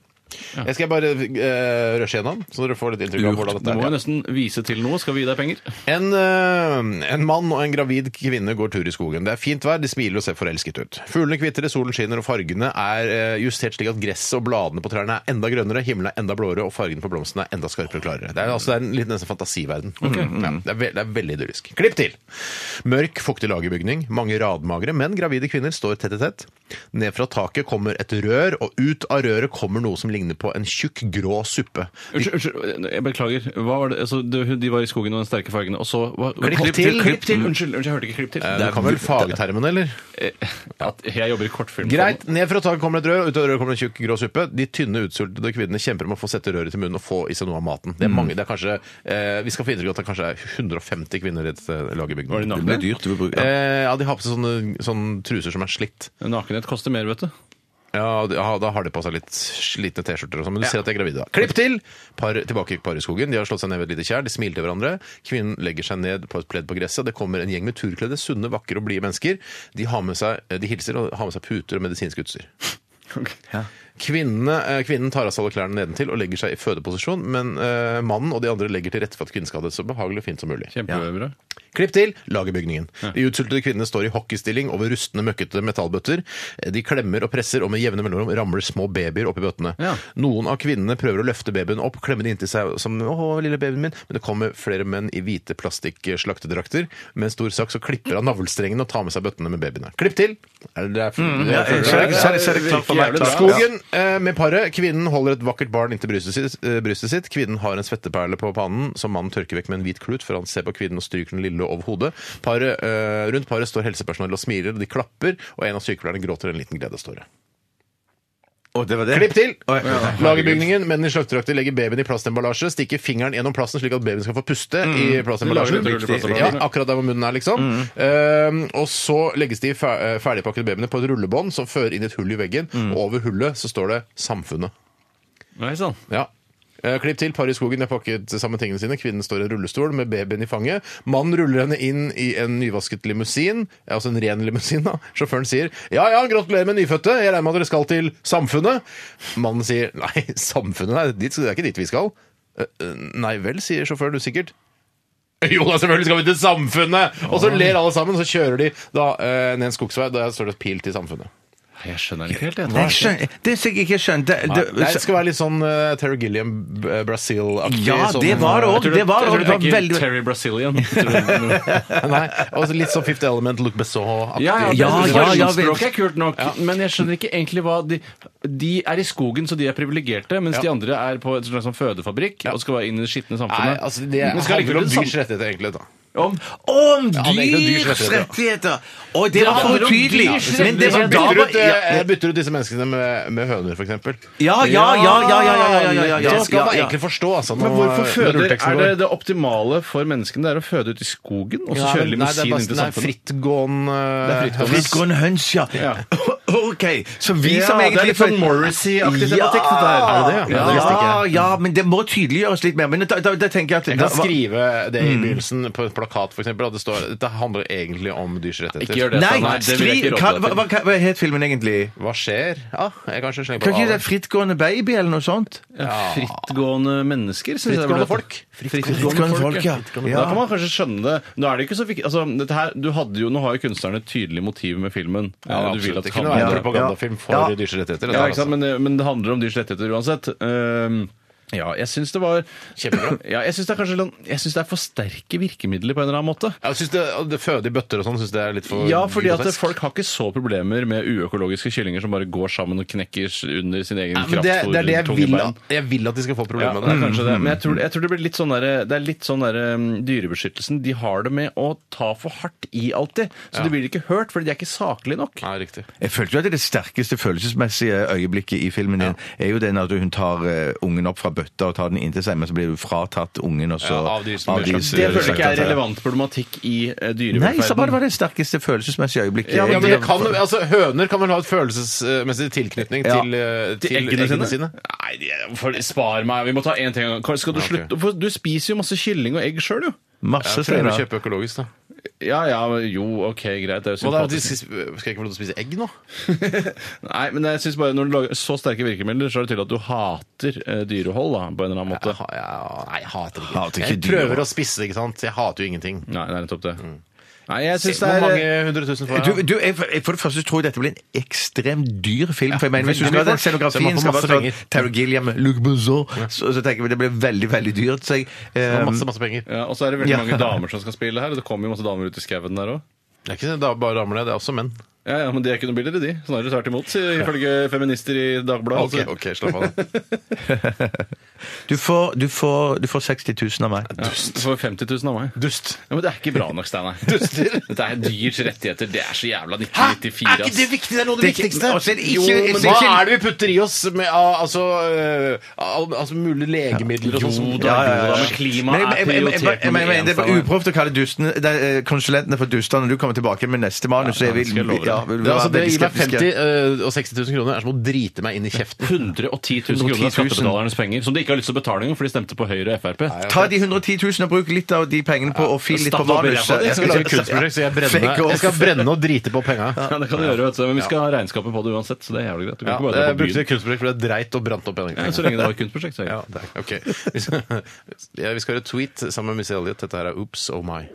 [SPEAKER 2] Jeg skal bare eh, rushe gjennom, så dere får litt inntrykk av hvordan
[SPEAKER 3] Du
[SPEAKER 2] dette
[SPEAKER 3] må jo
[SPEAKER 2] er.
[SPEAKER 3] nesten vise til noe. Skal vi gi deg penger?
[SPEAKER 2] En, eh, en mann og en gravid kvinne går tur i skogen. Det er fint vær, de smiler og ser forelsket ut. Fuglene kvitrer, solen skinner, og fargene er eh, justert slik at gresset og bladene på trærne er enda grønnere, himmelen er enda blåere, og fargene på blomstene er enda skarpere og klarere. Det er, altså, det er en litt nesten fantasiverden. Ja, det, er ve det er veldig idyllisk. Klipp til! Mørk, fuktig lagerbygning, mange radmagre, men gravide kvinner står tett i tett. Ned fra taket kommer et rør, og ut av røret kommer noe som ligner ligner på en tjukk, grå suppe. De,
[SPEAKER 3] Unnskyld, unnskyld, jeg beklager. Hva var det? Altså, det- de var i skogen og den sterke fargene, og så hva,
[SPEAKER 2] Klipp til,
[SPEAKER 3] Klipp
[SPEAKER 2] klipp
[SPEAKER 3] til! Unnskyld, unnskyld, jeg hørte ikke klipp til. Eh,
[SPEAKER 2] Eh, du kan vel fagtermene, eller?
[SPEAKER 3] At jeg jobber i kortfilm.
[SPEAKER 2] Greit, ned fra taket kommer et rør, og ut av røret kommer en tjukk grå suppe. De tynne, utsultede kvinnene kjemper om å få sette røret til munnen og få i seg noe av maten. Det er mange, det er kanskje, eh, Vi skal få inntrykk av at det kanskje er 150 kvinner i dette laget i bygden.
[SPEAKER 3] Var de nakne?
[SPEAKER 4] Det blir dyrt. Vi bruker.
[SPEAKER 2] Eh, ja, de har på seg sånne, sånne truser som er slitt.
[SPEAKER 3] Nakenhet koster mer, vet du.
[SPEAKER 2] Ja, de- ja, Da har de på seg litt slitne T-skjorter og sånn, men du ser at de er gravide. da. Klipp til! Par, tilbake i Pareskogen. De har slått seg ned ved et lite tjern. De smiler til hverandre. Kvinnen legger seg ned på et pledd på gresset. Det kommer en gjeng med turkledde, sunne, vakre og blide mennesker. De, har med seg, de hilser og har med seg puter og medisinsk utstyr. Kvinnene, eh, kvinnen tar av seg alle klærne nedentil og legger seg i fødeposisjon, men eh, mannen og de andre legger til rette for at kvinnen skal ha det så behagelig og fint som mulig.
[SPEAKER 3] Kjempebra.
[SPEAKER 2] Klipp til lagerbygningen. De utsultede kvinnene står i hockeystilling over rustne, møkkete metallbøtter. De klemmer og presser, og med jevne mellomrom ramler små babyer oppi bøttene.
[SPEAKER 3] Ja.
[SPEAKER 2] Noen av kvinnene prøver å løfte babyen opp, klemme den inntil seg som 'Å, lille babyen min', men det kommer flere menn i hvite plastikkslaktedrakter. Med en stor saks og klipper av navlestrengen og tar med seg bøttene med babyene. Klipp til! Er det derfor?
[SPEAKER 4] Ja, jeg ser det- ser det- ser det klart for meg.
[SPEAKER 3] Jævlig bra.
[SPEAKER 4] Klart. Ja.
[SPEAKER 2] Skogen eh, med paret. Kvinnen holder et vakkert barn inntil brystet sitt, eh, brystet sitt. Kvinnen har en svetteperle på pannen som mannen tørker vekk med en hvit klut før han ser på kvinnen og stryker den lille over hodet. Paret, eh, rundt paret står helsepersonell og smiler, og de klapper, og en av sykepleierne gråter en liten gledeståre.
[SPEAKER 4] Å, det var det.
[SPEAKER 2] Klipp til!
[SPEAKER 4] Å, ja.
[SPEAKER 2] Lagerbygningen. Mennene i slakterakter legger babyen i plastemballasje, stikker fingeren gjennom plasten slik at babyen skal få puste i
[SPEAKER 3] Mm. Lager
[SPEAKER 2] plastemballasjen.
[SPEAKER 3] litt Mm. rull i
[SPEAKER 2] Riktig. Ja,
[SPEAKER 3] plastemballasjen.
[SPEAKER 2] akkurat der hvor munnen er, liksom. Ehm, og så legges de fe- eh, ferdigpakkede babyene på et rullebånd som fører inn i et hull i veggen,
[SPEAKER 3] Mm.
[SPEAKER 2] og over hullet så står det 'Samfunnet'.
[SPEAKER 3] Nei sånn. sann.
[SPEAKER 2] Ja. Eh, Klipp til. Par i skogen har pakket sammen tingene sine. Kvinnen står i en rullestol med babyen i fanget. Mannen ruller henne inn i en nyvasket limousin, altså en ren limousin. da. Sjåføren sier 'Ja ja, gratulerer med nyfødte, jeg regner med at dere skal til Samfunnet'. Mannen sier 'Nei, Samfunnet, nei, dit, det er ikke dit vi skal'. «Eh, eh, Nei vel, sier sjåføren usikkert. Jo da, selvfølgelig skal vi til Samfunnet! Og så ler alle sammen, og så kjører de da eh, ned en skogsvei. Der står det pil til Samfunnet.
[SPEAKER 3] Jeg skjønner ikke helt, jeg.
[SPEAKER 4] Jeg skjønner- Det som jeg ikke skjønte det-
[SPEAKER 2] Nei, det skal være litt sånn eh, Terry Gilliam, eh, Brazil-aktig.
[SPEAKER 4] Ja,
[SPEAKER 2] sånn,
[SPEAKER 4] det var det
[SPEAKER 2] eh,
[SPEAKER 4] også. Det var det også. Det var veldig
[SPEAKER 3] Terry Brazilian. ja,
[SPEAKER 2] Nei, og så litt sånn Fifth Element, Luc Besson-aktig.
[SPEAKER 3] ja, ja,
[SPEAKER 4] Ja, ja, ja,
[SPEAKER 3] Språket sånn er kult nok, men jeg skjønner ikke egentlig hva de, de er i skogen, så de er privilegerte, mens de andre er på et slags sånn fødefabrikk og skal være inn i det skitne
[SPEAKER 2] Nei,
[SPEAKER 3] samfunnet.
[SPEAKER 2] altså det
[SPEAKER 3] Men skal
[SPEAKER 2] handler
[SPEAKER 3] likevel
[SPEAKER 2] om
[SPEAKER 3] sam-
[SPEAKER 2] dyrs rettigheter, egentlig. da.
[SPEAKER 3] om
[SPEAKER 4] Om
[SPEAKER 2] Ja, det er ikke dyrs
[SPEAKER 4] dyrs
[SPEAKER 2] rettigheter.
[SPEAKER 4] rettigheter! Og det var for
[SPEAKER 3] handler om
[SPEAKER 4] utydelig!
[SPEAKER 3] dyrs
[SPEAKER 4] Men det var
[SPEAKER 2] Jeg
[SPEAKER 4] da
[SPEAKER 2] bytter
[SPEAKER 4] var-
[SPEAKER 2] ut, eh,
[SPEAKER 4] ja,
[SPEAKER 2] jeg bytter ut disse menneskene med, med høner, f.eks.
[SPEAKER 4] Ja, ja, ja, ja, ja, ja, ja, ja, ja, ja.
[SPEAKER 2] Så skal man
[SPEAKER 4] ja, ja.
[SPEAKER 2] egentlig forstå, altså.
[SPEAKER 3] Men
[SPEAKER 2] nå-
[SPEAKER 3] hvorfor
[SPEAKER 2] når
[SPEAKER 3] føder
[SPEAKER 2] rulleteksten
[SPEAKER 3] Er
[SPEAKER 2] går.
[SPEAKER 3] det det optimale for menneskene det er å føde ut i skogen, og så
[SPEAKER 2] Ja,
[SPEAKER 3] kjøre
[SPEAKER 2] men nei, det er
[SPEAKER 3] limousin
[SPEAKER 2] bare-
[SPEAKER 3] inn til
[SPEAKER 2] nei,
[SPEAKER 3] samfunnet?
[SPEAKER 2] frittgående
[SPEAKER 3] Det er sånn frittgående.
[SPEAKER 2] høns.
[SPEAKER 4] Frittgående eh, høns, ja. OK. Så vi
[SPEAKER 3] Ja,
[SPEAKER 4] som
[SPEAKER 3] det er
[SPEAKER 4] egentlig
[SPEAKER 3] litt sånn Morrissey-aktig tematikk, dette her. Er det det, ja? Ja,
[SPEAKER 4] Ja,
[SPEAKER 3] det visste
[SPEAKER 4] ja,
[SPEAKER 3] ikke
[SPEAKER 4] ja, men det må tydeliggjøres litt mer. Men da, da, da tenker jeg at
[SPEAKER 2] Jeg
[SPEAKER 4] da,
[SPEAKER 2] kan skrive det i begynnelsen på en plakat, f.eks. At det står dette handler egentlig om dyrs rettigheter.
[SPEAKER 3] Ikke gjør det.
[SPEAKER 4] Nei,
[SPEAKER 3] Nei, det vil
[SPEAKER 4] skri,
[SPEAKER 3] jeg ikke
[SPEAKER 4] hva,
[SPEAKER 3] råde
[SPEAKER 4] hva,
[SPEAKER 3] deg
[SPEAKER 4] hva, hva het filmen egentlig?
[SPEAKER 2] Hva skjer? Ja, jeg kanskje slenger på
[SPEAKER 4] Kan ikke
[SPEAKER 2] det.
[SPEAKER 4] det være Frittgående baby eller noe sånt?
[SPEAKER 3] Frittgående mennesker, synes jeg.
[SPEAKER 2] Frittgående
[SPEAKER 3] var
[SPEAKER 2] folk.
[SPEAKER 3] det. Frittgående folk, ja. Da kan man kanskje skjønne det. Nå er det ikke så viktig altså, dette her, du hadde jo, Nå har jo kunstnerne et tydelig motiv med filmen.
[SPEAKER 2] Ja,
[SPEAKER 3] Eh, du vil
[SPEAKER 2] absolutt. Det
[SPEAKER 3] at det
[SPEAKER 2] kunne
[SPEAKER 3] handler-
[SPEAKER 2] være en
[SPEAKER 4] Ja.
[SPEAKER 2] propagandafilm for
[SPEAKER 4] Ja.
[SPEAKER 2] dyrs rettigheter. altså-
[SPEAKER 3] ja,
[SPEAKER 2] dette,
[SPEAKER 3] ikke sant? Men, det- men det handler om dyrs rettigheter uansett. Ehm, ja, jeg syns det var
[SPEAKER 2] Kjempebra.
[SPEAKER 3] Ja, jeg syns det er kanskje litt- Jeg synes det er for sterke virkemidler på en eller annen måte.
[SPEAKER 2] Jeg synes det, det Føde i bøtter og sånn syns det er litt for
[SPEAKER 3] Ja, fordi at
[SPEAKER 2] grotesk.
[SPEAKER 3] folk har ikke så problemer med uøkologiske kyllinger som bare går sammen og knekker under sin egen
[SPEAKER 2] Ja, men
[SPEAKER 3] kraft.
[SPEAKER 2] det, det er det jeg
[SPEAKER 3] tunge
[SPEAKER 2] vil,
[SPEAKER 3] bein.
[SPEAKER 2] at, jeg vil at de skal få
[SPEAKER 3] Ja,
[SPEAKER 2] problemer
[SPEAKER 3] det er
[SPEAKER 2] med. det.
[SPEAKER 3] kanskje det. Men jeg tror, jeg tror det blir litt sånn der, det er litt sånn der, um, dyrebeskyttelsen. De har det med å ta for hardt i alltid. Så de blir ikke hørt, fordi de er ikke saklige nok.
[SPEAKER 2] Nei, riktig.
[SPEAKER 4] Jeg følte jo at det sterkeste følelsesmessige øyeblikket i filmen din er jo den at hun tar eh, ungen opp fra bøtta og tar den inntil seg, men så blir hun fratatt ungen, og så
[SPEAKER 2] Ja, av de som gjør
[SPEAKER 4] de
[SPEAKER 2] slags-
[SPEAKER 4] som
[SPEAKER 3] Det
[SPEAKER 4] gjør
[SPEAKER 3] føler jeg ikke
[SPEAKER 4] slags-
[SPEAKER 3] er relevant problematikk i eh,
[SPEAKER 4] Nei, så bare
[SPEAKER 3] dyrevelferden.
[SPEAKER 4] var det sterkeste følelsesmessige øyeblikket.
[SPEAKER 2] Ja, men det
[SPEAKER 4] egentlig.
[SPEAKER 2] kan, altså, høner kan vel ha et følelsesmessig tilknytning
[SPEAKER 4] Ja.
[SPEAKER 2] til, eh, til eggene, sine?
[SPEAKER 3] Nei, de- for, spar meg. Vi må ta én ting av gangen. Skal du slutte? For du spiser jo masse kylling og egg sjøl, jo.
[SPEAKER 4] Masse
[SPEAKER 2] Jeg prøver å
[SPEAKER 4] steder.
[SPEAKER 2] kjøpe økologisk, da.
[SPEAKER 3] Ja ja, jo, OK, greit. Det er jo
[SPEAKER 2] Hva da, de
[SPEAKER 3] sympatisk.
[SPEAKER 2] skal skal jeg ikke få lov til å spise egg nå?
[SPEAKER 3] Nei, men jeg synes bare når du lager så sterke virkemidler, så er det tydelig at du hater eh, dyrehold da, på en eller annen måte.
[SPEAKER 2] Jeg ha- jeg- nei, jeg hater det ikke.
[SPEAKER 4] Hater ikke
[SPEAKER 2] jeg
[SPEAKER 4] dyr,
[SPEAKER 2] prøver
[SPEAKER 4] da.
[SPEAKER 2] å spisse, ikke sant? Jeg hater jo ingenting.
[SPEAKER 3] Nei, det er nettopp det. Nei, jeg synes det
[SPEAKER 2] Hvor
[SPEAKER 3] er eh,
[SPEAKER 2] mange hundre tusen får
[SPEAKER 4] Du,
[SPEAKER 2] jeg?
[SPEAKER 4] du, jeg, jeg for det første tror jeg dette blir en ekstremt dyr film. For jeg mener, Hvis du
[SPEAKER 2] veldig
[SPEAKER 4] skal ha
[SPEAKER 2] mye folk. Så
[SPEAKER 4] den
[SPEAKER 2] man
[SPEAKER 4] scenografien
[SPEAKER 2] får
[SPEAKER 4] skal
[SPEAKER 2] masse
[SPEAKER 4] være sånn
[SPEAKER 2] penger.
[SPEAKER 4] Terry Gilliam, Luc Besson, så, så tenker jeg det blir veldig, veldig dyrt. Så jeg, eh,
[SPEAKER 2] Masse, masse penger.
[SPEAKER 3] ja, Og så er det veldig
[SPEAKER 4] Ja.
[SPEAKER 3] mange damer som skal spille her, og det kommer jo masse damer ut i skauen der òg.
[SPEAKER 2] Det er ikke det, da, bare damer, det. Det er også menn.
[SPEAKER 3] Ja, ja, Men de er ikke noe billigere, de. Snarere tvert imot, sier- ifølge feminister i
[SPEAKER 2] Ok,
[SPEAKER 3] Dagbladet.
[SPEAKER 2] ok, slapp av. da.
[SPEAKER 4] Du får, du får, du får 60 000 av meg.
[SPEAKER 3] Dust. For 50 000 av meg.
[SPEAKER 2] Dust.
[SPEAKER 3] Ja, men det er ikke bra nok, Steinar. Dette er dyrs rettigheter. Det er så jævla 1994, ass.
[SPEAKER 2] viktig? Det er noe av
[SPEAKER 4] Det er ikke- og så er det ikke-
[SPEAKER 2] jo, men
[SPEAKER 4] det er
[SPEAKER 2] hva
[SPEAKER 4] ikke-
[SPEAKER 2] er det vi putter i oss med av- altså, eh, al- altså mulige legemidler og sånn?
[SPEAKER 3] da,
[SPEAKER 4] Ja, ja, ja.
[SPEAKER 3] jo da, men klima
[SPEAKER 4] Men jeg-
[SPEAKER 3] er
[SPEAKER 4] jeg- jeg- jeg- jeg- jeg-
[SPEAKER 3] prioritet
[SPEAKER 4] jeg- jeg-
[SPEAKER 3] nummer
[SPEAKER 4] jeg- Det
[SPEAKER 3] én.
[SPEAKER 4] er
[SPEAKER 3] Steinar.
[SPEAKER 4] uproft å kalle dusten, det er, eh, konsulentene for duster når du kommer tilbake med neste manus. så jeg vil,
[SPEAKER 3] skal jeg love deg.
[SPEAKER 4] ja, vil
[SPEAKER 2] Det, er altså,
[SPEAKER 4] være
[SPEAKER 2] det
[SPEAKER 4] veldig
[SPEAKER 2] gir meg
[SPEAKER 4] skeptiske.
[SPEAKER 2] 50 eh, og 60 000 kroner er som å drite meg inn i kjeften.
[SPEAKER 3] 110 000 kroner av
[SPEAKER 4] 110 000.
[SPEAKER 3] skattebetalernes penger, som de ikke har lyst til å betale engang, for de stemte på Høyre og Frp.
[SPEAKER 4] Ta de 110 000 og bruk litt av de pengene på å file litt på
[SPEAKER 3] Stapp opp i ræva
[SPEAKER 4] manuset.
[SPEAKER 3] di.
[SPEAKER 2] Jeg skal lage et kunstprosjekt, så jeg, brenner,
[SPEAKER 4] Fake off.
[SPEAKER 2] jeg skal brenne og drite på penga.
[SPEAKER 3] Ja, det kan du gjøre, vet du. Men vi skal ha regnskapet på det uansett, så det er jævlig greit. Du kan
[SPEAKER 2] Ja,
[SPEAKER 3] ikke bare dra
[SPEAKER 2] jeg
[SPEAKER 3] på
[SPEAKER 2] Eh, brukte
[SPEAKER 3] byen.
[SPEAKER 2] et kunstprosjekt fordi jeg dreit og brant opp
[SPEAKER 3] Ja,
[SPEAKER 2] penga.
[SPEAKER 3] Så lenge det var et kunstprosjekt, så er det
[SPEAKER 2] Ja,
[SPEAKER 3] greit.
[SPEAKER 2] det er- ok. Vi skal, ja, vi skal gjøre tweet sammen med Miss Elliot. Dette her er Oops, oh my.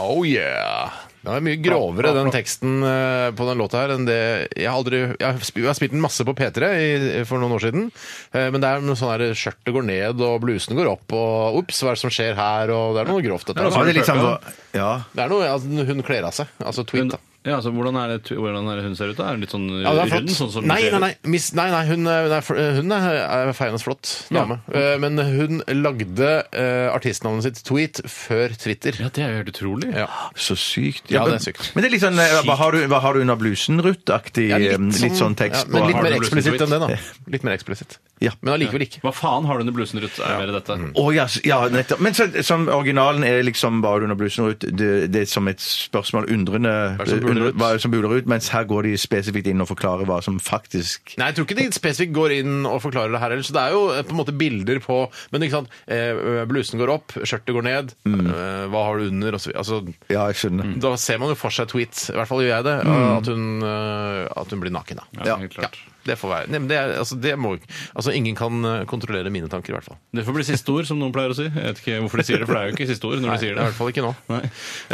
[SPEAKER 2] Oh yeah! Den er mye grovere, den teksten eh, på den låta her, enn det Jeg har aldri Jeg har sp- jeg har spilt den masse på P3 i, for noen år siden, eh, men det er noe sånn her skjørtet går ned, og blusene går opp, og ops, hva er det som skjer her, og det er noe grovt, dette.
[SPEAKER 4] Ja, det
[SPEAKER 2] her.
[SPEAKER 4] er liksom, ja.
[SPEAKER 2] Det er noe altså, Hun kler av seg. Altså tweet,
[SPEAKER 3] Men-
[SPEAKER 2] da.
[SPEAKER 3] Ja, altså, hvordan, er det, hvordan er det hun ser ut, da? Er hun litt sånn
[SPEAKER 2] Ja, det er flott.
[SPEAKER 3] rund? Sånn som
[SPEAKER 2] nei,
[SPEAKER 3] du ser
[SPEAKER 2] nei,
[SPEAKER 3] ut?
[SPEAKER 2] nei, miss, nei, nei, hun er, hun er fl- hun er, er feiende flott dame. Eh, Men hun lagde eh, artistnavnet sitt tweet før Twitter.
[SPEAKER 3] Ja, det er jo helt utrolig.
[SPEAKER 2] Ja.
[SPEAKER 4] Så sykt.
[SPEAKER 2] Ja,
[SPEAKER 4] men-
[SPEAKER 2] det er sykt.
[SPEAKER 4] Men det er litt sånn, eh, hva har du, hva har du under blusen, Ruth-aktig? eh, litt, sånn tekst
[SPEAKER 2] ja, men
[SPEAKER 4] på.
[SPEAKER 2] litt
[SPEAKER 3] Har
[SPEAKER 2] mer
[SPEAKER 3] du blusen
[SPEAKER 2] eksplisitt
[SPEAKER 3] tweet?
[SPEAKER 2] enn det, da. Litt mer eksplisitt.
[SPEAKER 4] Ja.
[SPEAKER 2] Men allikevel ikke.
[SPEAKER 3] Hva faen har du under blusen, Ruth? Er mer dette?
[SPEAKER 2] Mm.
[SPEAKER 4] Å, ja, s- ja, nettopp. Men så, som originalen er liksom bare under blusen og ut, det, det er som et spørsmål undrende
[SPEAKER 2] det som buler
[SPEAKER 4] undre-
[SPEAKER 2] ut?
[SPEAKER 4] hva er det som buler ut, mens her går de spesifikt inn og forklarer hva som faktisk
[SPEAKER 2] Nei, jeg tror ikke de spesifikt går inn og forklarer det her heller. Så det er jo eh, på en måte bilder på Men ikke sant, eh, blusen går opp, skjørtet går ned,
[SPEAKER 4] Mm.
[SPEAKER 2] eh, hva har du under, og så videre. Altså,
[SPEAKER 4] Ja, jeg skjønner.
[SPEAKER 2] da ser man jo for seg tweet, i hvert fall gjør jeg det,
[SPEAKER 4] Mm.
[SPEAKER 2] at hun, eh, at hun blir naken, da.
[SPEAKER 3] Ja, helt klart.
[SPEAKER 2] Det får være. Nei, men det, er- altså, det må, altså, ingen kan eh, kontrollere mine tanker, i hvert fall.
[SPEAKER 3] Det får bli siste ord, som noen pleier å si. Jeg vet ikke hvorfor de sier det, for det er jo ikke siste ord når de
[SPEAKER 2] Nei,
[SPEAKER 3] sier
[SPEAKER 2] I
[SPEAKER 3] det.
[SPEAKER 2] hvert fall ikke nå.
[SPEAKER 3] Nei.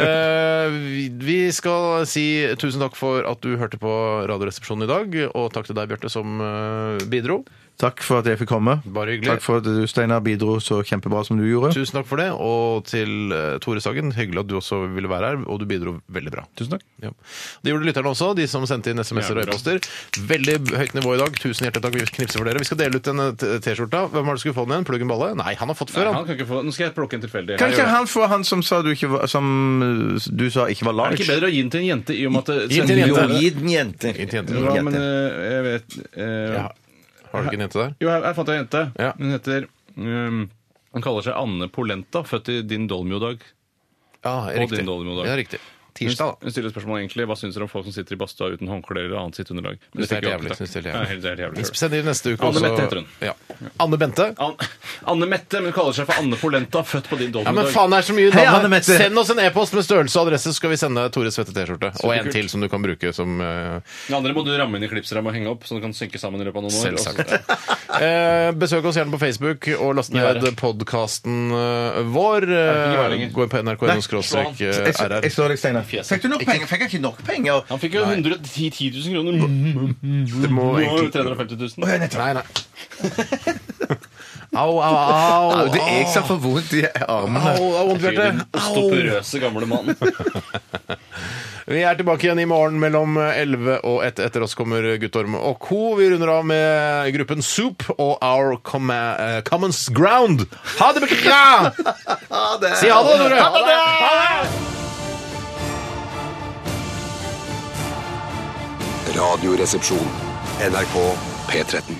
[SPEAKER 2] Eh, vi- vi skal si tusen takk for at du hørte på Radioresepsjonen i dag, og takk til deg, Bjarte, som eh, bidro.
[SPEAKER 4] Takk for at jeg fikk komme.
[SPEAKER 2] Bare hyggelig.
[SPEAKER 4] Takk for at du, Steinar, bidro så kjempebra som du gjorde.
[SPEAKER 2] Tusen takk for det. Og til eh, Tore Sagen, hyggelig at du også ville være her, og du bidro veldig bra.
[SPEAKER 3] Tusen takk.
[SPEAKER 2] Ja. Det gjorde lytterne også, de som sendte inn SMS-er og
[SPEAKER 3] Jævlig bra.
[SPEAKER 2] e-poster. Veldig høyt nivå i dag. Tusen hjertelig takk. Vi knipser for dere. Vi skal dele ut en eh, t- T-skjorte. Hvem har du skulle få den igjen? Pluggen Balle? Nei, han har fått før,
[SPEAKER 3] Han
[SPEAKER 2] han.
[SPEAKER 3] kan ikke få... Nå skal jeg plukke en tilfeldig.
[SPEAKER 4] Kan
[SPEAKER 3] Her gjør
[SPEAKER 4] ikke
[SPEAKER 3] jeg.
[SPEAKER 4] han få han som sa du ikke var, som eh, du sa ikke var
[SPEAKER 3] Er
[SPEAKER 4] large?
[SPEAKER 3] det ikke bedre å gi den til en jente i og med at
[SPEAKER 2] den til en
[SPEAKER 4] Jo,
[SPEAKER 2] jente.
[SPEAKER 4] gi den jente. Gi
[SPEAKER 2] den jente.
[SPEAKER 3] Ja, men eh, jeg vet eh,
[SPEAKER 2] Ja. Har du ikke en jente der?
[SPEAKER 3] Jo, her, her fant jeg en jente.
[SPEAKER 2] Ja.
[SPEAKER 3] Hun heter um, Hun kaller seg Anne Polenta, født i din Dolmio-dag.
[SPEAKER 2] Ja,
[SPEAKER 3] din Dolmo, da.
[SPEAKER 2] Ja, riktig.
[SPEAKER 3] Hun
[SPEAKER 2] Tirsdag, da.
[SPEAKER 3] hun stiller spørsmål egentlig hva syns dere om folk som sitter i badstua uten håndkle eller annet sitt underlag.
[SPEAKER 2] Synes
[SPEAKER 3] Men
[SPEAKER 2] det er
[SPEAKER 3] stikker jeg
[SPEAKER 2] jævlig,
[SPEAKER 3] opp, takk.
[SPEAKER 2] synes det er jævlig.
[SPEAKER 3] Ja, helt- det er helt jævlig.
[SPEAKER 2] Send inn neste uke
[SPEAKER 3] Anne
[SPEAKER 2] også.
[SPEAKER 3] Mette heter hun.
[SPEAKER 2] Ja. Anne Bente?
[SPEAKER 3] An Anne Mette, men hun kaller seg for Anne Polenta, født på din
[SPEAKER 2] Ja, men
[SPEAKER 3] Dolmio-dag.
[SPEAKER 2] faen, det er så mye
[SPEAKER 4] Hei,
[SPEAKER 2] navn
[SPEAKER 4] Anne
[SPEAKER 2] her.
[SPEAKER 4] Mette.
[SPEAKER 2] Send oss en e-post med størrelse og adresse, så skal vi sende Tore svette T-skjorte. Og en
[SPEAKER 3] kult.
[SPEAKER 2] til som du kan bruke som eh,
[SPEAKER 3] Den andre må du ramme inn i klipsramma og henge opp, så den kan synke sammen i løpet av noen år. Altså.
[SPEAKER 2] Selvsagt.
[SPEAKER 3] Og så- ja.
[SPEAKER 2] Eh, besøk oss gjerne på Facebook og last
[SPEAKER 3] Gjør
[SPEAKER 2] ned
[SPEAKER 3] det.
[SPEAKER 2] podkasten vår. Eh,
[SPEAKER 3] Ikke lenger.
[SPEAKER 2] Gå inn på nrk.no skråstrek eh,
[SPEAKER 4] Jeg så-
[SPEAKER 2] rr.
[SPEAKER 4] Jeg så deg, Steinar. Fikk du nok penger? Fikk jeg ikke nok penger?
[SPEAKER 3] Han fikk jo 110 000 kroner.
[SPEAKER 2] Det må
[SPEAKER 3] Nå har du
[SPEAKER 2] egentlig
[SPEAKER 3] 350 000.
[SPEAKER 2] Nei, nei. Au, au, au.
[SPEAKER 4] Au, det er jeg som får vondt i armene.
[SPEAKER 2] Au, au, vondt,
[SPEAKER 3] Din
[SPEAKER 2] Bjarte. Au.
[SPEAKER 3] stopperøse gamle mann.
[SPEAKER 2] Vi er tilbake igjen i morgen mellom 11 og 1. Etter oss kommer Guttorm og co. Vi runder av med gruppen Soup og Our Com eh, Commons Ground. Ha det bra! Si ha det, Tore. Ha det!
[SPEAKER 1] Radioresepsjon. NRK P13.